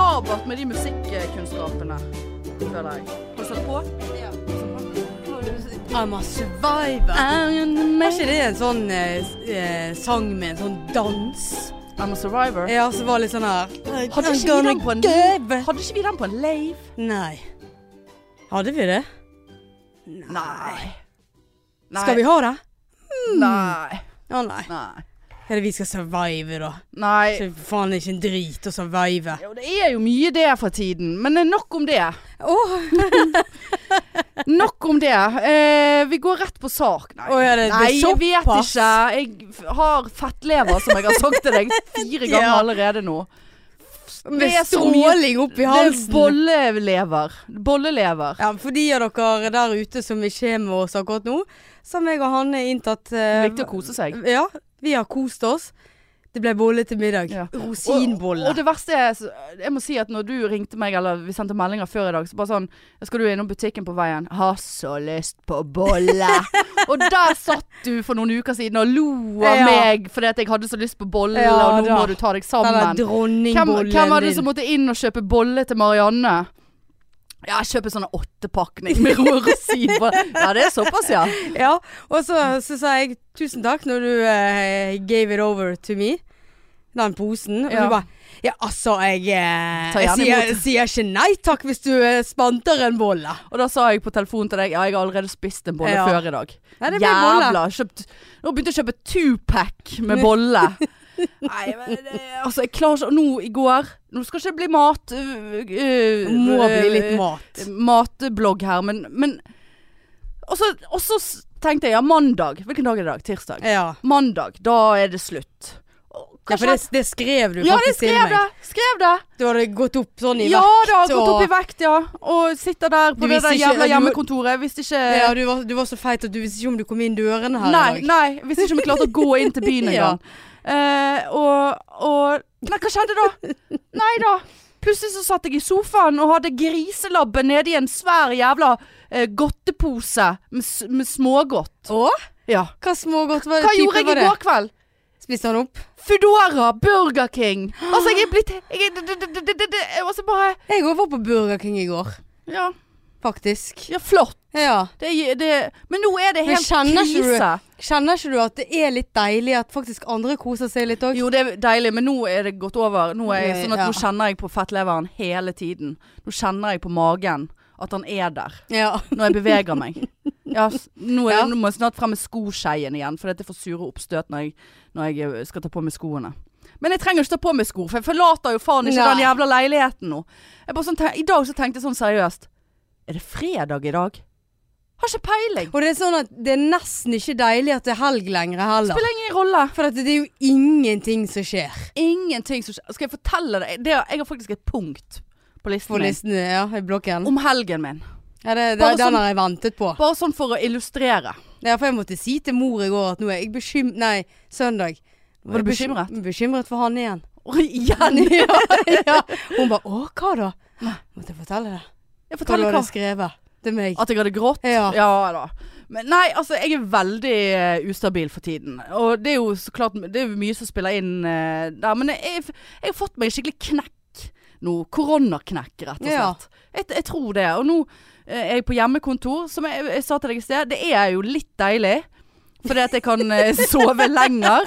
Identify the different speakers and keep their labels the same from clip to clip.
Speaker 1: de musikkunnskapene, føler jeg. Har du satt på?
Speaker 2: I'm a survivor. Er ikke det en sånn eh, s- eh, sang med en sånn dans?
Speaker 1: I'm a survivor.
Speaker 2: Ja, som var litt sånn her
Speaker 1: Hadde ikke
Speaker 2: I'm
Speaker 1: vi
Speaker 2: gonna
Speaker 1: den på en-
Speaker 2: give.
Speaker 1: Hadde ikke vi den på en lave?
Speaker 2: Nei. Hadde vi det?
Speaker 1: Nei.
Speaker 2: Skal vi ha det?
Speaker 1: Nei.
Speaker 2: Å nei.
Speaker 1: Mm. Nei.
Speaker 2: Er det vi skal survive, da?
Speaker 1: Nei.
Speaker 2: Så faen det er ikke en drit å survive.
Speaker 1: Jo, det er jo mye det for tiden, men eh, nok om det.
Speaker 2: Åh,
Speaker 1: Nok om det. Eh, vi går rett på sak. Nei,
Speaker 2: Å, ja, det- det er
Speaker 1: Nei jeg vet
Speaker 2: såpass.
Speaker 1: ikke. Jeg f- har fettlever, som jeg har sagt til deg fire ganger
Speaker 2: Ja.
Speaker 1: allerede nå.
Speaker 2: med
Speaker 1: Det er så mye-
Speaker 2: stråling opp i
Speaker 1: Det er
Speaker 2: halsen.
Speaker 1: bollelever. Bollelever.
Speaker 2: Ja, for de av dere der ute som ikke er med oss akkurat nå, så har meg og Hanne inntatt
Speaker 1: Det
Speaker 2: eh,
Speaker 1: er viktig å kose seg.
Speaker 2: Ja, vi har kost oss. Det ble bolle til middag.
Speaker 1: Ja. Og,
Speaker 2: Rosinbolle.
Speaker 1: og det verste er så- Jeg må si at når du ringte meg, eller vi sendte meldinger før i dag, så bare sånn Skal du innom butikken på veien? Har så lyst på bolle. og der satt du for noen uker siden og lo av
Speaker 2: Ja.
Speaker 1: meg fordi at jeg hadde så lyst på bolle,
Speaker 2: Ja,
Speaker 1: og nå
Speaker 2: da.
Speaker 1: må du ta deg
Speaker 2: Den der
Speaker 1: sammen. Hvem,
Speaker 2: dronningbollen
Speaker 1: hvem var det som måtte inn og kjøpe bolle til Marianne? Ja, jeg kjøper sånne åttepakning med rå rosinbolle. Ja, det er såpass, ja.
Speaker 2: Ja, og så, så sa jeg tusen takk når du eh, gave it over to me. Den posen. Og
Speaker 1: Ja.
Speaker 2: du bare Ja, altså, jeg, eh,
Speaker 1: Ta
Speaker 2: jeg
Speaker 1: gjerne
Speaker 2: sier,
Speaker 1: imot.
Speaker 2: sier ikke nei takk hvis du eh, spanter en bolle.
Speaker 1: Og da sa jeg på telefonen til deg Ja, jeg har allerede spist en bolle
Speaker 2: Ja.
Speaker 1: før i dag
Speaker 2: Nei, det blir bolle.
Speaker 1: Jævla kjøpt, Nå begynte jeg å kjøpe two-pack med bolle Nei, men det, altså jeg klarer ikke Nå i går Nå skal ikke det bli mat øh, øh,
Speaker 2: Det må bli litt
Speaker 1: øh,
Speaker 2: mat.
Speaker 1: Matblogg her Men, men og, så, og så s- tenkte jeg Ja, mandag Hvilken dag er det i dag? Tirsdag
Speaker 2: Ja.
Speaker 1: Mandag, da er det slutt Og
Speaker 2: Ja, for
Speaker 1: kanskje-
Speaker 2: det, det skrev du
Speaker 1: ja, det
Speaker 2: faktisk til
Speaker 1: skrev
Speaker 2: meg.
Speaker 1: det Skrev det
Speaker 2: Du hadde gått opp sånn i
Speaker 1: Ja,
Speaker 2: vekt.
Speaker 1: det har gått opp i
Speaker 2: og-
Speaker 1: vekt, ja Og sitter der på
Speaker 2: Du
Speaker 1: det
Speaker 2: visste
Speaker 1: der
Speaker 2: ikke-
Speaker 1: jævla
Speaker 2: du-
Speaker 1: hjemmekontoret Jeg visste ikke
Speaker 2: Ja, du var, du var så feit at du visste ikke om du kom inn dørene her
Speaker 1: Nei,
Speaker 2: i dag.
Speaker 1: nei, hvis ikke vi klarte å gå inn til byen engang. Eh, og, og Nei, hva skjedde da? Nei da. Plutselig så satt jeg i sofaen og hadde griselabben nedi en svær jævla eh, godtepose med, s- med smågodt.
Speaker 2: Å?
Speaker 1: Ja.
Speaker 2: Hva smågodt var det?
Speaker 1: Hva
Speaker 2: type
Speaker 1: gjorde jeg
Speaker 2: var
Speaker 1: i
Speaker 2: det?
Speaker 1: går kveld?
Speaker 2: Spiste han opp?
Speaker 1: Foodora, Burger King. Altså, jeg er blitt jeg er, d- d- d- d- d- d- Og så altså, bare
Speaker 2: Jeg òg var på Burger King i går,
Speaker 1: Ja,
Speaker 2: faktisk.
Speaker 1: ja flott.
Speaker 2: Ja.
Speaker 1: Det, er- det, men nå er det
Speaker 2: Men
Speaker 1: helt
Speaker 2: kjenner ikke du-
Speaker 1: krise.
Speaker 2: Kjenner ikke du at det er litt deilig at faktisk andre koser seg litt òg?
Speaker 1: Jo, det er deilig, men nå er det gått over. Nå, er jeg,
Speaker 2: Nei,
Speaker 1: sånn at
Speaker 2: ja.
Speaker 1: nå kjenner jeg på fettleveren hele tiden. Nå kjenner jeg på magen at han er der
Speaker 2: Ja.
Speaker 1: når jeg beveger meg. Ja, s- nå, er,
Speaker 2: Ja.
Speaker 1: nå må jeg snart frem med skoskeien igjen, for dette får sure oppstøt når jeg, når jeg eh, skal ta på meg skoene. Men jeg trenger ikke ta på meg sko, for jeg forlater jo faen ikke
Speaker 2: Nei.
Speaker 1: den jævla leiligheten nå. Jeg bare sånn, ten- I dag så tenkte jeg sånn seriøst. Er det fredag i dag? Har ikke peiling.
Speaker 2: Og det er sånn at det er nesten ikke deilig at det er helg lenger heller.
Speaker 1: Spiller ingen rolle.
Speaker 2: For at det er jo ingenting som skjer
Speaker 1: Ingenting som skjer. Skal jeg fortelle deg? Det, jeg har faktisk et punkt på listen
Speaker 2: på
Speaker 1: min.
Speaker 2: listene ja, i blokken.
Speaker 1: om helgen min.
Speaker 2: Ja, det, det,
Speaker 1: Bare
Speaker 2: den
Speaker 1: sånn-
Speaker 2: har jeg ventet på.
Speaker 1: Bare sånn for å illustrere.
Speaker 2: Ja, for jeg måtte si til mor i går at nå er jeg bekymret Nei, søndag.
Speaker 1: Var du bekymret?
Speaker 2: Bekymret for han igjen.
Speaker 1: Og igjen!
Speaker 2: ja, ja. Hun bare 'Å, hva da?' Måtte jeg fortelle det.
Speaker 1: Jeg
Speaker 2: Hva
Speaker 1: forteller
Speaker 2: hadde
Speaker 1: hva?
Speaker 2: du skrevet til meg?
Speaker 1: At jeg hadde grått?
Speaker 2: Ja.
Speaker 1: da. Men nei, altså jeg er veldig eh, ustabil for tiden. Og det er jo så klart Det er jo mye som spiller inn eh, der. Men jeg, jeg, har fått meg en skikkelig knekk nå. Koronaknekk, rett og
Speaker 2: Ja.
Speaker 1: slett. Jeg, jeg tror det. Og nå eh, er jeg på hjemmekontor, som jeg, jeg sa til deg i sted. Det er jo litt deilig. Fordi at jeg kan eh, sove lenger,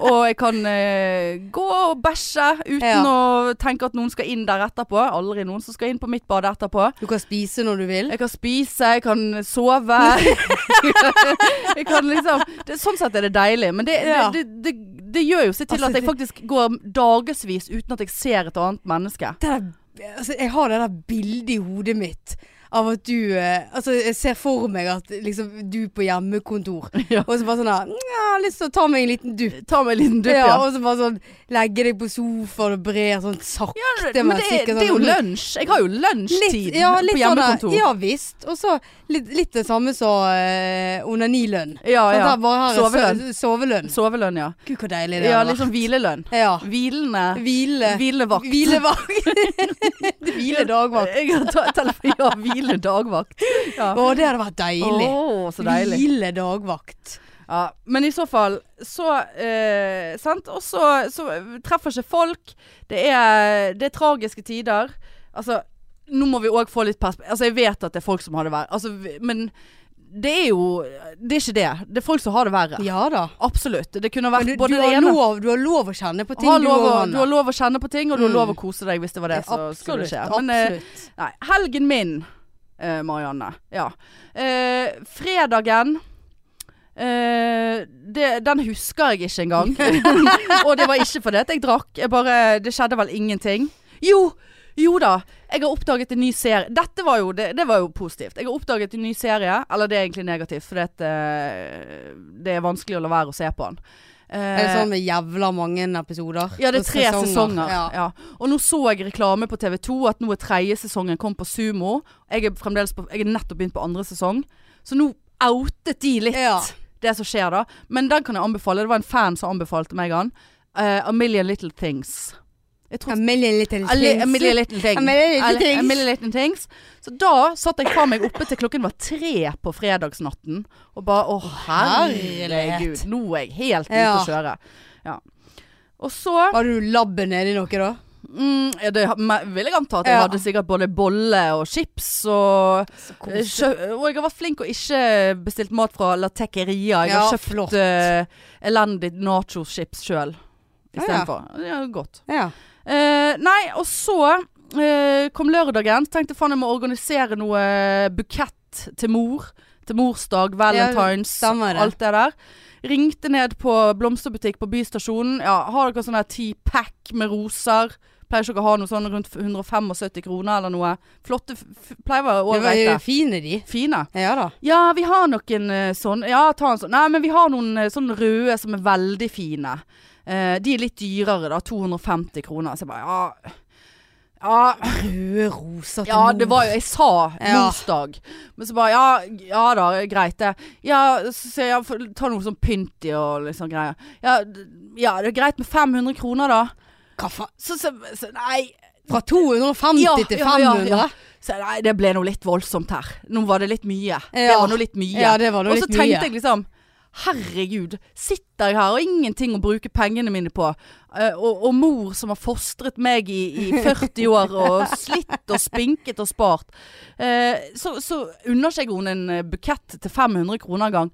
Speaker 1: og jeg kan eh, gå og bæsje uten
Speaker 2: Ja.
Speaker 1: å tenke at noen skal inn der etterpå. Aldri noen som skal inn på mitt bad etterpå.
Speaker 2: Du kan spise når du vil.
Speaker 1: Jeg kan spise, jeg kan sove. jeg kan liksom det, Sånn sett er det deilig, men det,
Speaker 2: Ja.
Speaker 1: det, det, det, det gjør jo sitt til
Speaker 2: Altså,
Speaker 1: at jeg
Speaker 2: det-
Speaker 1: faktisk går dagevis uten at jeg ser et annet menneske.
Speaker 2: Det der, altså, jeg har det der bildet i hodet mitt av at du eh, Altså, jeg ser for meg at liksom, du på hjemmekontor,
Speaker 1: Ja.
Speaker 2: og så bare sånn der «Mm, Jeg har lyst til å ta meg en liten dupp.
Speaker 1: Ta meg en liten dupp,
Speaker 2: Ja,
Speaker 1: ja.
Speaker 2: og så bare sånn legge deg på sofaen og brer sånn sakte,
Speaker 1: Men det, er-
Speaker 2: sikkert.
Speaker 1: det er jo
Speaker 2: sånn,
Speaker 1: lunsj. Jeg har jo lunsjtid
Speaker 2: Litt, ja, litt
Speaker 1: på
Speaker 2: sånn der-
Speaker 1: hjemmekontor.
Speaker 2: Ja visst. Og så litt, litt det samme som eh, onanilønn.
Speaker 1: ja,
Speaker 2: Sånn,
Speaker 1: ja.
Speaker 2: der bare her er
Speaker 1: Sovelønn.
Speaker 2: sø- Sovelønn.
Speaker 1: Sovelønn, ja.
Speaker 2: Gud, hvor deilig det
Speaker 1: Ja,
Speaker 2: hadde
Speaker 1: litt sånn hvilelønn.
Speaker 2: vært. Ja.
Speaker 1: Hvilende
Speaker 2: Hvile.
Speaker 1: Hvilevakt.
Speaker 2: Hvilevakt. Hvile dagvakt.
Speaker 1: Jeg har ta- telefon- Ja, hvile dagvakt. Ja.
Speaker 2: Å, det hadde vært deilig.
Speaker 1: Å, så deilig.
Speaker 2: Hvile dagvakt.
Speaker 1: Ja, men i så fall så eh, Sant? Og så, så treffer ikke folk. Det er, det er tragiske tider. Altså, nå må vi òg få litt perspektiv Altså, jeg vet at det er folk som har det verre. Altså, vi- men det er jo Det er ikke det. Det er folk som har det verre.
Speaker 2: Ja da.
Speaker 1: Absolutt. Det kunne vært
Speaker 2: Men du,
Speaker 1: både
Speaker 2: du,
Speaker 1: det
Speaker 2: har
Speaker 1: ene
Speaker 2: lov, du har lov å kjenne på ting
Speaker 1: har
Speaker 2: du
Speaker 1: lov, å,
Speaker 2: òg,
Speaker 1: du har lov å kjenne på ting, og du har
Speaker 2: Mm.
Speaker 1: lov å kose deg hvis det var det som skulle skje. Men, eh,
Speaker 2: absolutt.
Speaker 1: Nei, helgen min, eh, Marianne. Ja. Eh, fredagen eh, det, Den husker jeg ikke engang. og det var ikke fordi at jeg drakk. Jeg bare, det skjedde vel ingenting. Jo! Jo da, jeg har oppdaget en ny serie. Dette var jo, det, det var jo positivt. Jeg har oppdaget en ny serie. Eller det er egentlig negativt, for det, det er vanskelig å la være å se på den. Eh,
Speaker 2: Er det sånn med jævla mange episoder?
Speaker 1: ja, det er
Speaker 2: Og
Speaker 1: tre sesonger.
Speaker 2: Ja.
Speaker 1: Ja. Og nå så jeg reklame på TV 2 at nå er tredje sesongen kom på Sumo. Jeg er, fremdeles på, jeg er nettopp begynt på andre sesong. Så nå outet de litt
Speaker 2: Ja.
Speaker 1: det som skjer da. Men den kan jeg anbefale. Det var en fan som anbefalte meg den. Eh, A Million Little Things. Jeg tror
Speaker 2: Amelie Little
Speaker 1: A li- A Million Little Things.
Speaker 2: A Million Little
Speaker 1: A li- A
Speaker 2: Things.
Speaker 1: Million Little Things. Så da satt jeg faen meg oppe til klokken var tre på fredagsnatten. Og bare å herregud,
Speaker 2: herlighet.
Speaker 1: nå er jeg helt ute
Speaker 2: Ja.
Speaker 1: å kjøre. Ja. Og så
Speaker 2: Har du labben nedi noe da?
Speaker 1: Mm, ja, det ha- me- vil jeg anta at jeg
Speaker 2: Ja.
Speaker 1: hadde sikkert både bolle og chips og
Speaker 2: Kos-
Speaker 1: Kjø- Og jeg har vært flink og ikke bestilt mat fra La Tequeria. Jeg
Speaker 2: Ja,
Speaker 1: har
Speaker 2: flott.
Speaker 1: kjøpt eh, elendig nachoschips sjøl
Speaker 2: Ja, ja.
Speaker 1: istedenfor. Ja, godt.
Speaker 2: Ja.
Speaker 1: Eh, nei, og så eh, kom lørdagen. Tenkte faen jeg må organisere noe bukett til mor. Til morsdag, valentines,
Speaker 2: stemmer det.
Speaker 1: alt det der. Ringte ned på blomsterbutikk på Bystasjonen. Ja, har dere sånn her ti pack med roser? Pleier ikke dere å ha noe sånn rundt 175 kroner eller noe? Flotte f f pleier å være
Speaker 2: Det var jo
Speaker 1: ålreite.
Speaker 2: fine de.
Speaker 1: Fine.
Speaker 2: Ja da.
Speaker 1: Ja, vi har noen eh, sånn Ja, ta en sånn. Nei, men vi har noen eh, sånne røde som er veldig fine. Eh, de er litt dyrere, da. 250 kroner. Så jeg bare ja. Ja,
Speaker 2: Røde roser til
Speaker 1: ja det var jo Jeg sa
Speaker 2: Ja.
Speaker 1: morsdag. Men så bare Ja, ja da, greit det. Ja, så sier jeg ja, for- ta noe sånn pynt i og litt sånn greier. Ja, d- ja, det er greit med 500 kroner, da.
Speaker 2: Hva faen?
Speaker 1: Så, så, så Nei.
Speaker 2: Fra 250
Speaker 1: Ja,
Speaker 2: til
Speaker 1: ja, ja,
Speaker 2: 500?
Speaker 1: ja. Så jeg, nei, det ble noe litt voldsomt her. Nå var det litt mye. Det
Speaker 2: Ja.
Speaker 1: var noe litt mye.
Speaker 2: Ja, det var nå
Speaker 1: Og
Speaker 2: litt
Speaker 1: så
Speaker 2: mye.
Speaker 1: tenkte jeg liksom Herregud, sitter jeg her og ingenting å bruke pengene mine på. Eh, og, og mor som har fostret meg i, i 40 år og slitt og spinket og spart. Eh, så, så unner ikke jeg henne en eh, bukett til 500 kroner en gang.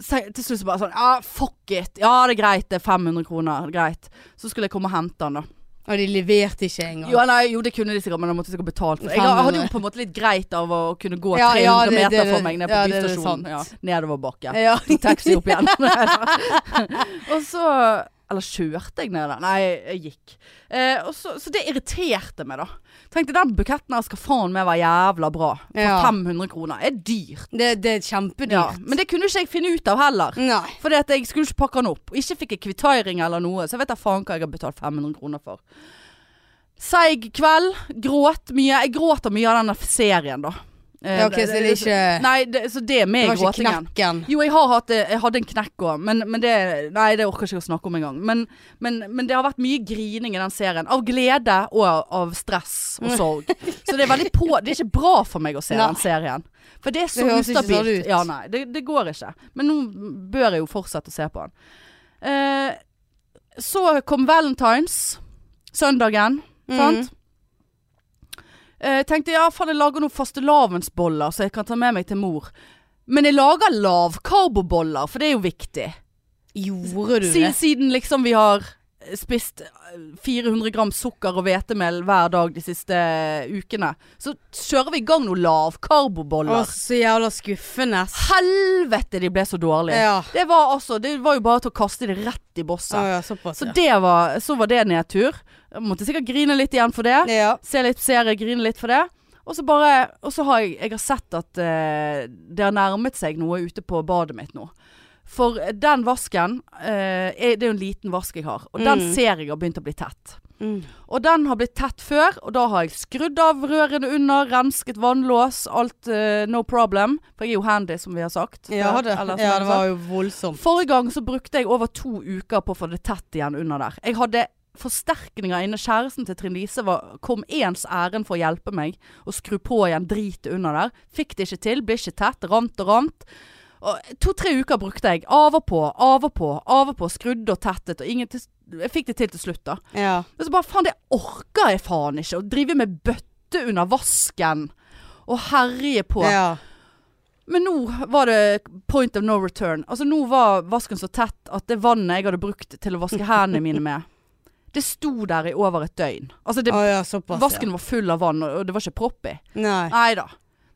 Speaker 1: Så jeg, til slutt så bare sånn Ja, fuck it. Ja, det er greit, det er 500 kroner. Greit. Så skulle jeg komme og hente den, da.
Speaker 2: Og de leverte ikke engang.
Speaker 1: Jo, nei, jo, det kunne de sikkert, men da måtte de sikkert betalt for det. Jeg
Speaker 2: 500.
Speaker 1: hadde jo på en måte litt greit av å kunne gå 300
Speaker 2: Ja, ja, det- det-
Speaker 1: meter for meg ned på
Speaker 2: ja, det- det er sant.
Speaker 1: bilstasjonen. Ja, Nedoverbakke.
Speaker 2: altså, Ja.
Speaker 1: Tok taxi opp igjen. og så Eller kjørte jeg ned der? Nei, jeg gikk. Eh, og så, så det irriterte meg, da. Tenkte den buketten her skal faen meg være jævla bra. For
Speaker 2: Ja.
Speaker 1: 500 kroner. er dyrt.
Speaker 2: Det, det
Speaker 1: Ja.
Speaker 2: er kjempedyrt.
Speaker 1: Men det kunne ikke jeg finne ut av heller.
Speaker 2: Nei.
Speaker 1: Fordi at jeg skulle ikke pakke den opp. Ikke fikk jeg kvittering eller noe, så jeg vet da faen hva jeg har betalt 500 kroner for. Seig kveld. Gråt mye. Jeg gråter mye av denne serien, da. Eh,
Speaker 2: Ja, ok, så det er ikke-
Speaker 1: Nei, det, så det er
Speaker 2: Det
Speaker 1: med i
Speaker 2: var ikke
Speaker 1: gråtingen.
Speaker 2: knekken.
Speaker 1: Jo, jeg har hatt det. Jeg hadde en knekk òg, men, men det Nei, det orker jeg ikke å snakke om engang. Men, men, men det har vært mye grining i den serien. Av glede og av stress og sorg. Så det er veldig på Det er ikke bra for meg å se
Speaker 2: Nei.
Speaker 1: den serien. For det er så
Speaker 2: Det høres ikke sånn
Speaker 1: ustabilt.
Speaker 2: ut.
Speaker 1: Ja, nei. Det, det går ikke. Men nå bør jeg jo fortsette å se på den. Eh, så kom Valentines. Søndagen. Sant?
Speaker 2: Mm.
Speaker 1: Eh, tenkte ja, faen jeg lager noen fastelavnsboller så jeg kan ta med meg til mor. Men jeg lager lavkarboboller, for det er jo viktig.
Speaker 2: Gjorde du det?
Speaker 1: Siden, siden liksom vi har eh, spist eh, 400 gram sukker og hvetemel hver dag de siste eh, ukene, så kjører vi i gang noen
Speaker 2: Å,
Speaker 1: lavkarboboller.
Speaker 2: så jævla skuffende.
Speaker 1: Helvete, de ble så dårlige.
Speaker 2: Ja.
Speaker 1: Det var altså Det var jo bare til å kaste det rett i bosset.
Speaker 2: Å, ja, såpass,
Speaker 1: Så
Speaker 2: ja.
Speaker 1: det var, så var det nedtur. Jeg måtte sikkert grine litt igjen for det.
Speaker 2: ja.
Speaker 1: Se litt serie, grine litt for det. Og så bare Og så har jeg, jeg har sett at eh, det har nærmet seg noe ute på badet mitt nå. For den vasken eh, er, Det er jo en liten vask jeg har. Og den
Speaker 2: Mm.
Speaker 1: ser jeg har begynt å bli tett.
Speaker 2: Mm.
Speaker 1: Og den har blitt tett før, og da har jeg skrudd av rørene under, rensket vannlås, alt eh, no problem. For jeg er jo handy, som vi har sagt.
Speaker 2: Ja,
Speaker 1: før,
Speaker 2: det,
Speaker 1: eller som jeg
Speaker 2: ja,
Speaker 1: har
Speaker 2: det
Speaker 1: sagt.
Speaker 2: var jo voldsomt.
Speaker 1: Forrige gang så brukte jeg over to uker på å få det tett igjen under der. Jeg hadde forsterkninger inne. Kjæresten til Trine Lise var, kom ens ærend for å hjelpe meg å skru på igjen dritet under der. Fikk det ikke til, ble ikke tett. Ramt og ramt. Og To-tre uker brukte jeg. Av og på, av og på, av og på. Skrudde og tettet og ingen til jeg fikk det til til slutt, da.
Speaker 2: Ja.
Speaker 1: Og så bare faen, det orker jeg faen ikke. Å drive med bøtte under vasken og herje på.
Speaker 2: ja.
Speaker 1: Men nå var det point of no return. Altså nå var vasken så tett at det vannet jeg hadde brukt til å vaske hendene mine med, det sto der i over et døgn. Altså det,
Speaker 2: Å ja, såpass.
Speaker 1: vasken var full av vann, og og det var ikke propp i.
Speaker 2: Ja. Nei.
Speaker 1: Nei da.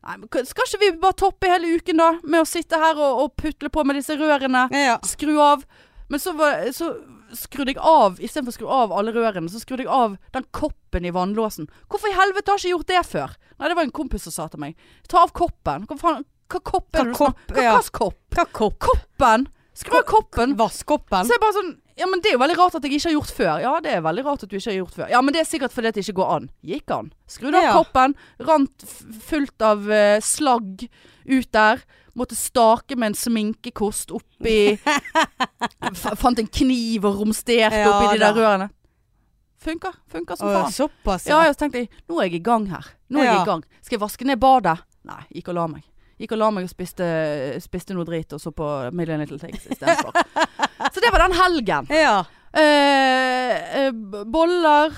Speaker 1: Nei, men k- skal ikke vi bare toppe hele uken da, med å sitte her og, og putle på med disse rørene?
Speaker 2: Ja, ja.
Speaker 1: Skru av. Men så, var, så skrudde jeg av, istedenfor å skru av alle rørene, så skrudde jeg av den koppen i vannlåsen. Hvorfor i helvete har jeg ikke gjort det før? Nei, det var en kompis som sa til meg. Ta av koppen. Hva faen, hva kopp
Speaker 2: Hva
Speaker 1: er det du snakker
Speaker 2: kopp,
Speaker 1: Hva
Speaker 2: ja.
Speaker 1: slags kopp?
Speaker 2: Hva kopp?
Speaker 1: Koppen! Skru av koppen!
Speaker 2: Vaskekoppen?
Speaker 1: Så jeg bare sånn Ja, men det er jo veldig rart at jeg ikke har gjort før. Ja, det er veldig rart at du ikke har gjort før. Ja, men det er sikkert fordi at det ikke går an. Gikk an. Skrudde av
Speaker 2: Ja.
Speaker 1: koppen. Rant f- fullt av eh, slagg ut der. Måtte stake med en sminkekost oppi f Fant en kniv og romsterte
Speaker 2: Ja
Speaker 1: oppi de
Speaker 2: da.
Speaker 1: der rørene. Funker. Funker som
Speaker 2: Å ja,
Speaker 1: faen.
Speaker 2: såpass,
Speaker 1: Ja,
Speaker 2: ja.
Speaker 1: ja, så tenkte jeg Nå er jeg i gang her. Nå er
Speaker 2: Ja.
Speaker 1: jeg i gang. Skal jeg vaske ned badet? Nei, gikk og la meg. Gikk og la meg og spiste, spiste noe drit, og så på Million Little Things istedenfor. så det var den helgen.
Speaker 2: Ja.
Speaker 1: Eh, eh, b- boller.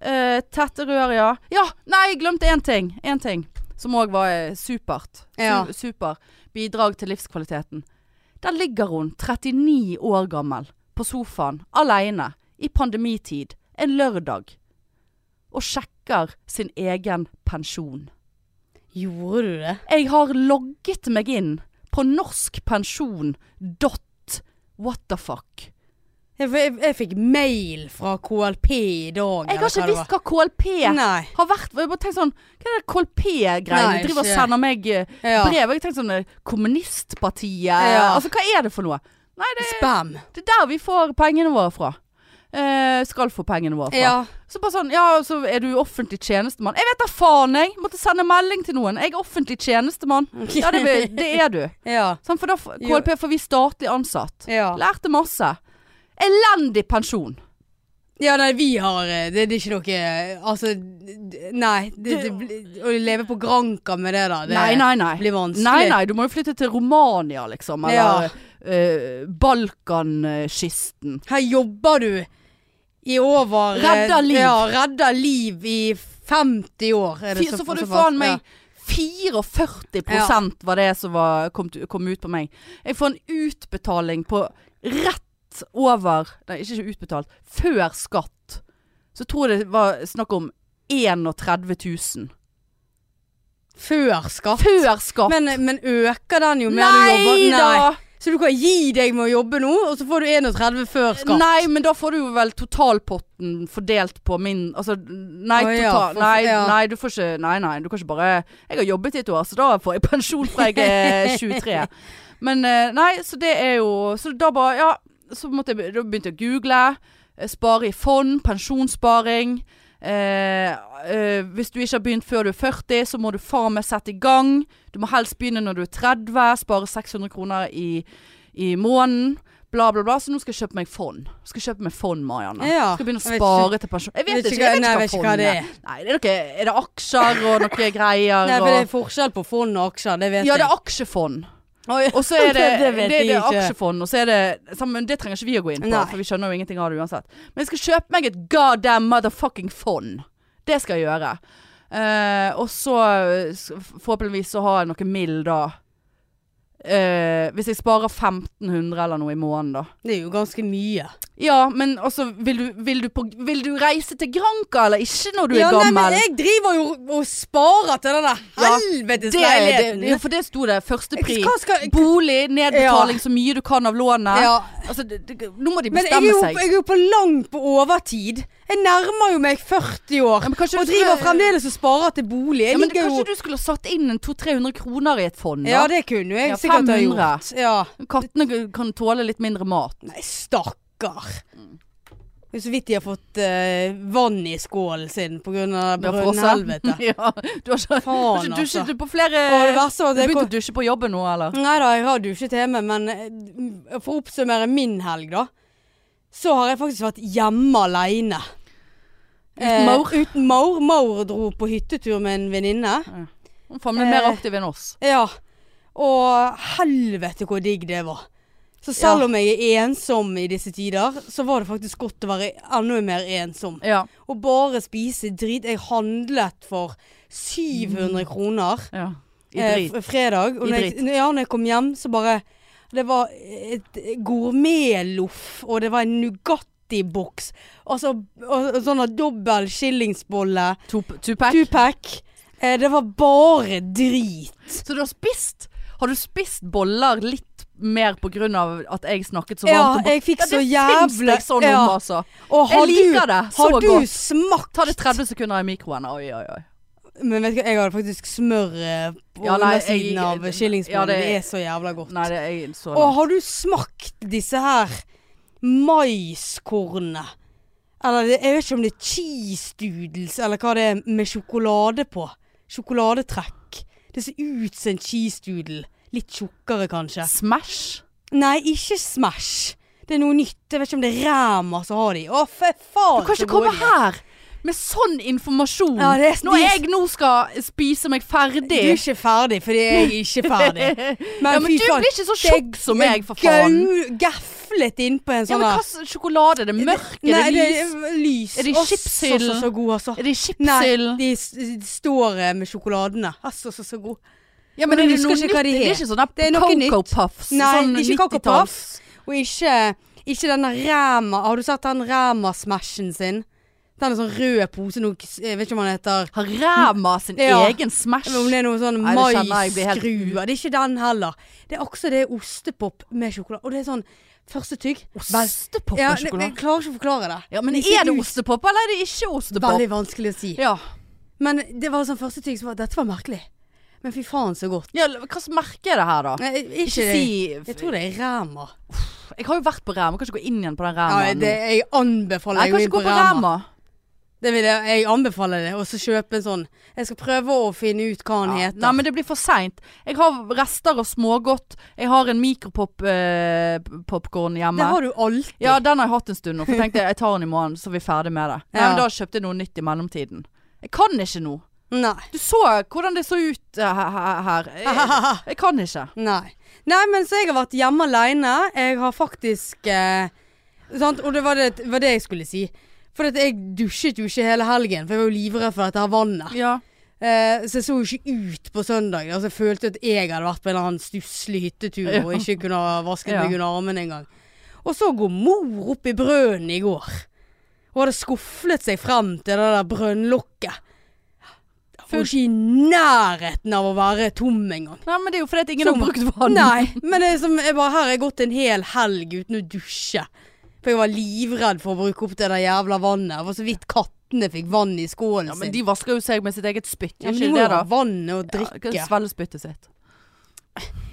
Speaker 1: Eh, tette rør, ja. Ja, nei, jeg glemte én ting. Én ting som òg var eh, supert. Su
Speaker 2: Ja.
Speaker 1: Super bidrag til livskvaliteten. Der ligger hun, 39 år gammel, på sofaen aleine i pandemitid en lørdag og sjekker sin egen pensjon.
Speaker 2: Gjorde du det?
Speaker 1: Jeg har logget meg inn på norskpensjon.whatthefuck.
Speaker 2: Jeg, jeg, jeg fikk mail fra KLP i dag.
Speaker 1: Jeg har ikke visst hva KLP
Speaker 2: det. Nei.
Speaker 1: har vært. Jeg bare tenkte sånn Hva er det KLP-greiene?
Speaker 2: Nei,
Speaker 1: De driver og
Speaker 2: ikke.
Speaker 1: sender meg eh,
Speaker 2: Ja.
Speaker 1: brev. og Jeg tenkte sånn eh, Kommunistpartiet
Speaker 2: Ja.
Speaker 1: Altså, hva er det for noe? Nei, det,
Speaker 2: Spam.
Speaker 1: det er der vi får pengene våre fra. Eh, skal få pengene våre fra.
Speaker 2: Ja.
Speaker 1: Så bare sånn, ja, så er du offentlig tjenestemann. Jeg vet da faen, jeg! Måtte sende melding til noen. Jeg er offentlig tjenestemann. Ja, det, be- det er du.
Speaker 2: Ja.
Speaker 1: Sånn, for da, f- KLP får vi statlig ansatt.
Speaker 2: Ja.
Speaker 1: Lærte masse. Elendig pensjon.
Speaker 2: ja, nei, vi har eh, Det, det er ikke noe Altså, d- nei. Det, det, blir- å leve på Granka med det, da, det
Speaker 1: Nei, nei, nei.
Speaker 2: blir vanskelig.
Speaker 1: Nei, nei, du må jo flytte til Romania, liksom.
Speaker 2: Ja.
Speaker 1: Eller eh, Balkankysten.
Speaker 2: Her jobber du i over eh,
Speaker 1: Redder liv.
Speaker 2: Ja, redder liv i 50 år. er det
Speaker 1: Fy, så får du
Speaker 2: såpass,
Speaker 1: faen meg 44 var det som var, kom, t- kom ut på meg. Jeg får en utbetaling på rett over Nei, ikke ikke utbetalt. Før skatt. Så tror jeg det var snakk om 31 000.
Speaker 2: Ja. Før skatt.
Speaker 1: Før skatt!
Speaker 2: Men, men øker den jo mer du
Speaker 1: nei
Speaker 2: jobber?
Speaker 1: da!
Speaker 2: Så du kan gi deg med å jobbe nå, og så får du 31 før skatt?
Speaker 1: Nei, men da får du jo vel totalpotten fordelt på min Altså, nei,
Speaker 2: Å,
Speaker 1: total,
Speaker 2: ja, for-
Speaker 1: nei,
Speaker 2: ja.
Speaker 1: nei, du får ikke Nei, nei, du kan ikke bare Jeg har jobbet i et år, så da får jeg pensjon fra jeg er 23. Men eh, nei, så det er jo Så da bare Ja, så måtte jeg, be- da begynte jeg å google. eh, Spare i fond. Pensjonssparing. Eh, eh, hvis du ikke har begynt før du er 40, så må du faen meg sette i gang. Du må helst begynne når du er 30, spare 600 kroner i, i måneden. Bla, bla, bla. Så nå skal jeg kjøpe meg fond. Skal kjøpe meg fond, Marianne.
Speaker 2: Ja,
Speaker 1: skal begynne å
Speaker 2: jeg vet
Speaker 1: spare til pensjon. Jeg vet, ikke, jeg vet
Speaker 2: nei,
Speaker 1: ikke hva
Speaker 2: jeg vet ikke hva
Speaker 1: fond
Speaker 2: det
Speaker 1: er. Nei, det er, noe, er det aksjer og noe greier?
Speaker 2: Nei, for det
Speaker 1: og-
Speaker 2: er forskjell på fond og aksjer, det vet
Speaker 1: ja, det
Speaker 2: jeg.
Speaker 1: er aksjefond.
Speaker 2: Oi.
Speaker 1: Og så er det,
Speaker 2: Det
Speaker 1: det,
Speaker 2: vet
Speaker 1: det,
Speaker 2: jeg
Speaker 1: er
Speaker 2: ikke.
Speaker 1: aksjefond, og så er det sammen, men Det trenger ikke vi å gå inn på,
Speaker 2: Nei.
Speaker 1: for vi skjønner jo ingenting av det uansett. Men jeg skal kjøpe meg et goddamn motherfucking fond. Det skal jeg gjøre. Eh, og så eh, s- forhåpentligvis så har jeg noe mild da. Eh, hvis jeg sparer 1500 eller noe i måneden, da.
Speaker 2: Det er jo ganske mye.
Speaker 1: Ja, men altså Vil du, vil du, på, vil du reise til Granca eller ikke når du
Speaker 2: ja,
Speaker 1: er gammel?
Speaker 2: Nei, men jeg driver jo og sparer til den der
Speaker 1: Ja,
Speaker 2: helvetes
Speaker 1: det, det,
Speaker 2: leiligheten.
Speaker 1: ja, for det sto det. Førstepri.
Speaker 2: Hva skal
Speaker 1: Bolig, nedbetaling så mye du kan av lånet.
Speaker 2: Ja.
Speaker 1: Altså, det, det, nå må de
Speaker 2: Men jeg er,
Speaker 1: bestemme
Speaker 2: jo,
Speaker 1: seg.
Speaker 2: jeg er jo på langt på overtid. Jeg nærmer jo meg 40 år.
Speaker 1: Ja, men kanskje
Speaker 2: og
Speaker 1: du
Speaker 2: driver
Speaker 1: skulle-
Speaker 2: fremdeles og sparer til bolig. Jeg
Speaker 1: Ja, men
Speaker 2: ligger jo
Speaker 1: kanskje du skulle ha satt inn en 200-300 kroner i et fond?
Speaker 2: Ja,
Speaker 1: Da?
Speaker 2: det kunne jeg
Speaker 1: Ja,
Speaker 2: sikkert ha
Speaker 1: 500.
Speaker 2: gjort. Ja.
Speaker 1: Kattene g- kan tåle litt mindre mat.
Speaker 2: Nei, stakkar.
Speaker 1: Mm.
Speaker 2: Det er så vidt de har fått eh, vann i skålen sin pga.
Speaker 1: Ja, for oss selv.
Speaker 2: brønnhelvete.
Speaker 1: ja, du har ikke, du har
Speaker 2: Faen,
Speaker 1: ikke
Speaker 2: altså.
Speaker 1: dusjet på flere
Speaker 2: Og det verste var
Speaker 1: Du
Speaker 2: at jeg
Speaker 1: begynte
Speaker 2: kom
Speaker 1: å dusje på jobben nå, eller?
Speaker 2: Nei da, jeg har dusjet hjemme, men eh, for å oppsummere min helg, da. Så har jeg faktisk vært hjemme aleine.
Speaker 1: Uten Maur?
Speaker 2: uten Maur. Maur dro på hyttetur med en venninne.
Speaker 1: Faen, men mer
Speaker 2: Eh.
Speaker 1: aktiv enn oss.
Speaker 2: Ja. Og helvete hvor digg det var. Så selv om jeg er ensom i disse tider, så var det faktisk godt å være enda mer ensom.
Speaker 1: Ja.
Speaker 2: Og bare spise drit. Jeg handlet for 700 kroner
Speaker 1: ja. I
Speaker 2: eh,
Speaker 1: drit.
Speaker 2: f- fredag. Og
Speaker 1: I
Speaker 2: når jeg, ja, når jeg kom hjem, så bare Det var et gourmetloff, og det var en Nugatti-boks. Altså, og, og sånn dobbel skillingsbolle.
Speaker 1: Tup- Tupac.
Speaker 2: Tupac. Eh, det var bare drit.
Speaker 1: Så du har spist Har du spist boller litt mer på grunn av at jeg snakket så
Speaker 2: Ja,
Speaker 1: varmt? om bo-
Speaker 2: jeg fikk
Speaker 1: Ja,
Speaker 2: så
Speaker 1: Det finnes
Speaker 2: jævla
Speaker 1: deg sånn om,
Speaker 2: ja.
Speaker 1: altså.
Speaker 2: Og
Speaker 1: Jeg
Speaker 2: har
Speaker 1: liker
Speaker 2: du,
Speaker 1: det så
Speaker 2: har du
Speaker 1: godt.
Speaker 2: smakt
Speaker 1: Ta det 30 sekunder i mikroen. Oi, oi, oi.
Speaker 2: Men vet du hva, jeg hadde faktisk smør eh, på
Speaker 1: Ja, nei, jeg-
Speaker 2: undersiden av
Speaker 1: ja,
Speaker 2: skillingsbollen.
Speaker 1: det-
Speaker 2: det, er så jævla godt.
Speaker 1: Nei, det er jeg så
Speaker 2: Og har du smakt disse her maiskornene? Eller det- jeg vet ikke om det er cheese doodles, eller hva det er med sjokolade på. Sjokoladetrekk. Det ser ut som en cheese doodle. Litt tjukkere, kanskje.
Speaker 1: Smash.
Speaker 2: Nei, ikke Smash. Det er noe nytt. Jeg vet ikke om det er Ræma som har de. Å, for faen!
Speaker 1: Du kan
Speaker 2: så
Speaker 1: ikke
Speaker 2: gode
Speaker 1: komme
Speaker 2: de er.
Speaker 1: her med sånn informasjon
Speaker 2: Ja, det er-
Speaker 1: når
Speaker 2: de-
Speaker 1: jeg nå skal spise meg
Speaker 2: Du er
Speaker 1: ferdig.
Speaker 2: ikke ferdig, fordi jeg er ikke ferdig.
Speaker 1: Men, ja, men
Speaker 2: fy
Speaker 1: du
Speaker 2: faen,
Speaker 1: blir ikke så tjukk som meg, for faen.
Speaker 2: Gau- Gaflet innpå
Speaker 1: Ja,
Speaker 2: en sånn
Speaker 1: men hva
Speaker 2: her.
Speaker 1: slags sjokolade? Er det mørk?
Speaker 2: Nei,
Speaker 1: er det lys?
Speaker 2: er lys.
Speaker 1: Er det
Speaker 2: Å, så,
Speaker 1: chipsild?
Speaker 2: Så, så god, altså.
Speaker 1: Er det
Speaker 2: Nei,
Speaker 1: chipsild?
Speaker 2: de, s- de står eh, med sjokoladene. Altså, så, så god.
Speaker 1: Ja, men
Speaker 2: Men
Speaker 1: er det
Speaker 2: jeg
Speaker 1: noe
Speaker 2: husker
Speaker 1: nytt?
Speaker 2: ikke hva de
Speaker 1: det er
Speaker 2: het.
Speaker 1: ikke sånn
Speaker 2: Det er noe
Speaker 1: Coco
Speaker 2: nytt.
Speaker 1: Puffs?
Speaker 2: Nei,
Speaker 1: sånn
Speaker 2: ikke Coco
Speaker 1: 90-talls.
Speaker 2: Og ikke, ikke denne Ræma. Har du sett den Ræma-smashen sin? Den er sånn rød pose, noe, s- jeg vet ikke om den heter
Speaker 1: Har Ræma sin
Speaker 2: Ja.
Speaker 1: egen Smash?
Speaker 2: om det er noe sånn
Speaker 1: Nei, det kjenner jeg blir helt-
Speaker 2: maisskruer. Det er ikke den heller. Det er også det er ostepop med sjokolade. Og det er sånn første tygg Vel-
Speaker 1: Ostepop
Speaker 2: Ja,
Speaker 1: og
Speaker 2: det- jeg
Speaker 1: sjokolade?
Speaker 2: klarer ikke å forklare det.
Speaker 1: Ja, men
Speaker 2: De ser
Speaker 1: er det
Speaker 2: ut-
Speaker 1: ostepop, eller er det ikke ostepop?
Speaker 2: Veldig vanskelig å si.
Speaker 1: Ja.
Speaker 2: Men det var sånn første ting som var Dette var merkelig. Men fy faen, så godt.
Speaker 1: ja, hva slags merke er det her, da?
Speaker 2: Nei, ikke
Speaker 1: Ikke
Speaker 2: det.
Speaker 1: si
Speaker 2: Jeg tror det er Ræma.
Speaker 1: Jeg har jo vært på Ræma, kan ikke gå inn igjen på den Ræma.
Speaker 2: Ja, det, jeg anbefaler
Speaker 1: Nei, jeg
Speaker 2: å
Speaker 1: kan ikke
Speaker 2: gå inn på
Speaker 1: gå på
Speaker 2: Ræma.
Speaker 1: Ræma.
Speaker 2: Det vil jeg, jeg anbefaler det. Og så kjøpe en sånn. Jeg skal prøve å finne ut hva han
Speaker 1: Ja.
Speaker 2: heter.
Speaker 1: Nei, men det blir for seint. Jeg har rester av smågodt. Jeg har en mikropopkorn hjemme.
Speaker 2: det har du alltid.
Speaker 1: Ja, den har jeg hatt en stund nå. For jeg tenkte jeg tar den i morgen, så er vi ferdig med det. Nei,
Speaker 2: Ja.
Speaker 1: men Da kjøpte jeg noe nytt i mellomtiden. Jeg kan ikke nå.
Speaker 2: Nei.
Speaker 1: Du så hvordan det så ut eh, he- he- her. Jeg, jeg kan ikke.
Speaker 2: Nei. Nei, men så jeg har vært hjemme aleine. Jeg har faktisk eh, sant? Og det var det, var det jeg skulle si. For at jeg dusjet jo ikke hele helgen, for jeg var jo livredd for dette her vannet.
Speaker 1: Ja.
Speaker 2: Eh, så jeg så jo ikke ut på søndag. Altså, jeg følte at jeg hadde vært på en eller annen stusslig hyttetur
Speaker 1: Ja.
Speaker 2: og ikke kunne ha vasket
Speaker 1: Ja.
Speaker 2: meg under armen engang. Og så går mor opp i brønnen i går. Hun hadde skuflet seg frem til det der brønnlokket. Hun er ikke i nærheten av å være tom engang.
Speaker 1: Nei, men det er jo fordi at ingen
Speaker 2: Som-
Speaker 1: har brukt vann.
Speaker 2: Nei, men det er som, jeg bare, her har jeg gått en hel helg uten å dusje. For jeg var livredd for å bruke opp det der jævla vannet. Det var så vidt kattene fikk vann i skålen
Speaker 1: Ja, men
Speaker 2: sin.
Speaker 1: de vasker jo seg med sitt eget spytt.
Speaker 2: ja,
Speaker 1: Gjør
Speaker 2: men
Speaker 1: ikke
Speaker 2: de må
Speaker 1: det,
Speaker 2: jo
Speaker 1: da?
Speaker 2: ha vann og drikke.
Speaker 1: Ja, Svelge spyttet sitt.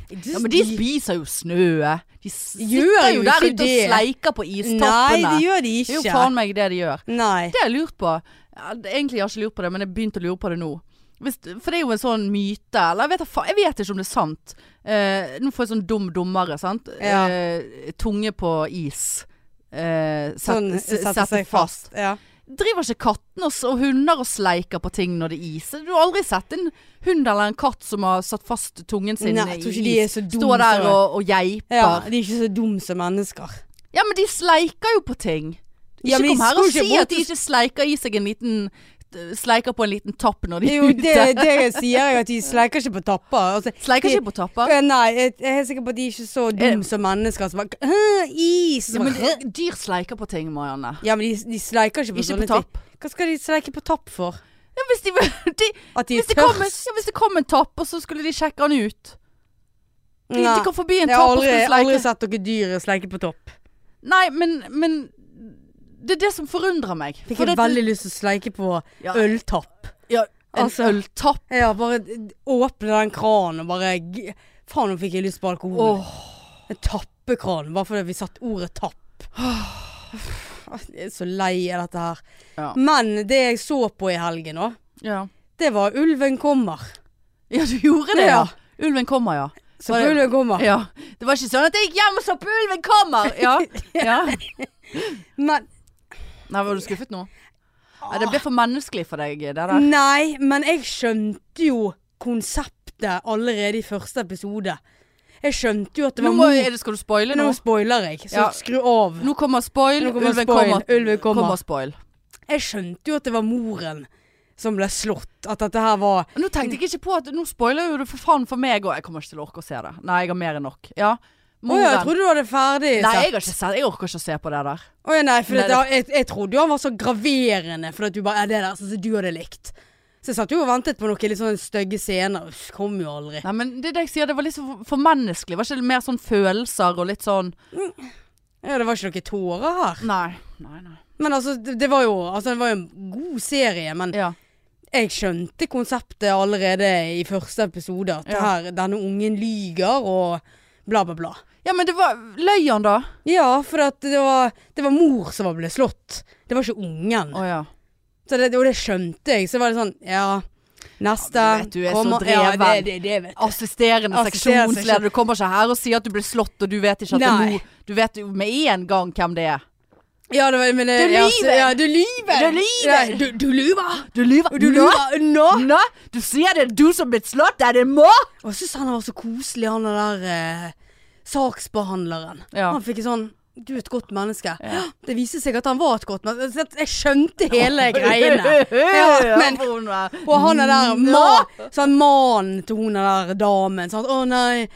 Speaker 2: De-
Speaker 1: Ja, men de spiser jo snø. De sitter
Speaker 2: Gjør
Speaker 1: jo
Speaker 2: jo
Speaker 1: der ute
Speaker 2: ikke
Speaker 1: og
Speaker 2: det.
Speaker 1: sleiker på
Speaker 2: Nei,
Speaker 1: istappene.
Speaker 2: det gjør de
Speaker 1: det er jo
Speaker 2: ikke.
Speaker 1: faen meg det de gjør.
Speaker 2: Nei.
Speaker 1: Det har jeg lurt på. Ja, det- Egentlig har jeg ikke lurt på det, men jeg begynte å lure på det nå. Hvis, for det er jo en sånn myte, eller jeg vet, da fa- jeg vet ikke om det er sant. Eh, nå får jeg sånn dum dummere, sant?
Speaker 2: Ja.
Speaker 1: Eh, tunge på is. Eh, set,
Speaker 2: Sånn
Speaker 1: s-
Speaker 2: setter
Speaker 1: sette
Speaker 2: seg fast. Ja.
Speaker 1: Driver ikke kattene og, s- og hunder og sleiker på ting når det er is? Du har aldri sett en hund eller en katt som har satt fast tungen sin
Speaker 2: Nei, jeg tror ikke de
Speaker 1: i
Speaker 2: er
Speaker 1: is.
Speaker 2: så dumme.
Speaker 1: Står der
Speaker 2: som-
Speaker 1: og, og geiper.
Speaker 2: ja,
Speaker 1: Ja.
Speaker 2: De er ikke så dumme som mennesker.
Speaker 1: men de sleiker jo på ting. Ikke
Speaker 2: Ja, men de
Speaker 1: kom her
Speaker 2: står
Speaker 1: og
Speaker 2: ikke
Speaker 1: si
Speaker 2: bort
Speaker 1: at de
Speaker 2: og-
Speaker 1: ikke sleiker i seg en liten eh, Sleiker på en liten tapp når de er
Speaker 2: Jo,
Speaker 1: ute.
Speaker 2: det, det sier jeg at de sleiker ikke på tapper. Altså,
Speaker 1: Sleiker
Speaker 2: de-
Speaker 1: ikke på tapper.
Speaker 2: Nei, jeg jeg er helt sikker på at de er ikke så
Speaker 1: Eh,
Speaker 2: dumme som mennesker. Som bare, «Hæ, is!
Speaker 1: Ja,
Speaker 2: Som
Speaker 1: men
Speaker 2: bare, «Hæ?»
Speaker 1: de- dyr sleiker på ting, Marianne.
Speaker 2: ja, men de, de sleiker ikke på
Speaker 1: Ikke på
Speaker 2: sånne
Speaker 1: tapp.
Speaker 2: ting. Hva skal de sleike på tapp for?
Speaker 1: Ja, hvis, de, de,
Speaker 2: At de
Speaker 1: hvis,
Speaker 2: er
Speaker 1: det kom, en-
Speaker 2: tørst?
Speaker 1: ja, hvis det kom en tapp, og så skulle de sjekke den ut. De,
Speaker 2: Nei.
Speaker 1: de kom forbi en
Speaker 2: Jeg har
Speaker 1: tapp og
Speaker 2: aldri,
Speaker 1: skulle
Speaker 2: aldri
Speaker 1: sleike.
Speaker 2: sett dere dyr sleike på topp.
Speaker 1: Nei, men, men det er det som forundrer meg.
Speaker 2: Fikk
Speaker 1: For
Speaker 2: jeg
Speaker 1: det-
Speaker 2: veldig lyst til å sleike på
Speaker 1: Ja.
Speaker 2: øltapp.
Speaker 1: ja, En
Speaker 2: Altså-
Speaker 1: øltapp.
Speaker 2: Ja, bare d- åpne den kranen og bare g- Faen, nå fikk jeg lyst på alkohol.
Speaker 1: Åh,
Speaker 2: En tappekran, bare fordi vi satt ordet tapp. Jeg er så lei av dette her.
Speaker 1: Ja.
Speaker 2: Men det jeg så på i helgen òg,
Speaker 1: ja.
Speaker 2: det var Ulven kommer.
Speaker 1: ja, du gjorde det, ja.
Speaker 2: Ja.
Speaker 1: Ulven kommer, ja.
Speaker 2: Så
Speaker 1: Var det-
Speaker 2: Ulven kommer.
Speaker 1: ja. Det var ikke sånn at jeg gikk hjem og så på ulven kommer! Ja. ja.
Speaker 2: Men
Speaker 1: Nei, var du skuffet nå? Nei, det ble for menneskelig for deg, det der.
Speaker 2: Mm. Nei, men jeg skjønte jo konseptet allerede i første episode. Jeg skjønte jo at det
Speaker 1: Nå
Speaker 2: var
Speaker 1: må,
Speaker 2: mor.
Speaker 1: er det, skal du spoile nå?
Speaker 2: Nå spoiler jeg, så
Speaker 1: Ja.
Speaker 2: skru av.
Speaker 1: Nå kommer spoil.
Speaker 2: Nå kommer
Speaker 1: Ulven
Speaker 2: spoil.
Speaker 1: kommer.
Speaker 2: Ulven kommer.
Speaker 1: kommer spoil.
Speaker 2: Jeg skjønte jo at det var moren som ble slått. At dette her var
Speaker 1: Nå tenkte jeg ikke på at Nå spoiler jo du for faen for meg òg. Jeg kommer ikke til å orke å se det. Nei, jeg har mer enn nok. Ja.
Speaker 2: Å ja,
Speaker 1: Moren.
Speaker 2: jeg trodde du hadde
Speaker 1: Nei,
Speaker 2: ferdig sett.
Speaker 1: jeg har ikke sett Jeg orker ikke å se på det der.
Speaker 2: Å ja, nei, for
Speaker 1: Nei,
Speaker 2: dette- jeg, jeg trodde jo han var så graverende, for at du bare Ja, det der sånn som du hadde likt. Så jeg satt jo og ventet på noen litt sånn stygge scener. Uff, kom jo aldri.
Speaker 1: Nei, men det er det jeg sier. Det var litt så for menneskelig. Var ikke det mer sånn følelser og litt sånn
Speaker 2: Ja, det var ikke noen tårer her.
Speaker 1: Nei. Nei, nei.
Speaker 2: Men altså, det, det var jo Altså, det var jo en god serie, men
Speaker 1: Ja.
Speaker 2: jeg skjønte konseptet allerede i første episode. At
Speaker 1: Ja.
Speaker 2: her, denne ungen lyger og bla, bla, bla.
Speaker 1: ja, men det var Løy han, da?
Speaker 2: Ja, for at det var, det var mor som ble slått. Det var ikke ungen.
Speaker 1: Å ja.
Speaker 2: Så det, og det skjønte jeg. Så var det sånn, ja Neste
Speaker 1: Ja, men vet du, jeg er så
Speaker 2: Ja, det,
Speaker 1: dreven.
Speaker 2: det, det vet du.
Speaker 1: Assisterende
Speaker 2: Assisterende
Speaker 1: seksjonsleder. Du kommer ikke her og sier at du ble slått, og du vet ikke at det er
Speaker 2: Nei.
Speaker 1: mor. Du vet jo med en gang hvem det er.
Speaker 2: Ja, det var, men, det-
Speaker 1: Du
Speaker 2: ja,
Speaker 1: lyver!
Speaker 2: Ja, du lyver!
Speaker 1: Du lyver!
Speaker 2: Ja, du, du lyver!
Speaker 1: Du lyver.
Speaker 2: Og du lyver nå!
Speaker 1: Nå? Du sier det er du som ble slått, er det må?
Speaker 2: Og jeg syns han var så koselig, han der eh, saksbehandleren.
Speaker 1: Ja.
Speaker 2: Han fikk en sånn du er et godt menneske. Det viser seg at han var et godt menneske. Jeg skjønte hele greiene. Ja, men- Og han er der
Speaker 1: Mm,
Speaker 2: ma, sånn mannen til hun er der damen. Sånn, 'Å nei,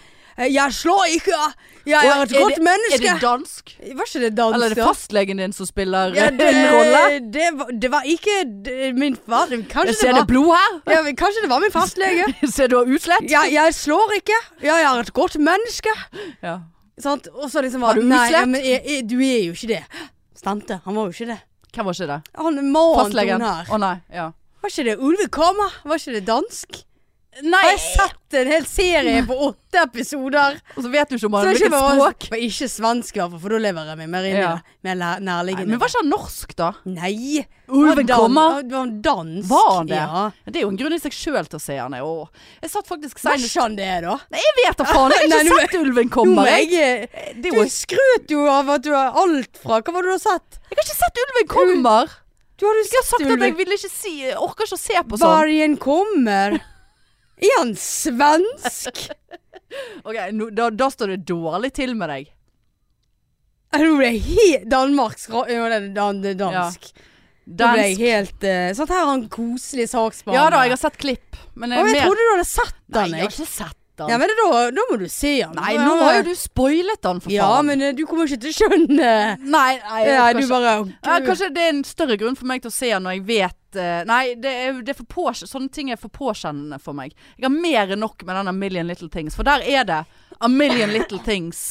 Speaker 2: jeg slår ikke! Jeg er et godt
Speaker 1: Er det
Speaker 2: menneske!'
Speaker 1: dansk?
Speaker 2: Var ikke det dansk?
Speaker 1: Eller er det
Speaker 2: da?
Speaker 1: fastlegen din som spiller
Speaker 2: Ja,
Speaker 1: eh, en rolle?
Speaker 2: det, det, var, det var ikke det- min far. Det-
Speaker 1: Jeg
Speaker 2: Kanskje det,
Speaker 1: ser det
Speaker 2: var,
Speaker 1: blod her.
Speaker 2: ja, men kanskje det var min fastlege.
Speaker 1: Ser du har utslett?
Speaker 2: Jeg, jeg slår ikke. Jeg er et godt menneske.
Speaker 1: Ja.
Speaker 2: Sant? Og så liksom
Speaker 1: Har du
Speaker 2: bare, Nei,
Speaker 1: utslett?
Speaker 2: ja, men jeg, jeg, du er jo ikke det. Stemte. Han var jo ikke det.
Speaker 1: Hvem var ikke det?
Speaker 2: Han mannen til
Speaker 1: Fastlegen?
Speaker 2: hun
Speaker 1: Å
Speaker 2: her.
Speaker 1: nei. Ja.
Speaker 2: Var ikke det Ulve Kama? Var ikke det dansk?
Speaker 1: Nei!
Speaker 2: Har jeg sett en hel serie på åtte episoder?
Speaker 1: Og så vet du ikke om
Speaker 2: Så
Speaker 1: han
Speaker 2: det er
Speaker 1: hvilket
Speaker 2: ikke bare-
Speaker 1: språk.
Speaker 2: Var ikke svensk, i hvert fall, for da lever jeg meg mer inn i
Speaker 1: Ja.
Speaker 2: det. Mer læ-
Speaker 1: Nei,
Speaker 2: nærliggende.
Speaker 1: men var ikke han norsk, da?
Speaker 2: Nei.
Speaker 1: Ulven
Speaker 2: Dan-
Speaker 1: kommer.
Speaker 2: Det var dansk.
Speaker 1: Var han det?
Speaker 2: Ja.
Speaker 1: Det er jo en grunn i seg sjøl til å se han. jeg. Åh. Jeg satt faktisk
Speaker 2: Var
Speaker 1: senest
Speaker 2: ikke han det, da?
Speaker 1: Nei, Jeg vet da faen! Jeg har
Speaker 2: Nei, nå-
Speaker 1: ikke sett ulven
Speaker 2: Jo,
Speaker 1: komme. Jeg,
Speaker 2: jeg
Speaker 1: det er
Speaker 2: Du
Speaker 1: jo,
Speaker 2: skrøt jo av at du har alt fra Hva var det du har sett?
Speaker 1: jeg har ikke sett ulven kommer!
Speaker 2: Du har jo
Speaker 1: Jeg har sagt at jeg
Speaker 2: Ulven.
Speaker 1: ville ikke si jeg Orker ikke å se på sånn.
Speaker 2: Vargen kommer. Er han svensk?
Speaker 1: Ok, nå, da, da står det dårlig til med deg.
Speaker 2: Nå ble jeg helt Danmarks ra- Jo, det er dan det er dansk. Da ble jeg
Speaker 1: Dansk.
Speaker 2: helt uh, Sånn her er han koselig saksbehandler.
Speaker 1: Ja da, jeg har sett klipp. Men
Speaker 2: Å,
Speaker 1: jeg,
Speaker 2: jeg
Speaker 1: mer...
Speaker 2: trodde du hadde sett
Speaker 1: Eh, Nei,
Speaker 2: den,
Speaker 1: jeg har
Speaker 2: jeg.
Speaker 1: ikke sett
Speaker 2: Ja,
Speaker 1: den.
Speaker 2: men det, da, da må du se han.
Speaker 1: Nei, nå har jo du spoilet den, for
Speaker 2: Ja,
Speaker 1: faen.
Speaker 2: men eh, du kommer ikke til å skjønne
Speaker 1: Nei, nei, jeg
Speaker 2: Nei,
Speaker 1: orker
Speaker 2: du
Speaker 1: ikke.
Speaker 2: bare
Speaker 1: Ja,
Speaker 2: du,
Speaker 1: kanskje det er en større grunn for meg til å se han når jeg vet eh, Nei, det er, det er for på, sånne ting er for påkjennende for meg. Jeg har mer enn nok med denne Million Little Things, for der er det A Million Little Things.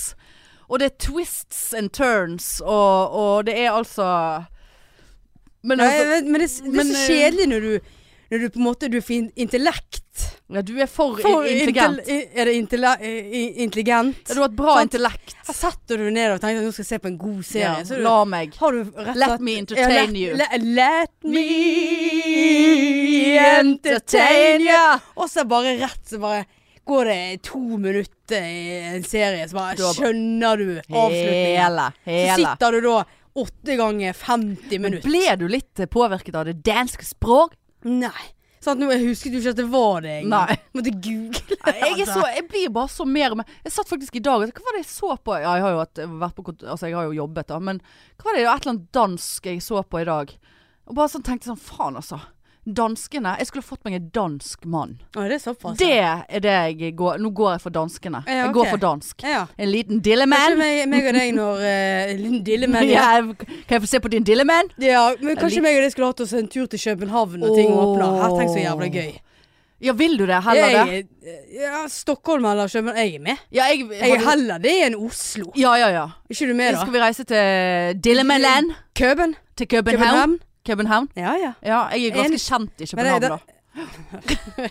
Speaker 1: Og det er twists and turns, og, og det er altså Men
Speaker 2: Nei, jeg
Speaker 1: altså
Speaker 2: vet, men det, er s- det er
Speaker 1: Men,
Speaker 2: så
Speaker 1: eh,
Speaker 2: kjedelig når du, når du på en måte Du får in- intellekt.
Speaker 1: ja, Du er for, i-
Speaker 2: For
Speaker 1: intelligent.
Speaker 2: intel- i- er det intelle, i- i- intelligent?
Speaker 1: Ja, du har et bra
Speaker 2: Sant.
Speaker 1: intellekt.
Speaker 2: Her setter du deg ned og tenker at nå skal jeg se på en god serie.
Speaker 1: Ja,
Speaker 2: så du,
Speaker 1: la meg.
Speaker 2: har du rett og
Speaker 1: Let
Speaker 2: slett-
Speaker 1: me entertain
Speaker 2: let-
Speaker 1: you.
Speaker 2: le- let me entertain you. Og så bare rett så bare går det to minutter i en serie, så bare
Speaker 1: Du har bare-
Speaker 2: skjønner du avslutningen.
Speaker 1: Hele.
Speaker 2: Så
Speaker 1: Hele.
Speaker 2: sitter du da åtte ganger 50 minutter.
Speaker 1: Ble du litt påvirket av det danske språk?
Speaker 2: Nei. Sant, nå, jeg husket jo ikke at det var det. engang.
Speaker 1: Nei.
Speaker 2: Måtte google. altså.
Speaker 1: Nei, Jeg, er så, jeg blir bare så mer og mer Jeg satt faktisk i dag og Hva var det jeg så på? Ja, jeg har jo, hatt- vært på, kont- altså, jeg har jo jobbet, da. Men hva var det et eller annet dansk jeg så på i dag? Og bare sånn tenkte sånn Faen, altså. Danskene. Jeg skulle fått meg en dansk mann.
Speaker 2: Å, det er såpass. ja.
Speaker 1: Det er det jeg går Nå går jeg for danskene.
Speaker 2: Ja,
Speaker 1: Jeg
Speaker 2: ok.
Speaker 1: går for dansk.
Speaker 2: Ja.
Speaker 1: En liten
Speaker 2: Men
Speaker 1: dillemann.
Speaker 2: meg, meg og deg når uh, Linn Dillemann
Speaker 1: Ja, jeg- kan jeg få se på din dillemann?
Speaker 2: Ja, men kanskje
Speaker 1: litt-
Speaker 2: meg og deg skulle hatt oss en tur til København og ting
Speaker 1: Åh.
Speaker 2: åpner. Her tenk så jævla gøy.
Speaker 1: Ja, vil du det? Heller det?
Speaker 2: Jeg, ja, Stockholm eller København. Jeg er med.
Speaker 1: Ja, jeg,
Speaker 2: Jeg er
Speaker 1: har du-
Speaker 2: heller det enn Oslo.
Speaker 1: ja, ja, ja.
Speaker 2: Er ikke du med,
Speaker 1: Skal
Speaker 2: da?
Speaker 1: vi reise til Dillemanland?
Speaker 2: Køben?
Speaker 1: Til København?
Speaker 2: København?
Speaker 1: København?
Speaker 2: Ja, ja.
Speaker 1: Ja, jeg er ganske
Speaker 2: Enig.
Speaker 1: kjent i
Speaker 2: Men det-
Speaker 1: København, da.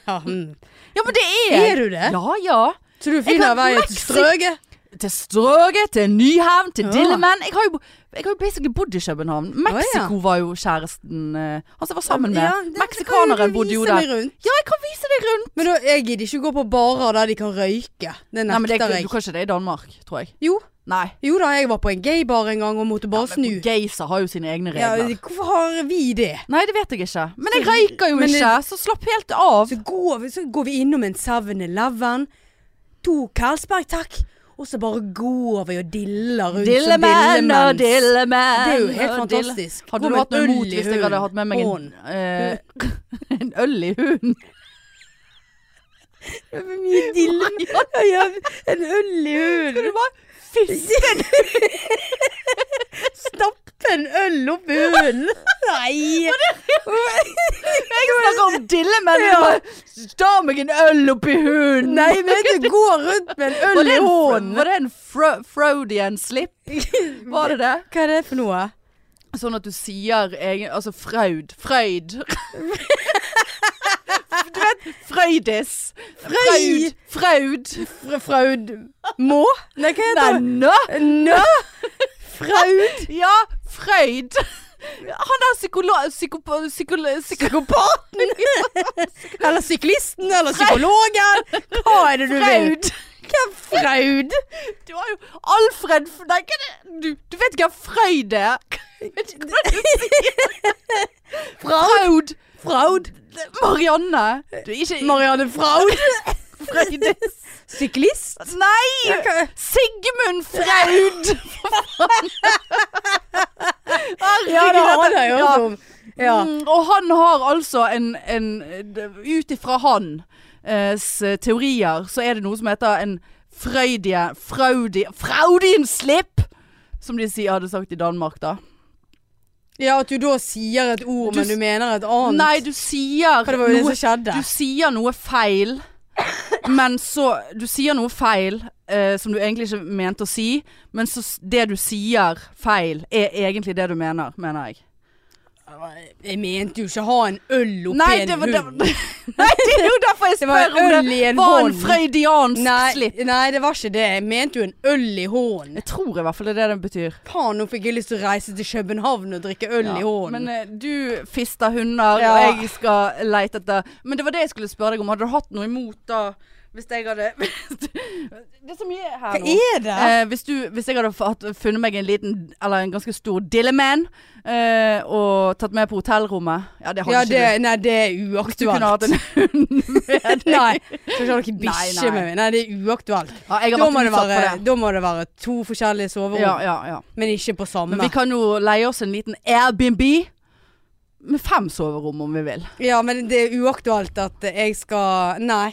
Speaker 2: ja hmm.
Speaker 1: Ja, men det er
Speaker 2: Er du det?
Speaker 1: Ja, ja.
Speaker 2: Så du
Speaker 1: Jeg
Speaker 2: finner
Speaker 1: kan-
Speaker 2: veien til
Speaker 1: Mexi-
Speaker 2: strøket?
Speaker 1: Til Strøget, til Nyhavn, til
Speaker 2: Ja.
Speaker 1: Dillemann. Jeg har jo, bo- jeg har jo basically bodd i København. Mexico var jo kjæresten eh, Han som jeg var sammen med.
Speaker 2: Ja, det- kan
Speaker 1: Meksikaneren
Speaker 2: du
Speaker 1: bodde jo
Speaker 2: vise meg
Speaker 1: der.
Speaker 2: rundt.
Speaker 1: Ja, jeg kan vise deg rundt.
Speaker 2: Men da, jeg gidder ikke gå på barer der de kan røyke. Det
Speaker 1: Nei, men det,
Speaker 2: nekter
Speaker 1: Du
Speaker 2: jeg.
Speaker 1: kan ikke det i Danmark, tror jeg.
Speaker 2: Jo,
Speaker 1: Nei.
Speaker 2: jo da, jeg var på en gaybar en gang og måtte bare snu.
Speaker 1: Geyser har jo sine egne
Speaker 2: Ja,
Speaker 1: regler.
Speaker 2: hvorfor har vi det?
Speaker 1: Nei, det vet jeg ikke. Men jeg røyker jo
Speaker 2: Men det-
Speaker 1: ikke, så slapp helt av.
Speaker 2: Så går vi, så går vi innom en 7-Eleven. To Karlsberg, takk. Og så bare går vi og diller rundt som
Speaker 1: Dillemenn og
Speaker 2: dillemens.
Speaker 1: dillemenn.
Speaker 2: Det er jo helt
Speaker 1: og dille-
Speaker 2: fantastisk.
Speaker 1: Hadde
Speaker 2: Gå
Speaker 1: du
Speaker 2: med
Speaker 1: hatt noe
Speaker 2: øl
Speaker 1: imot
Speaker 2: i
Speaker 1: hvis jeg hadde
Speaker 2: hunden.
Speaker 1: hatt med meg en,
Speaker 2: Ånd.
Speaker 1: eh, en øl i hunden?
Speaker 2: Det er Mye dille... Ja, ja, en øl i
Speaker 1: Skal du
Speaker 2: hunden.
Speaker 1: bare fisse?
Speaker 2: Stappe en øl opp i hunden. Nei.
Speaker 1: Jeg snakker om dillemenn.
Speaker 2: Ja.
Speaker 1: Ja. Ta meg en øl oppi hunden.
Speaker 2: Nei, men du går rundt med en
Speaker 1: Var
Speaker 2: øl
Speaker 1: det
Speaker 2: i
Speaker 1: en,
Speaker 2: hånden.
Speaker 1: var det en fro Freudian slip? Var det det?
Speaker 2: Hva er det for noe?
Speaker 1: Sånn at du sier egen, Altså Fraud. Frøyd. du vet Frøydis.
Speaker 2: Frøy-
Speaker 1: Fraud. Fraud.
Speaker 2: Fra Fraud Må? Nei, hva
Speaker 1: Nei,
Speaker 2: heter det?
Speaker 1: nå!
Speaker 2: Nå? Fraud?
Speaker 1: Ja, Frøyd. Han der psykolog... Psykopa... psykolo-
Speaker 2: Psykopaten? Eller syklisten? Eller psykologen? Hva er det du vil?
Speaker 1: Fraud.
Speaker 2: Hva er fraud?
Speaker 1: Du har jo Alfred F- Nei, hva er det? Du, du vet ikke hva Frøyd er? Vet ikke hva du sier. Fraud.
Speaker 2: Fraud?
Speaker 1: Marianne. Du er ikke
Speaker 2: Marianne Fraud?
Speaker 1: Frøydis.
Speaker 2: Syklist?
Speaker 1: Nei! Sigmund Fraud!
Speaker 2: Ja, det har jeg
Speaker 1: Ja.
Speaker 2: hørt om. Ja.
Speaker 1: Mm, og han har altså en, en Ut ifra hans teorier, så er det noe som heter en freudia... Fraudi... Fraudinslipp! Som de sier, hadde sagt i Danmark, da.
Speaker 2: ja, at du da sier et ord,
Speaker 1: Du
Speaker 2: men
Speaker 1: s-
Speaker 2: du mener et annet.
Speaker 1: Nei, du sier
Speaker 2: For det var jo det
Speaker 1: noe
Speaker 2: som skjedde.
Speaker 1: Du sier noe feil, men så Du sier noe feil eh, som du egentlig ikke mente å si, men så s- det du sier feil, er egentlig det du mener, mener jeg.
Speaker 2: Jeg mente jo ikke ha en øl oppi
Speaker 1: Nei,
Speaker 2: en
Speaker 1: det, var, det,
Speaker 2: hund.
Speaker 1: nei, det er jo derfor jeg
Speaker 2: Det var
Speaker 1: spør
Speaker 2: en
Speaker 1: om
Speaker 2: øl i
Speaker 1: det
Speaker 2: en
Speaker 1: var en
Speaker 2: hånd.
Speaker 1: freudiansk
Speaker 2: Nei,
Speaker 1: slipp.
Speaker 2: nei, det var ikke det. Jeg mente jo en øl i hånden.
Speaker 1: Jeg tror i hvert fall det er det det betyr.
Speaker 2: Faen, nå fikk jeg lyst til å reise til København og drikke øl i hånden.
Speaker 1: Men eh, du fister hunder,
Speaker 2: Ja.
Speaker 1: og jeg skal leite etter Men det var det jeg skulle spørre deg om. Hadde du hatt noe imot da hvis jeg hadde Det er så mye her nå.
Speaker 2: Hva er det?
Speaker 1: Eh, hvis, du, hvis jeg hadde fått- funnet meg en liten, eller en ganske stor dilleman, eh, og tatt med på hotellrommet Ja, det hadde
Speaker 2: ja,
Speaker 1: ikke
Speaker 2: det, nei, det er
Speaker 1: du. Du kunne
Speaker 2: uaktuelt.
Speaker 1: hatt en hund med deg.
Speaker 2: Nei, skal ikke ha noen bikkje
Speaker 1: Nei, nei.
Speaker 2: med meg. Nei, det er uaktuelt.
Speaker 1: Ja, jeg har
Speaker 2: Da må,
Speaker 1: vært
Speaker 2: det
Speaker 1: utsatt
Speaker 2: være,
Speaker 1: for det.
Speaker 2: da må det være to forskjellige soverom,
Speaker 1: Ja, ja, ja.
Speaker 2: men ikke på samme.
Speaker 1: Men vi kan jo leie oss en liten Airbnb med fem soverom om vi vil.
Speaker 2: Ja, men det er uaktuelt at jeg skal Nei.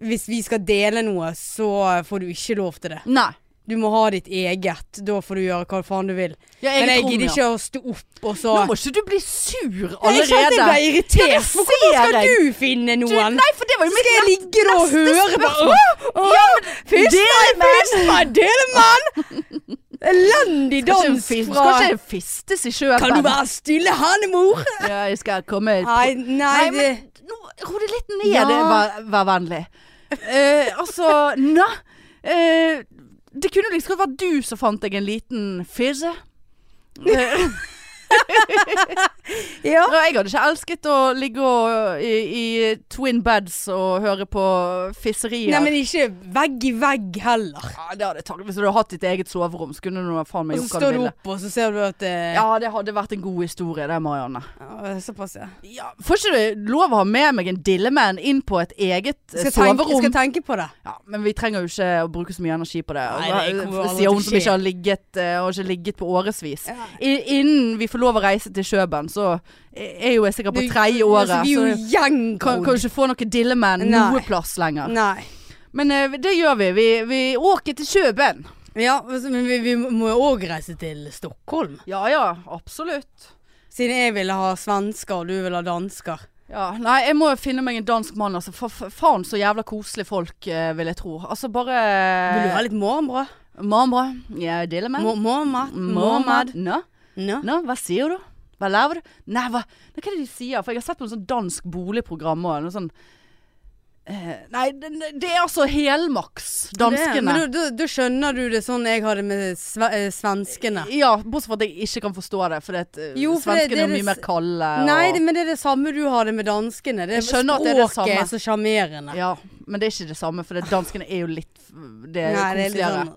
Speaker 2: Hvis vi skal dele noe, så får du ikke lov til det.
Speaker 1: Nei.
Speaker 2: Du må ha ditt eget. Da får du gjøre hva faen du vil.
Speaker 1: Ja,
Speaker 2: Men jeg
Speaker 1: tror
Speaker 2: gidder
Speaker 1: ja.
Speaker 2: ikke å stå opp og så
Speaker 1: Nå må ikke du bli sur
Speaker 2: Jeg kjente jeg ble
Speaker 1: allerede. Ja, det
Speaker 2: irritert. For Hvorfor
Speaker 1: ser
Speaker 2: skal
Speaker 1: jeg.
Speaker 2: du finne
Speaker 1: Du,
Speaker 2: noen?
Speaker 1: nei, for det var jo mitt
Speaker 2: skal jeg
Speaker 1: nest-
Speaker 2: ligge da og
Speaker 1: neste
Speaker 2: høre bare
Speaker 1: spørsmål.
Speaker 2: «Åh, åh, Fyrst meg,
Speaker 1: Delemann!»
Speaker 2: fyrst meg, delemann! Elendig
Speaker 1: Skal ikke
Speaker 2: dans
Speaker 1: fis-
Speaker 2: fra
Speaker 1: Skal ikke fistes i sjøen.
Speaker 2: Kan du være stille, Hannemor?
Speaker 1: Ja, jeg skal komme ut.
Speaker 2: Nei, nei,
Speaker 1: Nei,
Speaker 2: det
Speaker 1: men nå, ro deg litt ned.
Speaker 2: Ja.
Speaker 1: det, Vær, vær vennlig. Eh, altså, nå. Eh, det kunne liksom vært du som fant deg en liten fizze. Eh,
Speaker 2: Ja.
Speaker 1: og jeg hadde ikke elsket å ligge og, i, i twin beds og høre på fisserier.
Speaker 2: Nei, men ikke vegg i vegg heller.
Speaker 1: ja, det hadde jeg tatt. Hvis du hadde hatt ditt eget soverom, så kunne du nå faen
Speaker 2: Og
Speaker 1: meg
Speaker 2: så
Speaker 1: gjort hva
Speaker 2: står
Speaker 1: du
Speaker 2: du
Speaker 1: ville.
Speaker 2: opp, og så ser du at eh,
Speaker 1: Ja, det hadde vært en god historie, det, Marianne.
Speaker 2: ja, Såpass, ja.
Speaker 1: Ja, får ikke du lov å ha med meg en dillemann inn på et eget eh,
Speaker 2: Jeg skal tenke, jeg
Speaker 1: soverom?
Speaker 2: skal tenke på det.
Speaker 1: Ja, men vi trenger jo ikke å bruke så mye energi på det.
Speaker 2: Nei, det kommer jo aldri
Speaker 1: Sier hun
Speaker 2: til å
Speaker 1: som
Speaker 2: skje.
Speaker 1: ikke har ligget, eh, og ikke ligget på årevis.
Speaker 2: Ja.
Speaker 1: I- Innen vi får lov å reise til Kjøben, så er jo jeg sikkert på
Speaker 2: Du-
Speaker 1: tredje
Speaker 2: altså,
Speaker 1: året.
Speaker 2: Vi er
Speaker 1: Så
Speaker 2: jo
Speaker 1: kan, kan
Speaker 2: gjengkodd.
Speaker 1: jo ikke få noe dillemenn
Speaker 2: Nei.
Speaker 1: noe plass lenger.
Speaker 2: Nei.
Speaker 1: Men eh, det gjør vi. vi. Vi åker til Kjøben.
Speaker 2: Ja, altså, men vi, vi må jo òg reise til Stockholm.
Speaker 1: Ja ja, absolutt.
Speaker 2: Siden jeg ville ha svensker, og du ville ha dansker.
Speaker 1: Ja, nei, jeg må jo finne meg en dansk mann, altså. For for faen så jævla koselige folk, eh, vil jeg tro. Altså bare
Speaker 2: Vil
Speaker 1: Eh,
Speaker 2: du ha litt morgenbrød?
Speaker 1: Mamma, jeg er dillemann.
Speaker 2: Mormad?
Speaker 1: Mamma. Nå?
Speaker 2: Nå?
Speaker 1: Nå, hva sier du? Hva laver du? Nei, hva, nei, hva er det de sier? For jeg har sett på noe sånn dansk boligprogram og noe sånn eh, Nei, det, det er altså helmaks,
Speaker 2: Det-
Speaker 1: danskene.
Speaker 2: Men da- da- da skjønner du det sånn jeg hadde med sve, eh, svenskene.
Speaker 1: ja, bortsett fra at jeg ikke kan forstå det, for
Speaker 2: Jo, for det- det
Speaker 1: svenskene
Speaker 2: er
Speaker 1: er
Speaker 2: det
Speaker 1: mye mer
Speaker 2: s-
Speaker 1: kalde.
Speaker 2: Nei, det,
Speaker 1: og,
Speaker 2: men det er det samme du hadde med danskene. Det er
Speaker 1: Jeg skjønner at det er det
Speaker 2: språket
Speaker 1: samme.
Speaker 2: så sjarmerende.
Speaker 1: ja, men det er ikke det samme, for det, danskene er jo litt Det er
Speaker 2: Nei, det er litt
Speaker 1: koseligere.
Speaker 2: sånn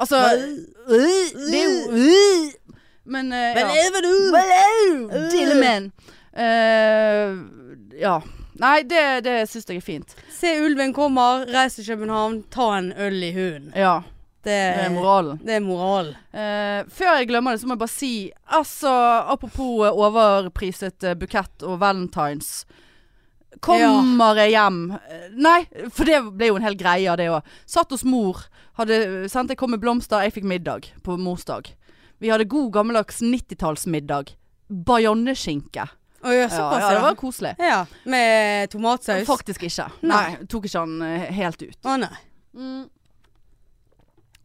Speaker 1: Altså øh, Det er jo øh. Men eh, ja. Mm.
Speaker 2: lever du?
Speaker 1: Dillemann. Eh, Ja. Nei, det, det syns jeg er fint.
Speaker 2: Se ulven kommer, reis til København, ta en øl i hunden.
Speaker 1: Ja.
Speaker 2: Det,
Speaker 1: Det er moralen.
Speaker 2: Det er moral.
Speaker 1: Eh, før jeg glemmer det, så må jeg bare si Altså, apropos eh, overpriset eh, bukett og valentines. Kommer jeg hjem Eh, Nei, for det ble jo en hel greie av det òg. Satt hos mor. Hadde sendt Jeg kom med blomster, jeg fikk middag på morsdag. Vi hadde god gammeldags 90-tallsmiddag. Bajonneskinke.
Speaker 2: Å ja,
Speaker 1: Ja,
Speaker 2: såpass,
Speaker 1: ja, det
Speaker 2: ja.
Speaker 1: var koselig.
Speaker 2: ja. Med tomatsaus?
Speaker 1: Faktisk ikke. Nei,
Speaker 2: Nei.
Speaker 1: tok ikke han eh, helt ut.
Speaker 2: Å nei.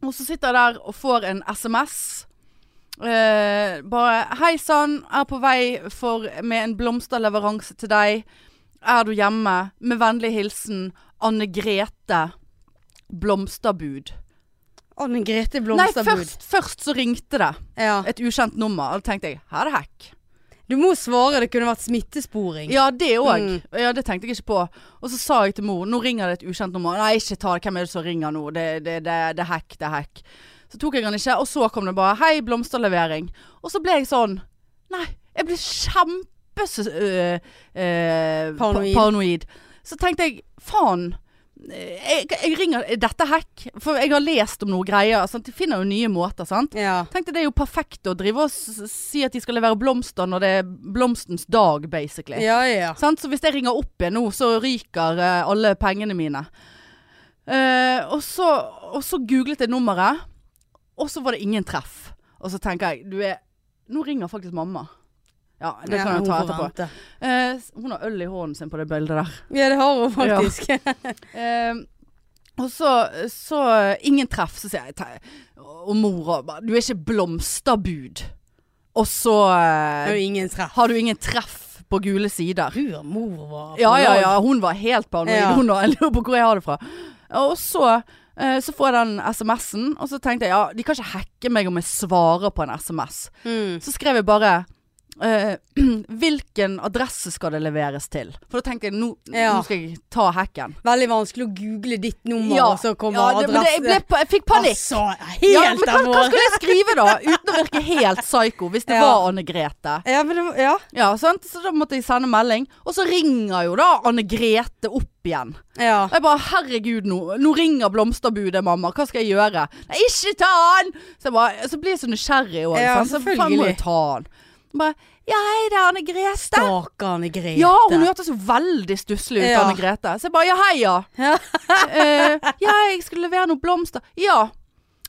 Speaker 1: Og så sitter jeg der og får en SMS. Eh, bare 'Hei sann, er på vei for, med en blomsterleveranse til deg. Er du hjemme? Med vennlig hilsen Anne Grete. Blomsterbud.
Speaker 2: Anne Grete
Speaker 1: Nei,
Speaker 2: Blomsterbud.
Speaker 1: først, først så ringte det.
Speaker 2: Ja.
Speaker 1: Et ukjent nummer. Og da tenkte jeg 'her er det hack'.
Speaker 2: Du må svare, det kunne vært smittesporing.
Speaker 1: Ja, det òg.
Speaker 2: Mm.
Speaker 1: Ja, det tenkte jeg ikke på. Og så sa jeg til mor nå ringer det et ukjent nummer. Nei, ikke ta det. Hvem er det som ringer nå? Det, det, det, det er hack, det er hack. Så tok jeg den ikke, og så kom det bare 'hei, blomsterlevering'. Og så ble jeg sånn Nei, jeg ble kjempe øh, øh, pa-
Speaker 2: Paranoid.
Speaker 1: paranoid. Så tenkte jeg faen. eh, Jeg, jeg ringer er Dette er hack. For jeg har lest om noe greier. Sant? De finner jo nye måter, sant.
Speaker 2: Ja.
Speaker 1: Tenkte det er jo perfekt å drive og s- s- si at de skal levere blomster når det er blomstens dag, basically.
Speaker 2: Ja, ja.
Speaker 1: Sant? Så hvis jeg ringer opp igjen nå, så ryker eh, alle pengene mine. Eh, og, så, og så googlet jeg nummeret, og så var det ingen treff. Og så tenker jeg, du er Nå ringer faktisk mamma. Ja, det
Speaker 2: Ja,
Speaker 1: kan jeg
Speaker 2: hun
Speaker 1: ta
Speaker 2: får
Speaker 1: etterpå.
Speaker 2: vente.
Speaker 1: Eh, s- hun har øl i hånden sin på det bildet der.
Speaker 2: Ja, det har hun faktisk.
Speaker 1: Eh, og så, så eh, Ingen treff, så sier jeg te- Og mora bare Du er ikke blomsterbud. Og så
Speaker 2: Det er
Speaker 1: eh,
Speaker 2: jo ingen treff.
Speaker 1: har du ingen treff på gule sider.
Speaker 2: Du og mor var på
Speaker 1: Ja, ja,
Speaker 2: lag.
Speaker 1: ja. Hun var helt paranoid.
Speaker 2: Ja.
Speaker 1: Hun og jeg lurer på hvor jeg har det fra. Og så, eh, så får jeg den SMS-en, og så tenkte jeg ja, de kan ikke hacke meg om jeg svarer på en SMS.
Speaker 2: Mm.
Speaker 1: Så skrev jeg bare eh, hvilken adresse skal det leveres til? For da tenkte jeg nå,
Speaker 2: Ja.
Speaker 1: nå skal jeg ta hacken.
Speaker 2: Veldig vanskelig å google ditt nummer, og så kommer
Speaker 1: ja, det, men det,
Speaker 2: adresse.
Speaker 1: jeg, ble, pa- jeg fikk panikk.
Speaker 2: Altså, helt
Speaker 1: Ja, men hva, hva
Speaker 2: alvorlig.
Speaker 1: skulle jeg skrive da? Uten å virke helt psyko, hvis det
Speaker 2: Ja.
Speaker 1: var Anne Grete.
Speaker 2: Ja, men det var Ja.
Speaker 1: Ja, sant? Så da måtte jeg sende melding. Og så ringer jo da Anne Grete opp igjen.
Speaker 2: ja.
Speaker 1: Og jeg bare, herregud nå, nå ringer blomsterbudet, mamma, hva skal jeg gjøre? Nei, ikke ta den! Så, jeg bare, så blir jeg så nysgjerrig også,
Speaker 2: Ja,
Speaker 1: sant? så faen må
Speaker 2: selvfølgelig.
Speaker 1: jeg ta den. Bare, ja, hei, det er Anne Grete.
Speaker 2: Stakkar Anne Grete.
Speaker 1: Ja, hun hørtes jo veldig stusslig ut,
Speaker 2: Ja.
Speaker 1: Anne Grete. Så jeg bare, ja, hei, ja.
Speaker 2: Ja.
Speaker 1: Eh, ja, jeg skulle levere noen blomster. Ja.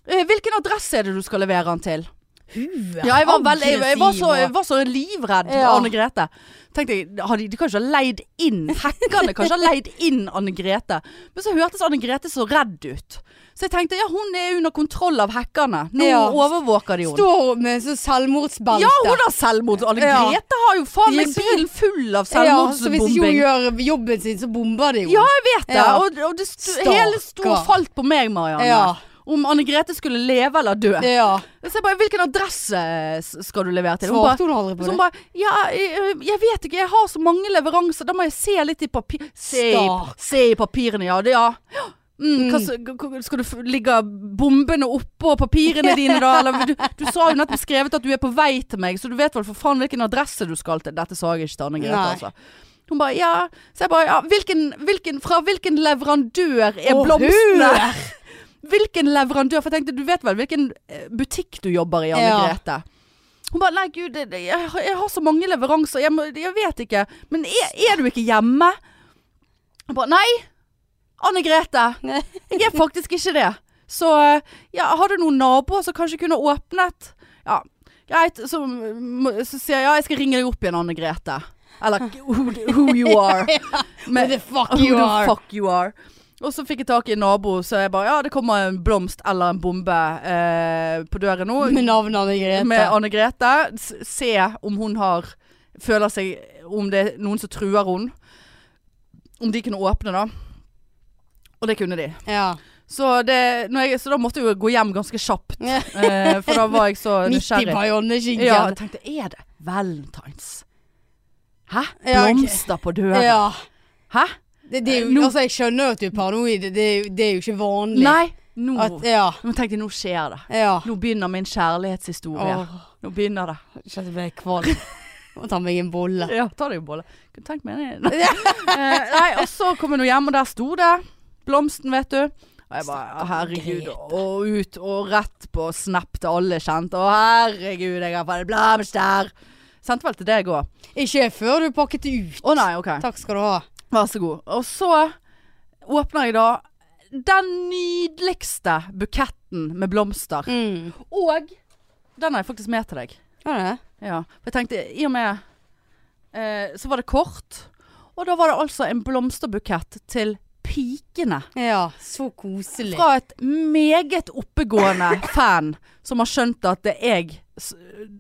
Speaker 1: Eh, hvilken adresse er det du skal levere den til?
Speaker 2: Hun er
Speaker 1: Ja, jeg var, vel, jeg, jeg var, så, jeg
Speaker 2: aggressiv, og-
Speaker 1: var så livredd
Speaker 2: Ja.
Speaker 1: Anne Grete. Tenkte jeg, har de, de kan ikke ha leid inn Hackerne kan ikke ha leid inn Anne Grete. Men så hørtes Anne Grete så redd ut. Så jeg tenkte ja, hun er under kontroll av hackerne. Nå
Speaker 2: Ja.
Speaker 1: overvåker de henne.
Speaker 2: Står med sånn selvmordsbelte.
Speaker 1: Ja, hun har selvmord. Anne
Speaker 2: Ja.
Speaker 1: Grete har jo faen meg
Speaker 2: Yes.
Speaker 1: bilen full av
Speaker 2: Ja, så hvis ikke hun
Speaker 1: selvmordsbombing.
Speaker 2: gjør jobben sin, så bomber de henne.
Speaker 1: Ja, jeg vet det.
Speaker 2: Ja.
Speaker 1: Og, og det sto,
Speaker 2: Stakkar.
Speaker 1: hele sto og falt på meg, Marianne.
Speaker 2: Ja.
Speaker 1: Om Anne Grete skulle leve eller dø.
Speaker 2: ja.
Speaker 1: Så jeg bare, Hvilken adresse s- skal du levere til? Hun bare,
Speaker 2: Svarte hun aldri på
Speaker 1: Så
Speaker 2: det?
Speaker 1: hun bare Ja, jeg, jeg vet ikke, jeg har så mange leveranser. Da må jeg se litt i papir... Se, i-
Speaker 2: Stark.
Speaker 1: se i papirene, ja. Det, ja. Mm, hva, s- k- k- skal du f- ligge bombene oppå papirene dine, da? Eller, du, du sa jo nettopp skrevet at du er på vei til meg, så du vet vel for faen hvilken adresse du skal til. Dette sa jeg ikke til Anne Grete,
Speaker 2: Nei.
Speaker 1: altså. Hun bare ja. Så jeg bare ja, hvilken, hvilken, fra hvilken leverandør er
Speaker 2: Å,
Speaker 1: blomstene?
Speaker 2: hør!
Speaker 1: Hvilken leverandør? For jeg tenkte, du vet vel hvilken eh, butikk du jobber i, Anne
Speaker 2: Ja.
Speaker 1: Grete? Hun bare, nei gud, det- det- jeg, har- jeg har så mange leveranser, jeg, må, jeg vet ikke. Men er, er du ikke hjemme? Jeg bare, nei, Anne Grete, jeg er faktisk ikke det. Så eh, ja, har du noen naboer som kanskje kunne åpnet? Ja, greit, så, må- så sier jeg, ja, jeg skal ringe deg opp igjen, Anne Grete. Eller who, who you are.
Speaker 2: Who
Speaker 1: Men-
Speaker 2: the fuck
Speaker 1: Who
Speaker 2: you
Speaker 1: the
Speaker 2: are.
Speaker 1: fuck you are. Og så fikk jeg tak i en nabo, så jeg bare Ja, det kommer en blomst eller en bombe eh, på døren nå.
Speaker 2: Med navnet Anne Grete.
Speaker 1: Med Anne Grete. S- Se om hun har Føler seg Om det er noen som truer hun Om de kunne åpne, da. Og det kunne de.
Speaker 2: ja.
Speaker 1: Så, det, når jeg, så da måtte jeg jo gå hjem ganske kjapt.
Speaker 2: Ja.
Speaker 1: Eh, for da var jeg så
Speaker 2: Midt i
Speaker 1: nysgjerrig.
Speaker 2: bajonneskinken.
Speaker 1: Ja, jeg tenkte Er det valentines? Hæ?
Speaker 2: Ja, ok.
Speaker 1: Blomster på døren?
Speaker 2: Ja.
Speaker 1: Hæ?
Speaker 2: Det, det er jo,
Speaker 1: Nå-
Speaker 2: altså, jeg skjønner jo at du er paranoid, det, er jo- det er jo ikke vanlig.
Speaker 1: Nei. Nå
Speaker 2: At, ja,
Speaker 1: Nå tenkte jeg, nå skjer det.
Speaker 2: ja.
Speaker 1: Nå begynner min kjærlighetshistorie.
Speaker 2: Åh,
Speaker 1: Nå begynner det.
Speaker 2: jeg kjente jeg ble kvalm. Må ta meg en bolle.
Speaker 1: Ja, ta deg en bolle. Kunne tenkt meg en. Eh, nei, og så kom hun hjem, og der sto det. Blomsten, vet du. Og jeg bare herregud. Og ut og rett på snap til alle kjente. Å herregud, jeg har fått en blomster. Sendte vel til deg òg.
Speaker 2: Ikke før du pakket det ut.
Speaker 1: Å nei, OK.
Speaker 2: Takk skal du ha.
Speaker 1: Vær så god. Og så åpner jeg da den nydeligste buketten med blomster.
Speaker 2: Mm.
Speaker 1: Og den har jeg faktisk med til deg.
Speaker 2: Ja, det.
Speaker 1: Ja, for jeg tenkte, i og med eh, Så var det kort. Og da var det altså en blomsterbukett til pikene.
Speaker 2: Ja, så koselig.
Speaker 1: Fra et meget oppegående fan som har skjønt at det er jeg s-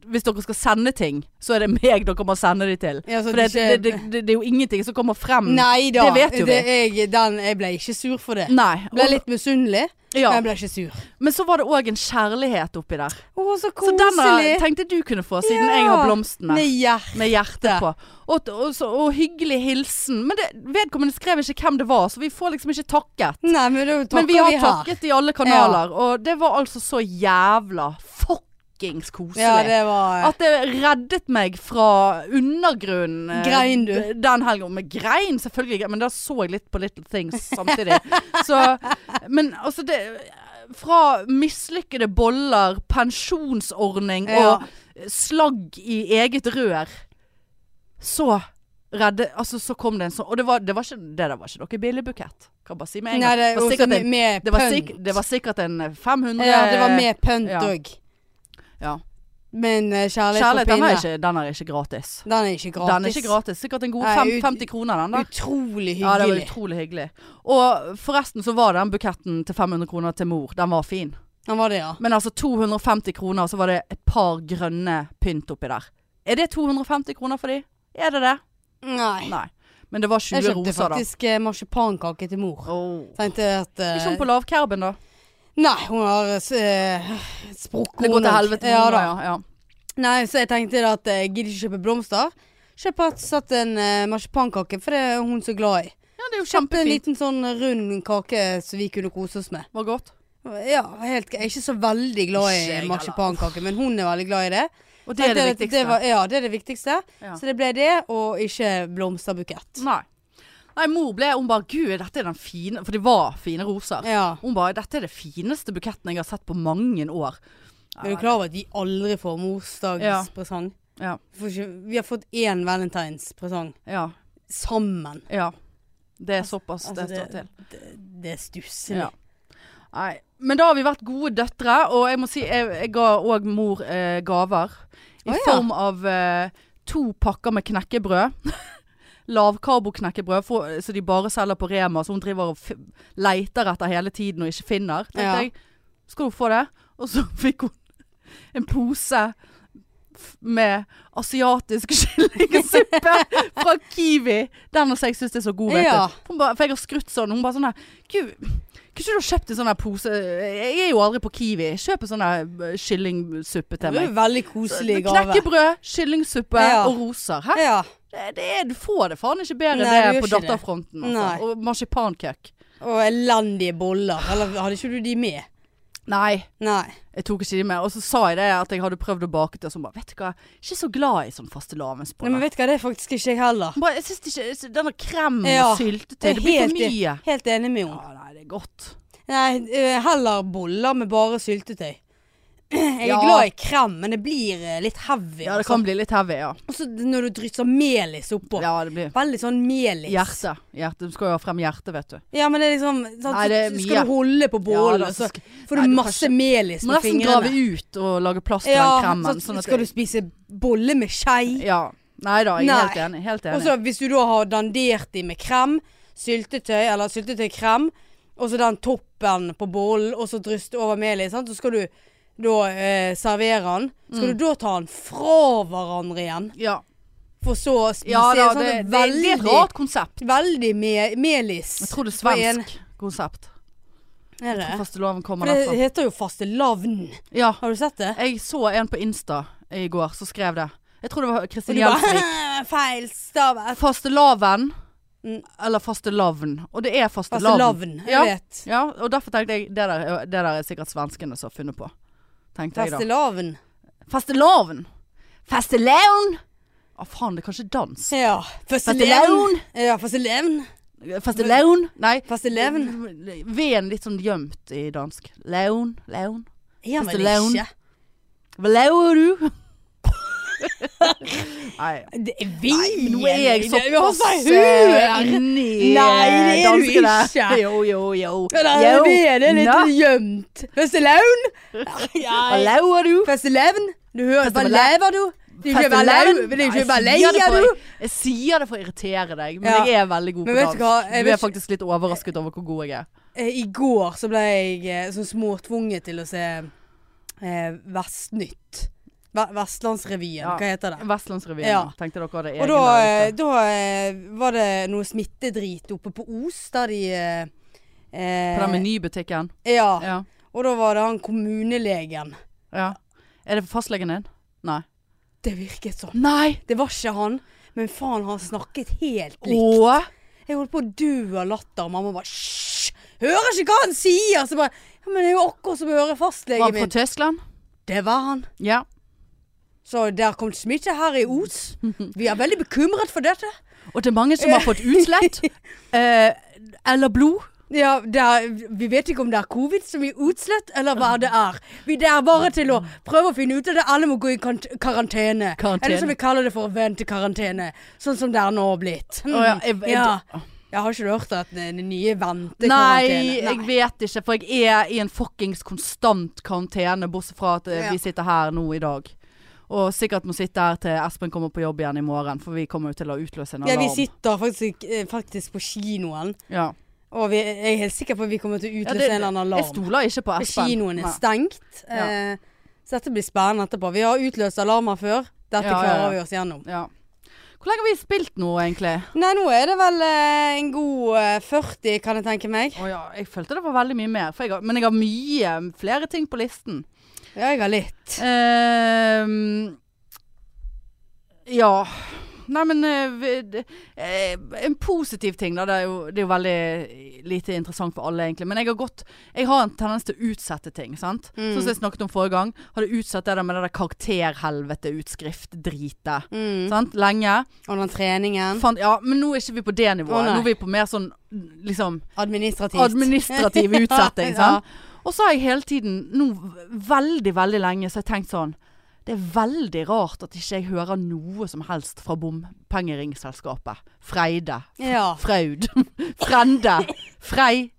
Speaker 1: Hvis dere skal sende ting, så er det meg dere må sende de til.
Speaker 2: Ja, så
Speaker 1: For det,
Speaker 2: du
Speaker 1: det,
Speaker 2: ikke-
Speaker 1: det, det, det er jo ingenting som kommer frem.
Speaker 2: Nei da.
Speaker 1: Det vet jo vi.
Speaker 2: jeg, den, jeg ble ikke sur for det.
Speaker 1: Nei.
Speaker 2: Jeg ble
Speaker 1: Og,
Speaker 2: litt misunnelig,
Speaker 1: ja.
Speaker 2: men jeg ble ikke sur.
Speaker 1: Men så var det òg en kjærlighet oppi der.
Speaker 2: Å, så
Speaker 1: Så
Speaker 2: koselig.
Speaker 1: den har- tenkte du kunne få, siden
Speaker 2: Ja.
Speaker 1: jeg har blomstene.
Speaker 2: Med hjerte.
Speaker 1: Med hjertet på. Og, og, så- og hyggelig hilsen. Men det, vedkommende skrev ikke hvem det var, så vi får liksom ikke takket.
Speaker 2: Nei, men da takker
Speaker 1: Men vi har takket i alle kanaler, og det var altså så jævla fuckings koselig.
Speaker 2: Ja, det var
Speaker 1: At det reddet meg fra undergrunnen eh,
Speaker 2: Grein du?
Speaker 1: den helgen. Med grein, selvfølgelig. Men da så jeg litt på Little Things samtidig. Så, men altså det Fra mislykkede boller, pensjonsordning
Speaker 2: Ja.
Speaker 1: og slagg i eget rør. Så redde Altså, så kom det en sånn Og det var, det var ikke det der var ikke noe billig bukett. Kan bare si med en
Speaker 2: Nei,
Speaker 1: gang.
Speaker 2: det,
Speaker 1: Det var
Speaker 2: også
Speaker 1: sikkert
Speaker 2: med,
Speaker 1: en-
Speaker 2: med
Speaker 1: det var
Speaker 2: pønt.
Speaker 1: sikk- det var sikkert en 500
Speaker 2: ja, det var med pønt
Speaker 1: Ja.
Speaker 2: òg.
Speaker 1: Ja.
Speaker 2: Men eh, kjærlighet,
Speaker 1: Kjærlighet,
Speaker 2: på
Speaker 1: den
Speaker 2: pinne
Speaker 1: er, ikke, den er ikke gratis.
Speaker 2: Den er ikke gratis.
Speaker 1: Den er ikke gratis. Sikkert en god
Speaker 2: Nei,
Speaker 1: fem,
Speaker 2: ut-
Speaker 1: 50 kroner, den der.
Speaker 2: Utrolig
Speaker 1: Ja, det var
Speaker 2: hyggelig.
Speaker 1: utrolig hyggelig. Og forresten så var den buketten til 500 kroner til mor, den var fin.
Speaker 2: Den var det, ja.
Speaker 1: Men altså 250 kroner, så var det et par grønne pynt oppi der. Er det 250 kroner for de? Er det det?
Speaker 2: Nei.
Speaker 1: Nei. Men det var
Speaker 2: Jeg
Speaker 1: 20
Speaker 2: kjøpte
Speaker 1: roser, da.
Speaker 2: faktisk eh, marsipankake til mor.
Speaker 1: Oh.
Speaker 2: Tenkte at eh,
Speaker 1: Ikke sånn på lavkerben, da.
Speaker 2: Nei, hun har eh, sprukket
Speaker 1: Det går til
Speaker 2: hun
Speaker 1: helvete.
Speaker 2: også. Ja da.
Speaker 1: Ja, ja.
Speaker 2: Nei, så jeg tenkte da at eh, jeg gidder ikke kjøpe blomster. Kjøp rett og slett en eh, marsipankake, for det er hun så glad i.
Speaker 1: ja, det er jo
Speaker 2: Kjøpte en
Speaker 1: kjempefint.
Speaker 2: liten sånn rund kake som vi kunne kose oss med.
Speaker 1: Var godt.
Speaker 2: Ja, helt, jeg er ikke så veldig glad
Speaker 1: Ikke jeg
Speaker 2: i
Speaker 1: heller.
Speaker 2: marsipankake, men hun er veldig glad i det.
Speaker 1: Og det er det
Speaker 2: Tenkte at
Speaker 1: viktigste.
Speaker 2: var, ja, det er det viktigste.
Speaker 1: Ja.
Speaker 2: Så det ble det, og ikke blomsterbukett.
Speaker 1: Nei. Nei, mor ble Hun bare Gud, dette er den fine For det var fine roser.
Speaker 2: Ja.
Speaker 1: Hun bare Dette er det fineste buketten jeg har sett på mange år.
Speaker 2: Er du klar over at vi aldri får morsdagspresang?
Speaker 1: Ja.
Speaker 2: Vi får ikke- Vi har fått én valentinspresang
Speaker 1: Ja.
Speaker 2: sammen.
Speaker 1: ja. Det er såpass
Speaker 2: altså,
Speaker 1: det står
Speaker 2: det-
Speaker 1: til.
Speaker 2: Det, det er stusslig.
Speaker 1: Ja. Nei. Men da har vi vært gode døtre, og jeg må si jeg, jeg ga òg mor eh, gaver. I
Speaker 2: Å, ja.
Speaker 1: form av eh, to pakker med knekkebrød. Lavkarboknekkebrød for- som de bare selger på Rema, så hun driver og f leiter etter hele tiden og ikke finner. Tenkte
Speaker 2: Ja.
Speaker 1: jeg, skal hun få det? Og så fikk hun en pose f- med asiatisk kyllingsuppe fra Kiwi. Den også jeg syns er så god, vet
Speaker 2: Ja.
Speaker 1: du. Hun ba, for jeg har skrutt sånn. Hun bare sånn her Gud, kunne ikke du ha kjøpt en sånn her pose Jeg er jo aldri på Kiwi. Kjøp en sånn her eh, kyllingsuppe
Speaker 2: Det
Speaker 1: til
Speaker 2: var jo
Speaker 1: meg.
Speaker 2: veldig koselig gave.
Speaker 1: Knekkebrød, kyllingsuppe
Speaker 2: Ja.
Speaker 1: og roser. Hæ?
Speaker 2: Ja.
Speaker 1: Det, det er, du får det faen ikke bedre
Speaker 2: Nei, du
Speaker 1: det
Speaker 2: gjør
Speaker 1: på
Speaker 2: ikke det.
Speaker 1: datterfronten.
Speaker 2: Nei.
Speaker 1: Altså. Og marsipancake.
Speaker 2: Og elendige boller. Eller hadde ikke du de med?
Speaker 1: Nei.
Speaker 2: Nei.
Speaker 1: Jeg tok ikke de med. Og så sa jeg det at jeg hadde prøvd å bake til, og så bare Vet du hva, jeg er ikke så glad i sånn
Speaker 2: Nei, men
Speaker 1: fastelavnsboller.
Speaker 2: vet du hva, det er faktisk ikke jeg heller.
Speaker 1: Bare, Jeg syns ikke jeg synes- Den der kremen
Speaker 2: Ja,
Speaker 1: og syltetøy,
Speaker 2: det er
Speaker 1: det blir for
Speaker 2: helt-
Speaker 1: mye.
Speaker 2: Helt enig med henne.
Speaker 1: Ja, nei, det er godt.
Speaker 2: Nei, eh, heller boller med bare syltetøy. Jeg er
Speaker 1: Ja.
Speaker 2: glad i krem, men det blir eh, litt heavy.
Speaker 1: Ja, det
Speaker 2: altså.
Speaker 1: kan bli litt heavy, ja.
Speaker 2: Og så når du drysser melis oppå.
Speaker 1: Ja, det blir
Speaker 2: Veldig sånn melis.
Speaker 1: Hjerte. hjerte. Du skal jo ha frem hjertet, vet du.
Speaker 2: Ja, men det er liksom sant,
Speaker 1: Nei, det er
Speaker 2: så
Speaker 1: mye.
Speaker 2: Skal du holde på bålet,
Speaker 1: Ja, da, så
Speaker 2: så
Speaker 1: sk- Nei,
Speaker 2: får du
Speaker 1: du kan
Speaker 2: masse
Speaker 1: ikke-
Speaker 2: melis
Speaker 1: Du må
Speaker 2: på
Speaker 1: nesten grave
Speaker 2: Liksom fingrene.
Speaker 1: ut og lage plass til den
Speaker 2: Ja,
Speaker 1: kremen.
Speaker 2: så
Speaker 1: Sånn at
Speaker 2: skal du spise bolle med skei.
Speaker 1: Ja. Nei da, jeg er
Speaker 2: Nei.
Speaker 1: helt enig. Helt
Speaker 2: Og
Speaker 1: enig.
Speaker 2: så hvis du da har dandert de med krem, syltetøy eller syltetøykrem, og så den toppen på bollen, og så dryst over melis, sant? så skal du da eh, servere den.
Speaker 1: Mm.
Speaker 2: Skal du da ta den fra hverandre igjen,
Speaker 1: Ja,
Speaker 2: for så å spise?
Speaker 1: ja da,
Speaker 2: sånn
Speaker 1: det,
Speaker 2: at
Speaker 1: det, det er et
Speaker 2: veldig-
Speaker 1: rart konsept.
Speaker 2: Veldig me melis.
Speaker 1: Jeg tror det er
Speaker 2: på en-
Speaker 1: svensk konsept.
Speaker 2: Er det?
Speaker 1: Fasteloven
Speaker 2: For
Speaker 1: kommer
Speaker 2: det
Speaker 1: derfra.
Speaker 2: heter jo fastelavn.
Speaker 1: Ja.
Speaker 2: Har du sett det?
Speaker 1: Jeg så en på Insta i går som skrev det. Jeg tror det var
Speaker 2: Og
Speaker 1: Kristin
Speaker 2: du bare
Speaker 1: Gjelsvik.
Speaker 2: «Hæ, Feil stavet.
Speaker 1: Fastelavn.
Speaker 2: Mm.
Speaker 1: Eller fastelavn. Og det er fastelavn.
Speaker 2: Fastelavn.
Speaker 1: Ja.
Speaker 2: Jeg vet.
Speaker 1: Ja, og derfor tenkte jeg det der, er- det der er sikkert svenskene som har funnet på. Tenkte jeg da.
Speaker 2: Fastelavn.
Speaker 1: Fastelavn. Fastelavn. ah, faen, det er kanskje dans.
Speaker 2: Ja. Fastelavn. Ja, fastelavn.
Speaker 1: Fastelavn? Nei.
Speaker 2: Fastelavn.
Speaker 1: V-en litt sånn gjemt i dansk. Laun, laun.
Speaker 2: Ja, men
Speaker 1: Fastelavn.
Speaker 2: ikke.
Speaker 1: Hva lauer du? Nei.
Speaker 2: Det er vi.
Speaker 1: Men Nå er jeg
Speaker 2: Det- vi har
Speaker 1: såpass
Speaker 2: sagt
Speaker 1: eh,
Speaker 2: hør.
Speaker 1: inni
Speaker 2: Nei, det er du
Speaker 1: danskene.
Speaker 2: ikke.
Speaker 1: Jo, jo, jo.
Speaker 2: Ja, da,
Speaker 1: Jo.
Speaker 2: vi er det litt
Speaker 1: Nå.
Speaker 2: gjemt. Fastelavn.
Speaker 1: Hva lauer du?
Speaker 2: Fastelavn. Du hører, hva
Speaker 1: Fastelavn.
Speaker 2: lever du? Det er ikke bare
Speaker 1: Fastelavn?
Speaker 2: lau- det er ikke
Speaker 1: Nei,
Speaker 2: bare
Speaker 1: jeg sier det
Speaker 2: leier
Speaker 1: for-
Speaker 2: du.
Speaker 1: Jeg sier det for å irritere deg, men
Speaker 2: Ja.
Speaker 1: jeg er veldig god
Speaker 2: Men
Speaker 1: på
Speaker 2: vet du
Speaker 1: dans.
Speaker 2: hva, jeg
Speaker 1: Du er
Speaker 2: vet ikke-
Speaker 1: faktisk litt overrasket over hvor god jeg er.
Speaker 2: Eh, I går så ble jeg eh, sånn småtvunget til å se eh, Vestnytt. Ve- Vestlandsrevyen,
Speaker 1: Ja.
Speaker 2: hva heter det?
Speaker 1: Vestlandsrevyen.
Speaker 2: Ja.
Speaker 1: Tenkte dere hadde
Speaker 2: Og
Speaker 1: egen
Speaker 2: da,
Speaker 1: der
Speaker 2: eh,
Speaker 1: ute.
Speaker 2: da eh, var det noe smittedrit oppe på Os, der de eh,
Speaker 1: På den
Speaker 2: eh, Ah.
Speaker 1: menybutikken.
Speaker 2: ja.
Speaker 1: Ja.
Speaker 2: Og da var det han kommunelegen.
Speaker 1: ja. Er det fastlegen din? Nei.
Speaker 2: Det virket sånn.
Speaker 1: Nei!
Speaker 2: Det var ikke han, men faen, han snakket helt likt.
Speaker 1: Åh!
Speaker 2: Jeg holdt på å dø av latter, og mamma bare Hysj! Hører ikke hva han sier! Så bare Ja, men det er jo akkurat som å høre
Speaker 1: Var han
Speaker 2: fastlegen
Speaker 1: fra
Speaker 2: min.
Speaker 1: Tyskland?
Speaker 2: Det var han.
Speaker 1: Ja.
Speaker 2: Så der kom smitte her i Os. Vi er veldig bekymret for dette.
Speaker 1: Og det er mange som har fått utslett. eh, eller blod.
Speaker 2: Ja, det er- Vi vet ikke om det er covid som gir utslett, eller hva det er. Vi det er bare til å prøve å finne ut av det. Alle må gå i kant karantene.
Speaker 1: Karantene.
Speaker 2: Eller som vi kaller det for ventekarantene. Sånn som det er nå blitt.
Speaker 1: Å ja, jeg- jeg-
Speaker 2: Mm. ja. Jeg har ikke hørt at den nye
Speaker 1: Nei,
Speaker 2: ventekarantene
Speaker 1: jeg vet ikke, for jeg er i en fuckings konstant karantene, bortsett fra at eh,
Speaker 2: Ja.
Speaker 1: vi sitter her nå i dag. Og sikkert må sitte her til Espen kommer på jobb igjen i morgen, for vi kommer jo til å utløse en
Speaker 2: Ja,
Speaker 1: alarm.
Speaker 2: vi sitter faktisk, eh, faktisk på kinoen,
Speaker 1: Ja.
Speaker 2: og vi, jeg er helt sikker på at vi kommer til å
Speaker 1: Ja,
Speaker 2: utløse
Speaker 1: det-
Speaker 2: en eller annen
Speaker 1: Jeg
Speaker 2: alarm.
Speaker 1: stoler ikke på Espen.
Speaker 2: Kinoen er
Speaker 1: Nei.
Speaker 2: stengt.
Speaker 1: Ja.
Speaker 2: Eh, så dette blir spennende etterpå. Vi har utløst alarmer før. Dette
Speaker 1: Ja, ja, ja.
Speaker 2: klarer vi oss gjennom.
Speaker 1: Ja. Hvor lenge har vi spilt nå, egentlig?
Speaker 2: Nei, nå er det vel eh, en god eh, 40, kan jeg tenke meg.
Speaker 1: Å ja, jeg følte det var veldig mye mer, for jeg har, men jeg har mye flere ting på listen.
Speaker 2: Ja, jeg har litt.
Speaker 1: Ehm, ja. Nei, men eh, vi- det- eh, En positiv ting, da. Det er, jo, det er jo veldig lite interessant for alle, egentlig. Men jeg har gått Jeg har en tendens til å utsette ting, sant.
Speaker 2: Mm.
Speaker 1: Sånn som jeg snakket om forrige gang. Hadde utsatt det der med det der karakterhelvete-utskrift-dritet.
Speaker 2: Mm.
Speaker 1: Sant? Lenge.
Speaker 2: Og den treningen.
Speaker 1: Fant, ja, men nå er ikke vi på det nivået.
Speaker 2: Å, nei.
Speaker 1: nå er vi på mer sånn liksom
Speaker 2: Administrativt.
Speaker 1: administrativ utsetting.
Speaker 2: Ja.
Speaker 1: sant? Og så har jeg hele tiden, nå veldig, veldig lenge, så har jeg tenkt sånn Det er veldig rart at ikke jeg hører noe som helst fra bompengeringselskapet. Freide.
Speaker 2: ja.
Speaker 1: Fraud. Frende. Frei.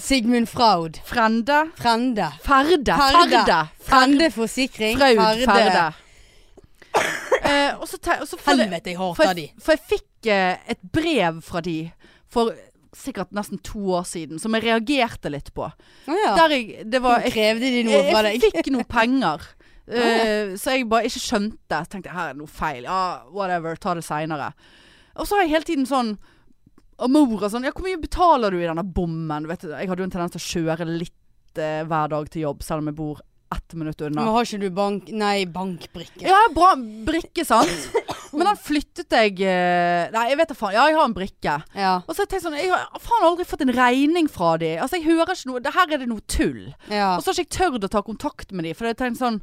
Speaker 2: Sigmund Fraud.
Speaker 1: Frende.
Speaker 2: Frende.
Speaker 1: Ferde.
Speaker 2: Ferde.
Speaker 1: Ferde.
Speaker 2: Frende forsikring.
Speaker 1: Fraud. Ferde. Eh, og så te- og så får jeg-
Speaker 2: Helvete, jeg
Speaker 1: for,
Speaker 2: hater de.
Speaker 1: jeg- for jeg fikk eh, et brev fra de for sikkert nesten to år siden, som jeg reagerte litt på.
Speaker 2: Å ja.
Speaker 1: Der jeg, det var,
Speaker 2: Nå
Speaker 1: jeg
Speaker 2: krevde de noe fra deg.
Speaker 1: Jeg fikk noen penger. eh, så jeg bare ikke skjønte. Så tenkte jeg her er det noe feil. Ja, whatever. Ta det seinere. Og så har jeg hele tiden sånn Og mora sånn Ja, hvor mye betaler du i denne bommen? Vet du, jeg hadde jo en tendens til å kjøre litt eh, hver dag til jobb, selv om jeg bor ett minutt unna.
Speaker 2: Men har ikke du bank... Nei, bankbrikke.
Speaker 1: Ja, bra brikke, sant? Men den flyttet jeg eh, Nei, jeg vet da faen. Ja, jeg har en brikke.
Speaker 2: Ja.
Speaker 1: Og så har jeg tenkt sånn Jeg har faen aldri fått en regning fra de. Altså, jeg hører ikke noe det- Her er det noe tull.
Speaker 2: ja.
Speaker 1: Og så har ikke jeg tørt å ta kontakt med de, for jeg tenkte sånn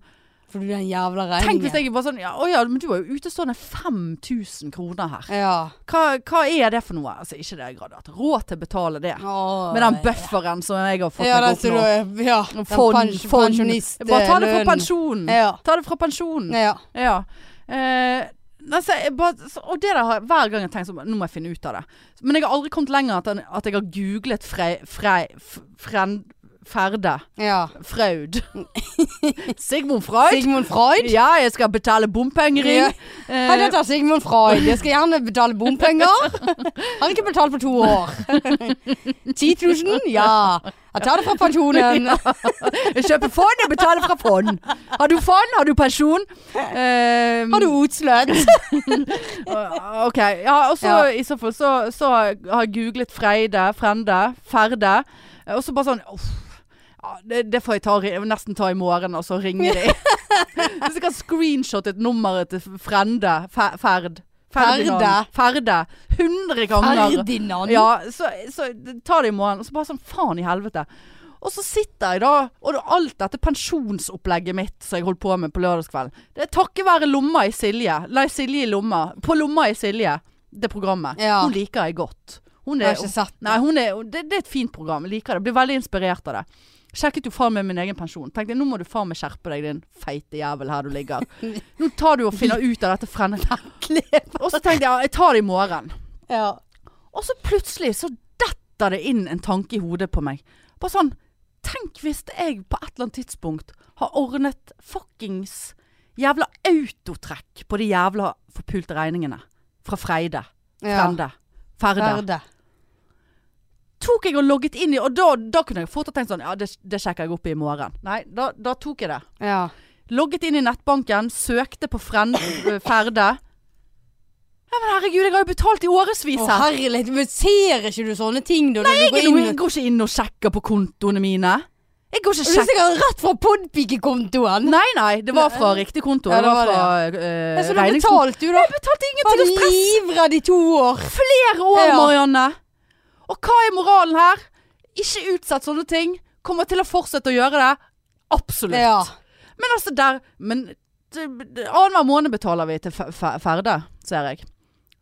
Speaker 2: For du den jævla regningen.
Speaker 1: Tenk hvis jeg bare sånn ja, Å ja, men du har jo utestående 5000 kroner her.
Speaker 2: Ja.
Speaker 1: Hva, hva er det for noe? Altså, ikke det jeg hadde hatt råd til å betale det.
Speaker 2: Åh,
Speaker 1: Med den bufferen som jeg har fått
Speaker 2: ja,
Speaker 1: meg
Speaker 2: den
Speaker 1: opp
Speaker 2: som
Speaker 1: nå.
Speaker 2: du- ja, den
Speaker 1: Fond,
Speaker 2: pens-
Speaker 1: fond.
Speaker 2: pensjonistlønnen.
Speaker 1: Bare ta det fra pensjonen.
Speaker 2: eh, Ja.
Speaker 1: Ta det fra pensjonen.
Speaker 2: ja.
Speaker 1: Ja. Eh, altså, jeg bare, så- og det der har hver gang jeg tenkt sånn Nå må jeg finne ut av det. Men jeg har aldri kommet lenger at, en- at jeg har googlet frei, frei, f- fren, Ferde.
Speaker 2: ja.
Speaker 1: Fraud. Sigmund Freud.
Speaker 2: Sigmund Freud?
Speaker 1: Ja, jeg skal betale bompengering.
Speaker 2: Ja. Hei,
Speaker 1: Eh,
Speaker 2: dette er Sigmund Freud. Jeg skal gjerne betale bompenger. Har ikke betalt på to år. 10 000? Ja. Jeg tar det fra pensjonen.
Speaker 1: jeg Eh, kjøper fond, jeg betaler fra fond. Har du fond, har du pensjon? Eh,
Speaker 2: Har du utsløtt?
Speaker 1: å- OK. Ja, og så i så fall så, så har jeg googlet Freide, Frende, Ferde. eh, Og så bare sånn uff. Ja, det, det får jeg ta, ri- nesten ta i morgen, og så ringer de. Hvis jeg kan screenshotte et nummer til Frende, Fe- Ferd Ferdinand. Ferde. 100 ganger.
Speaker 2: Ferdinand?
Speaker 1: Ja, så, så ta det i morgen. Og så bare sånn faen i helvete. Og så sitter jeg da, og det- alt dette pensjonsopplegget mitt som jeg holdt på med på lørdagskvelden Det er takket være lomma i Silje. Nei, Silje i lomma. På lomma i Silje, det programmet.
Speaker 2: Ja.
Speaker 1: Hun liker jeg godt. Hun
Speaker 2: Jeg
Speaker 1: er,
Speaker 2: har ikke sett
Speaker 1: Nei, hun er, det, det er et fint program. Jeg liker det. Blir veldig inspirert av det. Sjekket jo faen meg min egen pensjon. Tenkte nå må du faen meg skjerpe deg, din feite jævel her du ligger. Nå tar du og finner ut av dette fremmede. Og så tenkte jeg ja, jeg tar det i morgen.
Speaker 2: Ja.
Speaker 1: Og så plutselig så detter det inn en tanke i hodet på meg. Bare sånn Tenk hvis jeg på et eller annet tidspunkt har ordnet fuckings jævla autotrekk på de jævla forpulte regningene fra Freide.
Speaker 2: ja.
Speaker 1: Frende. Ferde
Speaker 2: Verde.
Speaker 1: tok jeg og logget inn i Og da, da kunne jeg fort ha tenkt sånn Ja, det, det sjekker jeg opp i morgen. Nei, da, da tok jeg det.
Speaker 2: Ja.
Speaker 1: Logget inn i nettbanken, søkte på Fren- eh, Ferde. Ja, men herregud, jeg har jo betalt i årevis
Speaker 2: Å
Speaker 1: her.
Speaker 2: herlighet, men ser ikke du sånne ting da? Nei,
Speaker 1: Jeg, er noe- jeg går ikke inn og sjekker på kontoene mine. Jeg går ikke og
Speaker 2: Du er
Speaker 1: sjekker
Speaker 2: sikkert rett fra podpikekontoen.
Speaker 1: Nei, nei, det var fra riktig konto.
Speaker 2: Ja,
Speaker 1: det
Speaker 2: det
Speaker 1: var
Speaker 2: var
Speaker 1: fra
Speaker 2: Ja,
Speaker 1: uh,
Speaker 2: Så du har betalt du da?
Speaker 1: Jeg betalte
Speaker 2: Var
Speaker 1: ingenting
Speaker 2: du
Speaker 1: å stresse
Speaker 2: livredd i to år?
Speaker 1: flere år,
Speaker 2: Ja.
Speaker 1: Marianne. Og hva er moralen her? Ikke utsett sånne ting. Kommer til å fortsette å gjøre det. Absolutt.
Speaker 2: Ja.
Speaker 1: Men altså der Men det- det- annenhver måned betaler vi til Fe- Fe- Ferde, ser jeg.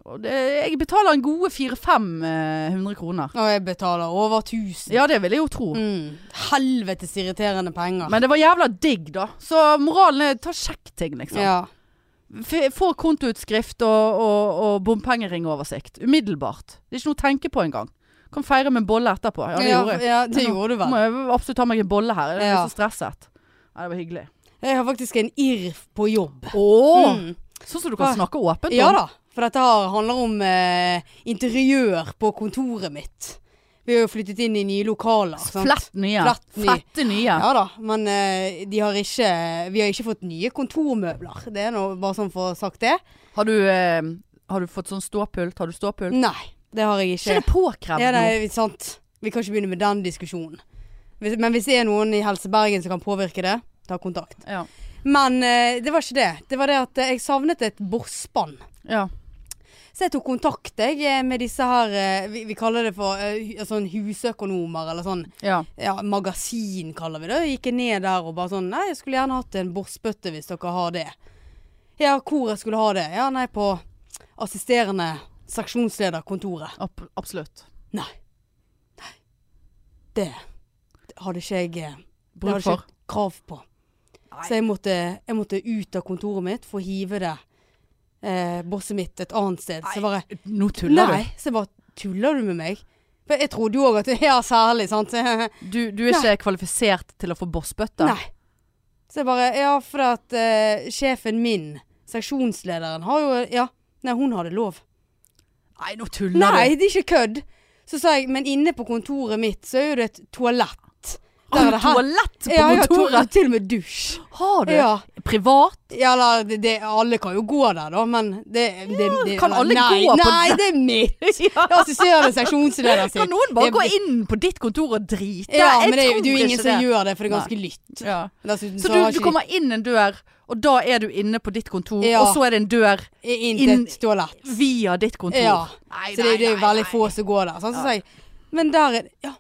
Speaker 1: Og det, jeg betaler en gode 400-500 kroner.
Speaker 2: Og jeg betaler over 1000.
Speaker 1: Ja, det vil jeg jo tro.
Speaker 2: Mm. Helvetes irriterende penger.
Speaker 1: Men det var jævla digg, da. Så moralen er ta sjekk ting, liksom.
Speaker 2: ja.
Speaker 1: F- Få kontoutskrift og, og, og bompengeringoversikt. Umiddelbart. Det er ikke noe å tenke på engang. Kan feire med en bolle etterpå. Ja, det gjorde jeg.
Speaker 2: Ja, det gjorde du
Speaker 1: Nå
Speaker 2: vel.
Speaker 1: må jeg absolutt ta meg en bolle her. Jeg er
Speaker 2: Ja.
Speaker 1: så stresset. Ja, det var hyggelig.
Speaker 2: Jeg har faktisk en irr på jobb.
Speaker 1: Åh,
Speaker 2: Mm.
Speaker 1: Sånn som du kan snakke åpent
Speaker 2: Ja
Speaker 1: om.
Speaker 2: da, for dette her handler om eh, interiør på kontoret mitt. Vi har jo flyttet inn i nye lokaler. sant?
Speaker 1: Flett nye.
Speaker 2: Flett ny.
Speaker 1: Fette nye.
Speaker 2: Ja da, men eh, de har ikke, vi har ikke fått nye kontormøbler. Det er nå bare sånn for å ha sagt det.
Speaker 1: Har du, eh, har du fått sånn ståpult? Har du ståpult?
Speaker 2: Nei, det har jeg
Speaker 1: Ikke
Speaker 2: ikke.
Speaker 1: det påkrevd
Speaker 2: Mm. Ja,
Speaker 1: nå?
Speaker 2: nei, sant. Vi kan ikke begynne med den diskusjonen. Hvis, men hvis det er noen i Helse Bergen som kan påvirke det, ta kontakt.
Speaker 1: Ja.
Speaker 2: Men eh, det var ikke det. Det var det at eh, jeg savnet et bordspann.
Speaker 1: ja.
Speaker 2: Så jeg tok kontakt jeg, eh, med disse her eh, Vi, vi kaller det for eh, hu- sånn husøkonomer, eller sånn
Speaker 1: ja.
Speaker 2: ja, magasin, kaller vi det. Jeg gikk ned der og bare sånn Nei, jeg skulle gjerne hatt en bordsbøtte hvis dere har det. Ja, hvor jeg skulle ha det? Ja, nei, på assisterende seksjonslederkontoret.
Speaker 1: Ab absolutt.
Speaker 2: Nei. Nei. Det hadde ikke jeg eh, Det
Speaker 1: Bruk
Speaker 2: hadde ikke
Speaker 1: for.
Speaker 2: jeg krav på.
Speaker 1: Nei.
Speaker 2: Så jeg måtte, jeg måtte ut av kontoret mitt for å hive det eh, bosset mitt et annet sted. Så jeg bare
Speaker 1: Nå tuller
Speaker 2: Nei, så jeg bare Tuller du med meg? For jeg trodde jo òg at Ja, særlig, sant? Nei.
Speaker 1: du. Du, du er ikke kvalifisert til å få bossbøtte?
Speaker 2: Så jeg bare Ja, for at eh, sjefen min, seksjonslederen, har jo Ja. Nei, hun hadde lov.
Speaker 1: Nei, nå tuller
Speaker 2: Nei, det er ikke kødd! Så sa jeg, men inne på kontoret mitt så er jo det et toalett.
Speaker 1: du! Har
Speaker 2: er
Speaker 1: du
Speaker 2: det her-
Speaker 1: toalett på
Speaker 2: Ja, jeg har to-
Speaker 1: kontoret?
Speaker 2: Til og med dusj.
Speaker 1: Har du?
Speaker 2: Ja.
Speaker 1: Privat?
Speaker 2: Ja, eller det, det, alle kan jo gå der, da, men det, det, det
Speaker 1: kan alle
Speaker 2: nei,
Speaker 1: gå på
Speaker 2: Nei, det er mitt! Det er assisterende seksjonsleder sitt.
Speaker 1: Kan noen bare
Speaker 2: Det-
Speaker 1: gå inn på ditt kontor og drite?
Speaker 2: Ja,
Speaker 1: Jeg
Speaker 2: men det, er jo-
Speaker 1: tror
Speaker 2: det er jo ingen
Speaker 1: ikke
Speaker 2: som
Speaker 1: det.
Speaker 2: gjør det, for det er ganske lytt.
Speaker 1: ja.
Speaker 2: Dessuten
Speaker 1: Så
Speaker 2: så
Speaker 1: du,
Speaker 2: har
Speaker 1: du
Speaker 2: ikke
Speaker 1: kommer inn en dør, og da er du inne på ditt kontor,
Speaker 2: Ja.
Speaker 1: og så er det en dør
Speaker 2: de inn til
Speaker 1: inn-
Speaker 2: et toalett.
Speaker 1: via ditt kontor.
Speaker 2: Ja.
Speaker 1: Nei,
Speaker 2: Så det, er-
Speaker 1: nei,
Speaker 2: det er jo
Speaker 1: nei,
Speaker 2: veldig
Speaker 1: nei.
Speaker 2: få som går der. Sånn, så
Speaker 1: Ja.
Speaker 2: sa jeg, men der er Ja,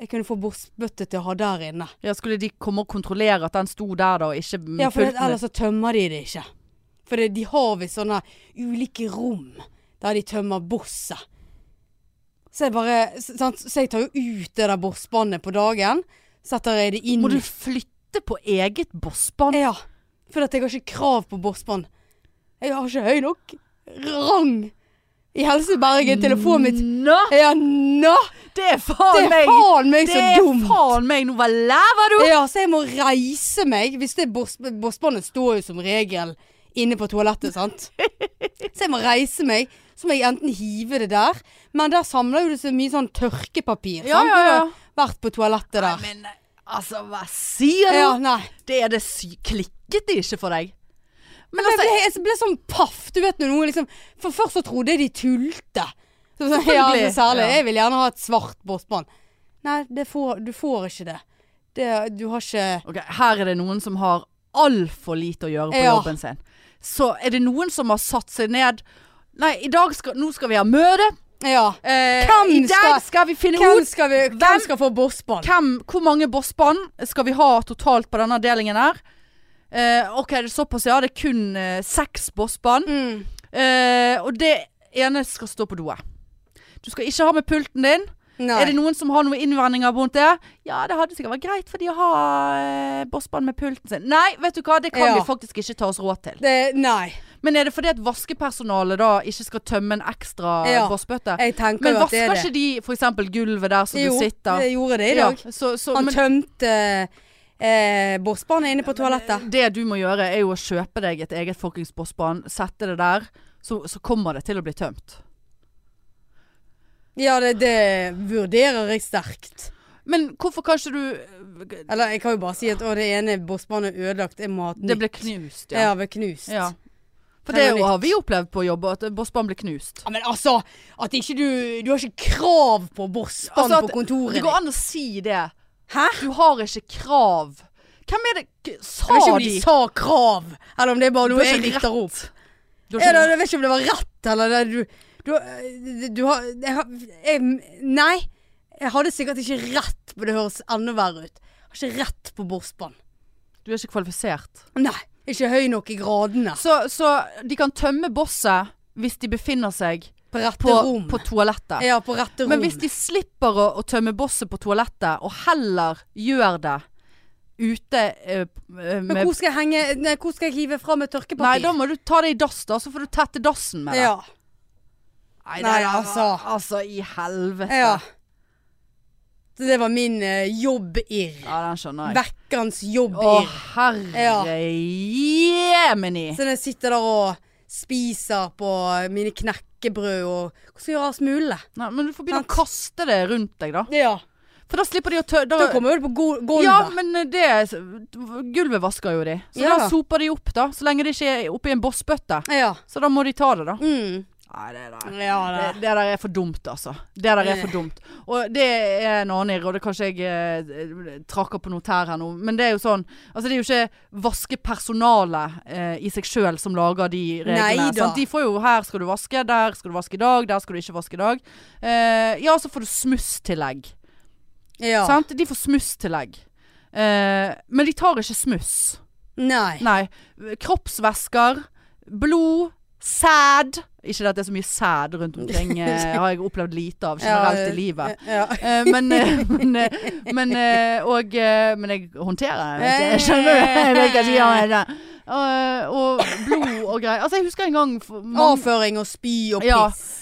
Speaker 2: jeg kunne få bordsbøtte til å ha der inne.
Speaker 1: Ja, skulle de komme og kontrollere at den sto der da, og ikke
Speaker 2: Ja, for det,
Speaker 1: pulten?
Speaker 2: ellers så tømmer de det ikke. For det, de har visst sånne ulike rom der de tømmer bosset. Så jeg bare s- sant? Så jeg tar jo ut det der bossbåndet på dagen. Setter jeg det inn
Speaker 1: Må du flytte på eget bossbånd?
Speaker 2: Ja. For at jeg har ikke krav på bossbånd. Jeg har ikke høy nok rang i Helse Bergen til å få mitt
Speaker 1: Nå!
Speaker 2: Ja, nå!
Speaker 1: Det er faen
Speaker 2: Det er
Speaker 1: meg
Speaker 2: faen meg
Speaker 1: Mm. Det
Speaker 2: så
Speaker 1: er
Speaker 2: dumt!
Speaker 1: faen meg nå, hva lever du?
Speaker 2: Ja, så jeg må reise meg. Hvis det er boss- bossbåndet står jo som regel inne på toalettet, sant. Så jeg må reise meg. Så må jeg enten hive det der, men der samler jo det så mye sånn tørkepapir.
Speaker 1: Ja,
Speaker 2: sant?
Speaker 1: ja, ja.
Speaker 2: Du har Vært på toalettet der.
Speaker 1: Men altså, hva sier du?
Speaker 2: Ja, nei.
Speaker 1: Det er det sy klikket det ikke for deg. Men
Speaker 2: Jeg
Speaker 1: altså,
Speaker 2: ble, jeg ble sånn paff. Du vet når noen liksom For først så trodde jeg de tulte. Så, sånn, ja,
Speaker 1: Selvfølgelig.
Speaker 2: så særlig.
Speaker 1: Ja.
Speaker 2: Jeg vil gjerne ha et svart bossbånd. Nei, det får, du får ikke det. det. Du har ikke
Speaker 1: Ok, her er det noen som har altfor lite å gjøre på
Speaker 2: Ja.
Speaker 1: jobben sin. Så er det noen som har satt seg ned Nei, i dag skal, nå skal vi ha møte.
Speaker 2: Ja.
Speaker 1: Eh,
Speaker 2: Hvem
Speaker 1: I dag
Speaker 2: skal-
Speaker 1: skal vi finne
Speaker 2: Hvem
Speaker 1: ut
Speaker 2: skal, vi, hvem skal få bossball?
Speaker 1: hvem, hvor mange bossband skal vi ha totalt på denne avdelingen her. Eh, ok, det er såpass, ja. Det er kun eh, seks bossband.
Speaker 2: Mm.
Speaker 1: Eh, og det ene skal stå på doet. Du skal ikke ha med pulten din.
Speaker 2: Nei.
Speaker 1: Er det noen som har noen innvendinger mot det? Ja, det hadde sikkert vært greit for de å ha eh, bossband med pulten sin. Nei, vet du hva, det kan
Speaker 2: Ja.
Speaker 1: vi faktisk ikke ta oss råd til.
Speaker 2: Det- nei.
Speaker 1: Men er det fordi at vaskepersonalet da ikke skal tømme en ekstra eh,
Speaker 2: Ja.
Speaker 1: bossbøtte?
Speaker 2: Jeg tenker
Speaker 1: Men
Speaker 2: jo at det er
Speaker 1: vasker ikke
Speaker 2: det.
Speaker 1: de f.eks. gulvet der som
Speaker 2: jo,
Speaker 1: du sitter?
Speaker 2: det gjorde det i dag.
Speaker 1: Ja, så, så,
Speaker 2: Han
Speaker 1: men
Speaker 2: tømte eh, bossbanen inne på toalettet.
Speaker 1: det du må gjøre, er jo å kjøpe deg et eget fuckings bossband, sette det der, så, så kommer det til å bli tømt.
Speaker 2: Ja, det, det vurderer jeg sterkt.
Speaker 1: Men hvorfor kan ikke du eh,
Speaker 2: Eller jeg kan jo bare si at å, det ene bossbanen er ødelagt, jeg må ha et
Speaker 1: Det
Speaker 2: nytt.
Speaker 1: ble knust,
Speaker 2: ja.
Speaker 1: ja.
Speaker 2: ble knust.
Speaker 1: ja. For
Speaker 2: Det
Speaker 1: det
Speaker 2: var nytt.
Speaker 1: har vi opplevd på jobb, at bossbanen ble knust.
Speaker 2: Ja, men altså, at ikke du Du har ikke krav på bossbanen
Speaker 1: Altså at-
Speaker 2: på kontoret
Speaker 1: Det
Speaker 2: ditt.
Speaker 1: går an å si det.
Speaker 2: Hæ?
Speaker 1: Du har ikke krav. Hvem er det k- Sa
Speaker 2: Jeg vet ikke
Speaker 1: de?
Speaker 2: om de sa krav, eller om det er bare
Speaker 1: Du
Speaker 2: noe
Speaker 1: har
Speaker 2: jeg
Speaker 1: ikke
Speaker 2: dikter opp.
Speaker 1: Du har
Speaker 2: Ja,
Speaker 1: ikke-
Speaker 2: da, jeg vet ikke om det var rett, eller det, du, du, eh, du har jeg, har- jeg, Nei. Jeg hadde sikkert ikke rett, men det høres enda verre ut. Jeg har ikke rett på borsbånd.
Speaker 1: Du er ikke kvalifisert.
Speaker 2: Nei. Ikke høy nok i gradene.
Speaker 1: Så, så de kan tømme bosset hvis de befinner seg
Speaker 2: På rette
Speaker 1: på,
Speaker 2: rom.
Speaker 1: på toalettet.
Speaker 2: ja, på rette rom.
Speaker 1: Men hvis de slipper å, å tømme bosset på toalettet, og heller gjør det ute eh, eh,
Speaker 2: Men
Speaker 1: med
Speaker 2: hvor skal jeg henge Nei, hvor skal jeg hive fra med tørkepapir?
Speaker 1: Nei, da må du ta det i dass, da. Så får du tette dassen med det.
Speaker 2: Ja.
Speaker 1: Nei,
Speaker 2: Nei,
Speaker 1: det er-
Speaker 2: altså.
Speaker 1: Altså, i helvete.
Speaker 2: ja. Så det var min eh, jobb-irr.
Speaker 1: Ja, den skjønner jeg.
Speaker 2: Vekkans
Speaker 1: Å,
Speaker 2: jobb-irr.
Speaker 1: herre
Speaker 2: Ja.
Speaker 1: jemini.
Speaker 2: Så når jeg sitter der og spiser på eh, mine knekkebrød og Hva skal jeg gjøre av smulene?
Speaker 1: Nei, men du får begynne
Speaker 2: Sant.
Speaker 1: å kaste det rundt deg, da.
Speaker 2: Ja.
Speaker 1: For da slipper de å tø...
Speaker 2: Da kommer jo det på go- gulvet.
Speaker 1: ja, men eh, det Gulvet vasker jo de. Så
Speaker 2: Ja.
Speaker 1: da soper de opp, da. Så lenge det ikke er oppi en bossbøtte.
Speaker 2: Ja.
Speaker 1: Så da må de ta det, da.
Speaker 2: Mm.
Speaker 1: Nei, det der.
Speaker 2: ja
Speaker 1: Det,
Speaker 2: da.
Speaker 1: det der er for dumt, altså. Det der er for dumt. Og det er en annen irr, og det kanskje jeg eh, trakker på noe tær her nå, men det er jo sånn Altså, det er jo ikke vaskepersonalet eh, i seg sjøl som lager de reglene.
Speaker 2: Neida.
Speaker 1: Sant? De får jo her skal du vaske, der skal du vaske i dag, der skal du ikke vaske i dag. Eh, ja, så får du smusstillegg.
Speaker 2: Ja.
Speaker 1: Sant? De får smusstillegg. Eh, men de tar ikke smuss.
Speaker 2: Nei.
Speaker 1: Nei. Kroppsvæsker, blod, sæd. Ikke det at det er så mye sæd rundt omkring, eh, har jeg opplevd lite av generelt i livet.
Speaker 2: Ja.
Speaker 1: Eh, men, eh, men, eh, men, eh, og, eh, men jeg håndterer det. ikke? Jeg skjønner du? Jeg vet ikke hva jeg sier om det. Eh, og blod og greier. Altså, jeg husker en gang for mange-
Speaker 2: Avføring og spy og
Speaker 1: Ja.
Speaker 2: piss.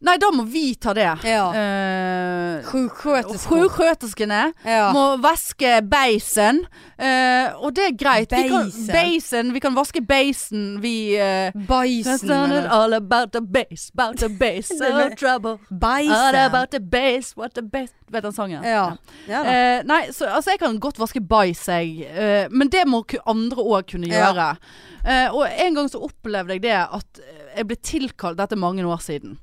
Speaker 1: Nei, da må vi ta det.
Speaker 2: Ja.
Speaker 1: Eh,
Speaker 2: Sjuksköterskor.
Speaker 1: Sjuksköterskene
Speaker 2: Ja.
Speaker 1: må vaske beisen. eh, og det er greit. Vi kan,
Speaker 2: Beisen.
Speaker 1: beisen. Vi kan vaske beisen, vi eh, That's
Speaker 2: Bajsen.
Speaker 1: not
Speaker 2: mener
Speaker 1: it
Speaker 2: jeg.
Speaker 1: all about the bass, about the bass,
Speaker 2: Det
Speaker 1: oh
Speaker 2: med-
Speaker 1: trouble. All
Speaker 2: Bajsen.
Speaker 1: about the bass, what the bass Vet den sangen?
Speaker 2: Ja. ja da.
Speaker 1: Eh, nei, så, altså jeg kan godt vaske bajs, jeg. Eh, men det må ku- andre òg kunne
Speaker 2: Ja.
Speaker 1: gjøre. Eh, og en gang så opplevde jeg det at eh, jeg ble tilkalt Dette er mange år siden.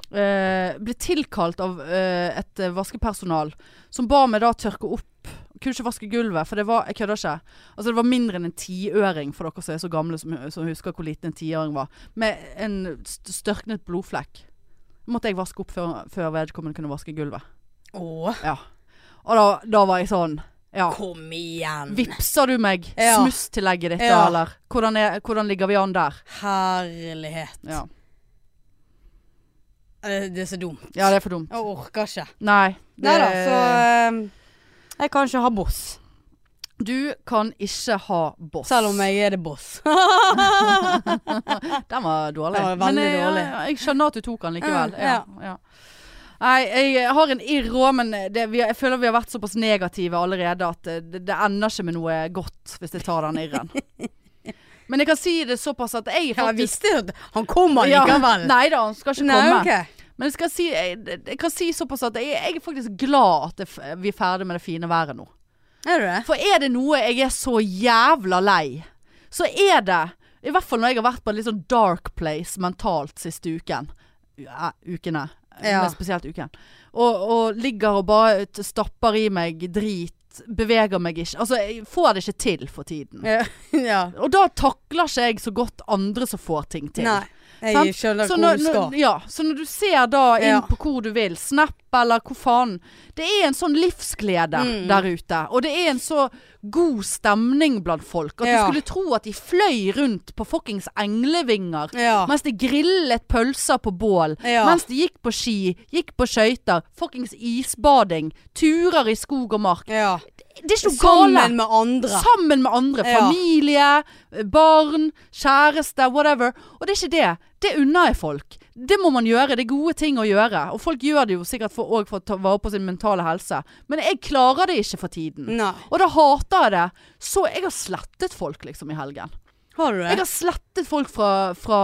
Speaker 1: Eh, ble tilkalt av eh, et eh, vaskepersonal som ba meg da tørke opp. Kunne ikke vaske gulvet, for det var Jeg kødder ikke. Altså det var mindre enn en tiøring, for dere som er så gamle som, som husker hvor liten en tiøring var. Med en st størknet blodflekk. Måtte jeg vaske opp før, før vedkommende kunne vaske gulvet.
Speaker 2: Å,
Speaker 1: Ja. Og da, da var jeg sånn Ja.
Speaker 2: kom igjen.
Speaker 1: Vipser du meg
Speaker 2: Ja.
Speaker 1: smusstillegget ditt, da,
Speaker 2: Ja.
Speaker 1: eller? Hvordan, er, hvordan ligger vi an der?
Speaker 2: Herlighet.
Speaker 1: Ja.
Speaker 2: Eh, Det er så dumt.
Speaker 1: ja, det er for dumt.
Speaker 2: Jeg orker ikke.
Speaker 1: Nei. det-
Speaker 2: Nei da, så eh, Jeg kan ikke ha boss.
Speaker 1: Du kan ikke ha boss.
Speaker 2: Selv om jeg er det boss.
Speaker 1: Den var dårlig.
Speaker 2: Den var veldig
Speaker 1: men, eh,
Speaker 2: dårlig.
Speaker 1: Ja, ja, jeg skjønner at du tok den likevel.
Speaker 2: Mm,
Speaker 1: Ja, ja. Nei, jeg har en irr òg, men det, vi, jeg føler vi har vært såpass negative allerede at eh, det, det ender ikke med noe godt hvis jeg tar den irren. Men jeg kan si det såpass at jeg
Speaker 2: Jeg
Speaker 1: faktisk
Speaker 2: visste jo at han kommer likevel.
Speaker 1: Nei da, han skal ikke
Speaker 2: Nei,
Speaker 1: komme.
Speaker 2: ok.
Speaker 1: Men jeg, skal si, jeg, jeg kan si såpass at jeg, jeg er faktisk glad at det, f- vi er ferdig med det fine været nå.
Speaker 2: Er du det?
Speaker 1: For er det noe jeg er så jævla lei, så er det I hvert fall når jeg har vært på en litt sånn dark place mentalt siste uken. Ja, ukene.
Speaker 2: Ja.
Speaker 1: Men spesielt uken. Og, og ligger og bare t- stapper i meg drit. Beveger meg ikke. Altså, jeg får det ikke til for tiden.
Speaker 2: Ja. ja.
Speaker 1: Og da takler ikke jeg så godt andre som får ting til.
Speaker 2: Nei. Jeg
Speaker 1: Sant?
Speaker 2: skjønner
Speaker 1: Så
Speaker 2: hvor
Speaker 1: når,
Speaker 2: du skal.
Speaker 1: når, ja, så når du ser da inn
Speaker 2: Ja.
Speaker 1: på hvor du vil, Snap eller hvor faen Det er en sånn livsglede
Speaker 2: Mm.
Speaker 1: der ute. Og det er en så god stemning blant folk. At
Speaker 2: Ja.
Speaker 1: du skulle tro at de fløy rundt på fuckings englevinger.
Speaker 2: Ja.
Speaker 1: Mens de grillet pølser på bål.
Speaker 2: Ja.
Speaker 1: Mens de gikk på ski, gikk på skøyter. Fuckings isbading. Turer i skog og mark.
Speaker 2: ja.
Speaker 1: Det er ikke noe gale.
Speaker 2: Sammen med andre.
Speaker 1: Sammen med andre.
Speaker 2: Ja.
Speaker 1: Familie, barn, kjæreste, whatever. Og det er ikke det. Det unner jeg folk. Det må man gjøre. Det er gode ting å gjøre. Og folk gjør det jo sikkert for, også for å ta vare på sin mentale helse. Men jeg klarer det ikke for tiden.
Speaker 2: Nei.
Speaker 1: Og da hater jeg det. Så jeg har slettet folk liksom i helgen.
Speaker 2: Har du det?
Speaker 1: Jeg har slettet folk fra, fra,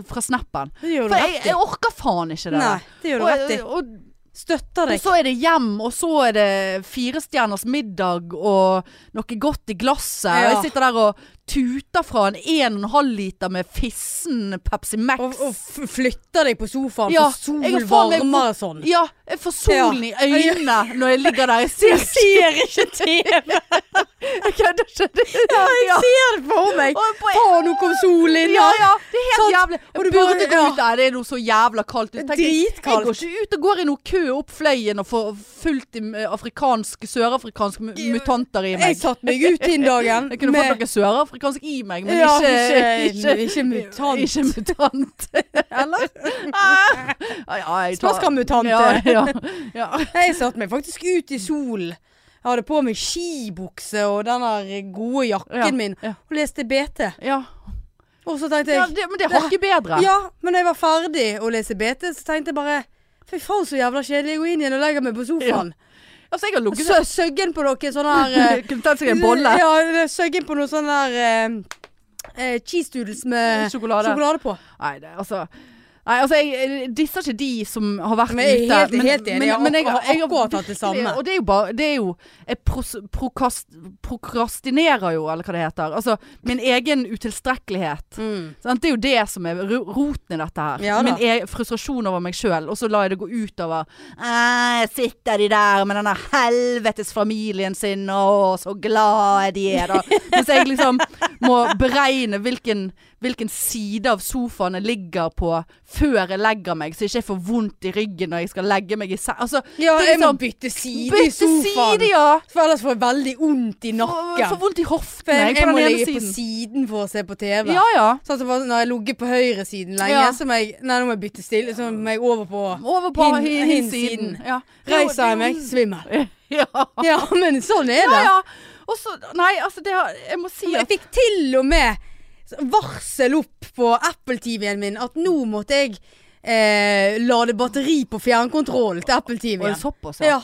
Speaker 1: fra snappen.
Speaker 2: Det gjør
Speaker 1: For
Speaker 2: du
Speaker 1: jeg,
Speaker 2: rett i.
Speaker 1: jeg orker faen ikke det.
Speaker 2: Nei, det gjør du rett i.
Speaker 1: og, og
Speaker 2: Støtter
Speaker 1: og
Speaker 2: deg.
Speaker 1: så er det hjem, og så er det firestjerners middag og noe godt i glasset.
Speaker 2: Ja.
Speaker 1: Og jeg sitter der og tuter fra en 1,5 liter med fissen Pepsi Max.
Speaker 2: Og, og f- flytter deg på sofaen,
Speaker 1: Ja,
Speaker 2: for sol
Speaker 1: jeg har faen meg
Speaker 2: varmer og sånn.
Speaker 1: Ja, jeg får solen i øynene når jeg ligger der. Jeg ser
Speaker 2: ser ikke TV!
Speaker 1: Jeg kødder ikke. Det- Ja.
Speaker 2: ser det for meg!
Speaker 1: Og på-
Speaker 2: Faen, nå kom solen inn!
Speaker 1: Ja, ja, det er helt
Speaker 2: Sant.
Speaker 1: jævlig.
Speaker 2: Og
Speaker 1: Jeg
Speaker 2: du bare-
Speaker 1: burde gå
Speaker 2: ja.
Speaker 1: ut der, det er noe så jævla kaldt. ute. Tenker jeg, Jeg
Speaker 2: Dritkaldt.
Speaker 1: går ikke ut og går i noe kø opp fløyen og får fullt i eh, afrikansk, sørafrikanske mu- mutanter i meg.
Speaker 2: Jeg satte meg ut den dagen
Speaker 1: Jeg kunne fått noe sørafrikansk i meg, men
Speaker 2: Ja,
Speaker 1: ikke,
Speaker 2: ikke- ikke mutant.
Speaker 1: Ikke mutant. Eller? Ah, ja, jeg tar-
Speaker 2: Smaskamutant.
Speaker 1: Ja, ja, ja.
Speaker 2: Jeg satte meg faktisk ut i solen. Jeg hadde på meg skibukse og den der gode jakken
Speaker 1: Ja,
Speaker 2: min,
Speaker 1: ja.
Speaker 2: og leste BT.
Speaker 1: ja.
Speaker 2: Og så tenkte
Speaker 1: ja
Speaker 2: jeg
Speaker 1: det, men det er hakket bedre.
Speaker 2: Ja, men når jeg var ferdig å lese BT, så tenkte jeg bare Fy faen, så jævla kjedelig. Jeg går inn igjen og legger meg på sofaen.
Speaker 1: Altså, jeg har eh,
Speaker 2: Og
Speaker 1: ligget
Speaker 2: så Søggen på noe sånn her
Speaker 1: Kunne tatt seg en bolle.
Speaker 2: Ja, søggen på noe sånn der eh, eh, cheese doodles med
Speaker 1: Sjokolade.
Speaker 2: sjokolade på.
Speaker 1: Nei, det, altså Nei, altså, jeg jeg disser ikke de som har vært
Speaker 2: Men jeg er
Speaker 1: ute.
Speaker 2: helt- helt enig. Jeg har
Speaker 1: men
Speaker 2: ak- har akkurat hatt det
Speaker 1: virkelig-
Speaker 2: samme.
Speaker 1: Og det er jo bare Det er jo Jeg pros, prokast, prokrastinerer jo, eller hva det heter. Altså min egen utilstrekkelighet.
Speaker 2: Mm.
Speaker 1: Sant? Det er jo det som er ro- roten i dette her.
Speaker 2: Ja da.
Speaker 1: Min e frustrasjon over meg sjøl. Og så lar jeg det gå utover «Eh, Sitter de der med denne helvetes familien sin, å, så glad de er, da. Mens jeg liksom må beregne hvilken, hvilken side av sofaen jeg ligger på før jeg legger meg, så jeg ikke får vondt i ryggen når jeg skal legge meg i seng. Altså,
Speaker 2: Ja,
Speaker 1: det er
Speaker 2: jeg må
Speaker 1: liksom
Speaker 2: bytte side i
Speaker 1: Bytte
Speaker 2: sofaen.
Speaker 1: side, ja!
Speaker 2: For ellers får jeg veldig vondt i
Speaker 1: Får
Speaker 2: nakken.
Speaker 1: får vondt i hoften
Speaker 2: For jeg,
Speaker 1: jeg, på
Speaker 2: jeg må
Speaker 1: den
Speaker 2: ligge
Speaker 1: ene
Speaker 2: på
Speaker 1: siden.
Speaker 2: siden for å se på TV.
Speaker 1: Ja ja.
Speaker 2: Sånn som bare når jeg ligger på høyresiden lenge,
Speaker 1: Ja.
Speaker 2: så må jeg Nei, nå må jeg bytte stille. Så må jeg over på
Speaker 1: Over på
Speaker 2: Hin-
Speaker 1: hin,
Speaker 2: hin
Speaker 1: siden.
Speaker 2: siden.
Speaker 1: Ja.
Speaker 2: Reiser jeg meg, svimmel.
Speaker 1: Ja.
Speaker 2: Ja, men sånn er det.
Speaker 1: Ja, ja. Og så Nei, altså, det har Jeg må si
Speaker 2: Men jeg
Speaker 1: at
Speaker 2: fikk til og med varsel opp på Apple-TV-en min at nå måtte jeg eh, lade batteri på
Speaker 1: Var
Speaker 2: fjernkontrollen til
Speaker 1: det sånn, altså?
Speaker 2: Apple-TV-en.
Speaker 1: såpass,
Speaker 2: Ja,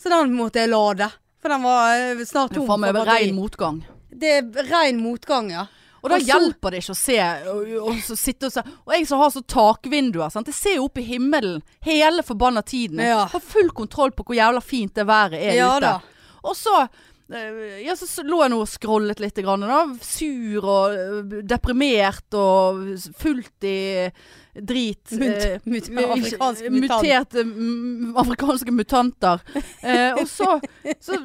Speaker 2: så den måtte jeg lade. For den var eh, snart
Speaker 1: Det er
Speaker 2: tom for
Speaker 1: faen meg
Speaker 2: batteri.
Speaker 1: ren motgang.
Speaker 2: Det er ren motgang, ja.
Speaker 1: Og da
Speaker 2: Og så-
Speaker 1: hjelper det ikke å se og, og så sitte og se. Og jeg som har så takvinduer, sant. Jeg ser jo opp i himmelen hele forbanna tiden. Jeg
Speaker 2: Ja.
Speaker 1: Har full kontroll på hvor jævla fint det været er
Speaker 2: Ja
Speaker 1: ute.
Speaker 2: da.
Speaker 1: Og så eh, ja, så s- lå jeg nå og scrollet litt, grann, da. sur og eh, deprimert og fullt i drit.
Speaker 2: Mut-
Speaker 1: eh,
Speaker 2: mut-
Speaker 1: Med ikke-
Speaker 2: afrikansk
Speaker 1: eh,
Speaker 2: mutant.
Speaker 1: Muterte mm, afrikanske mutanter. Eh, og så, så,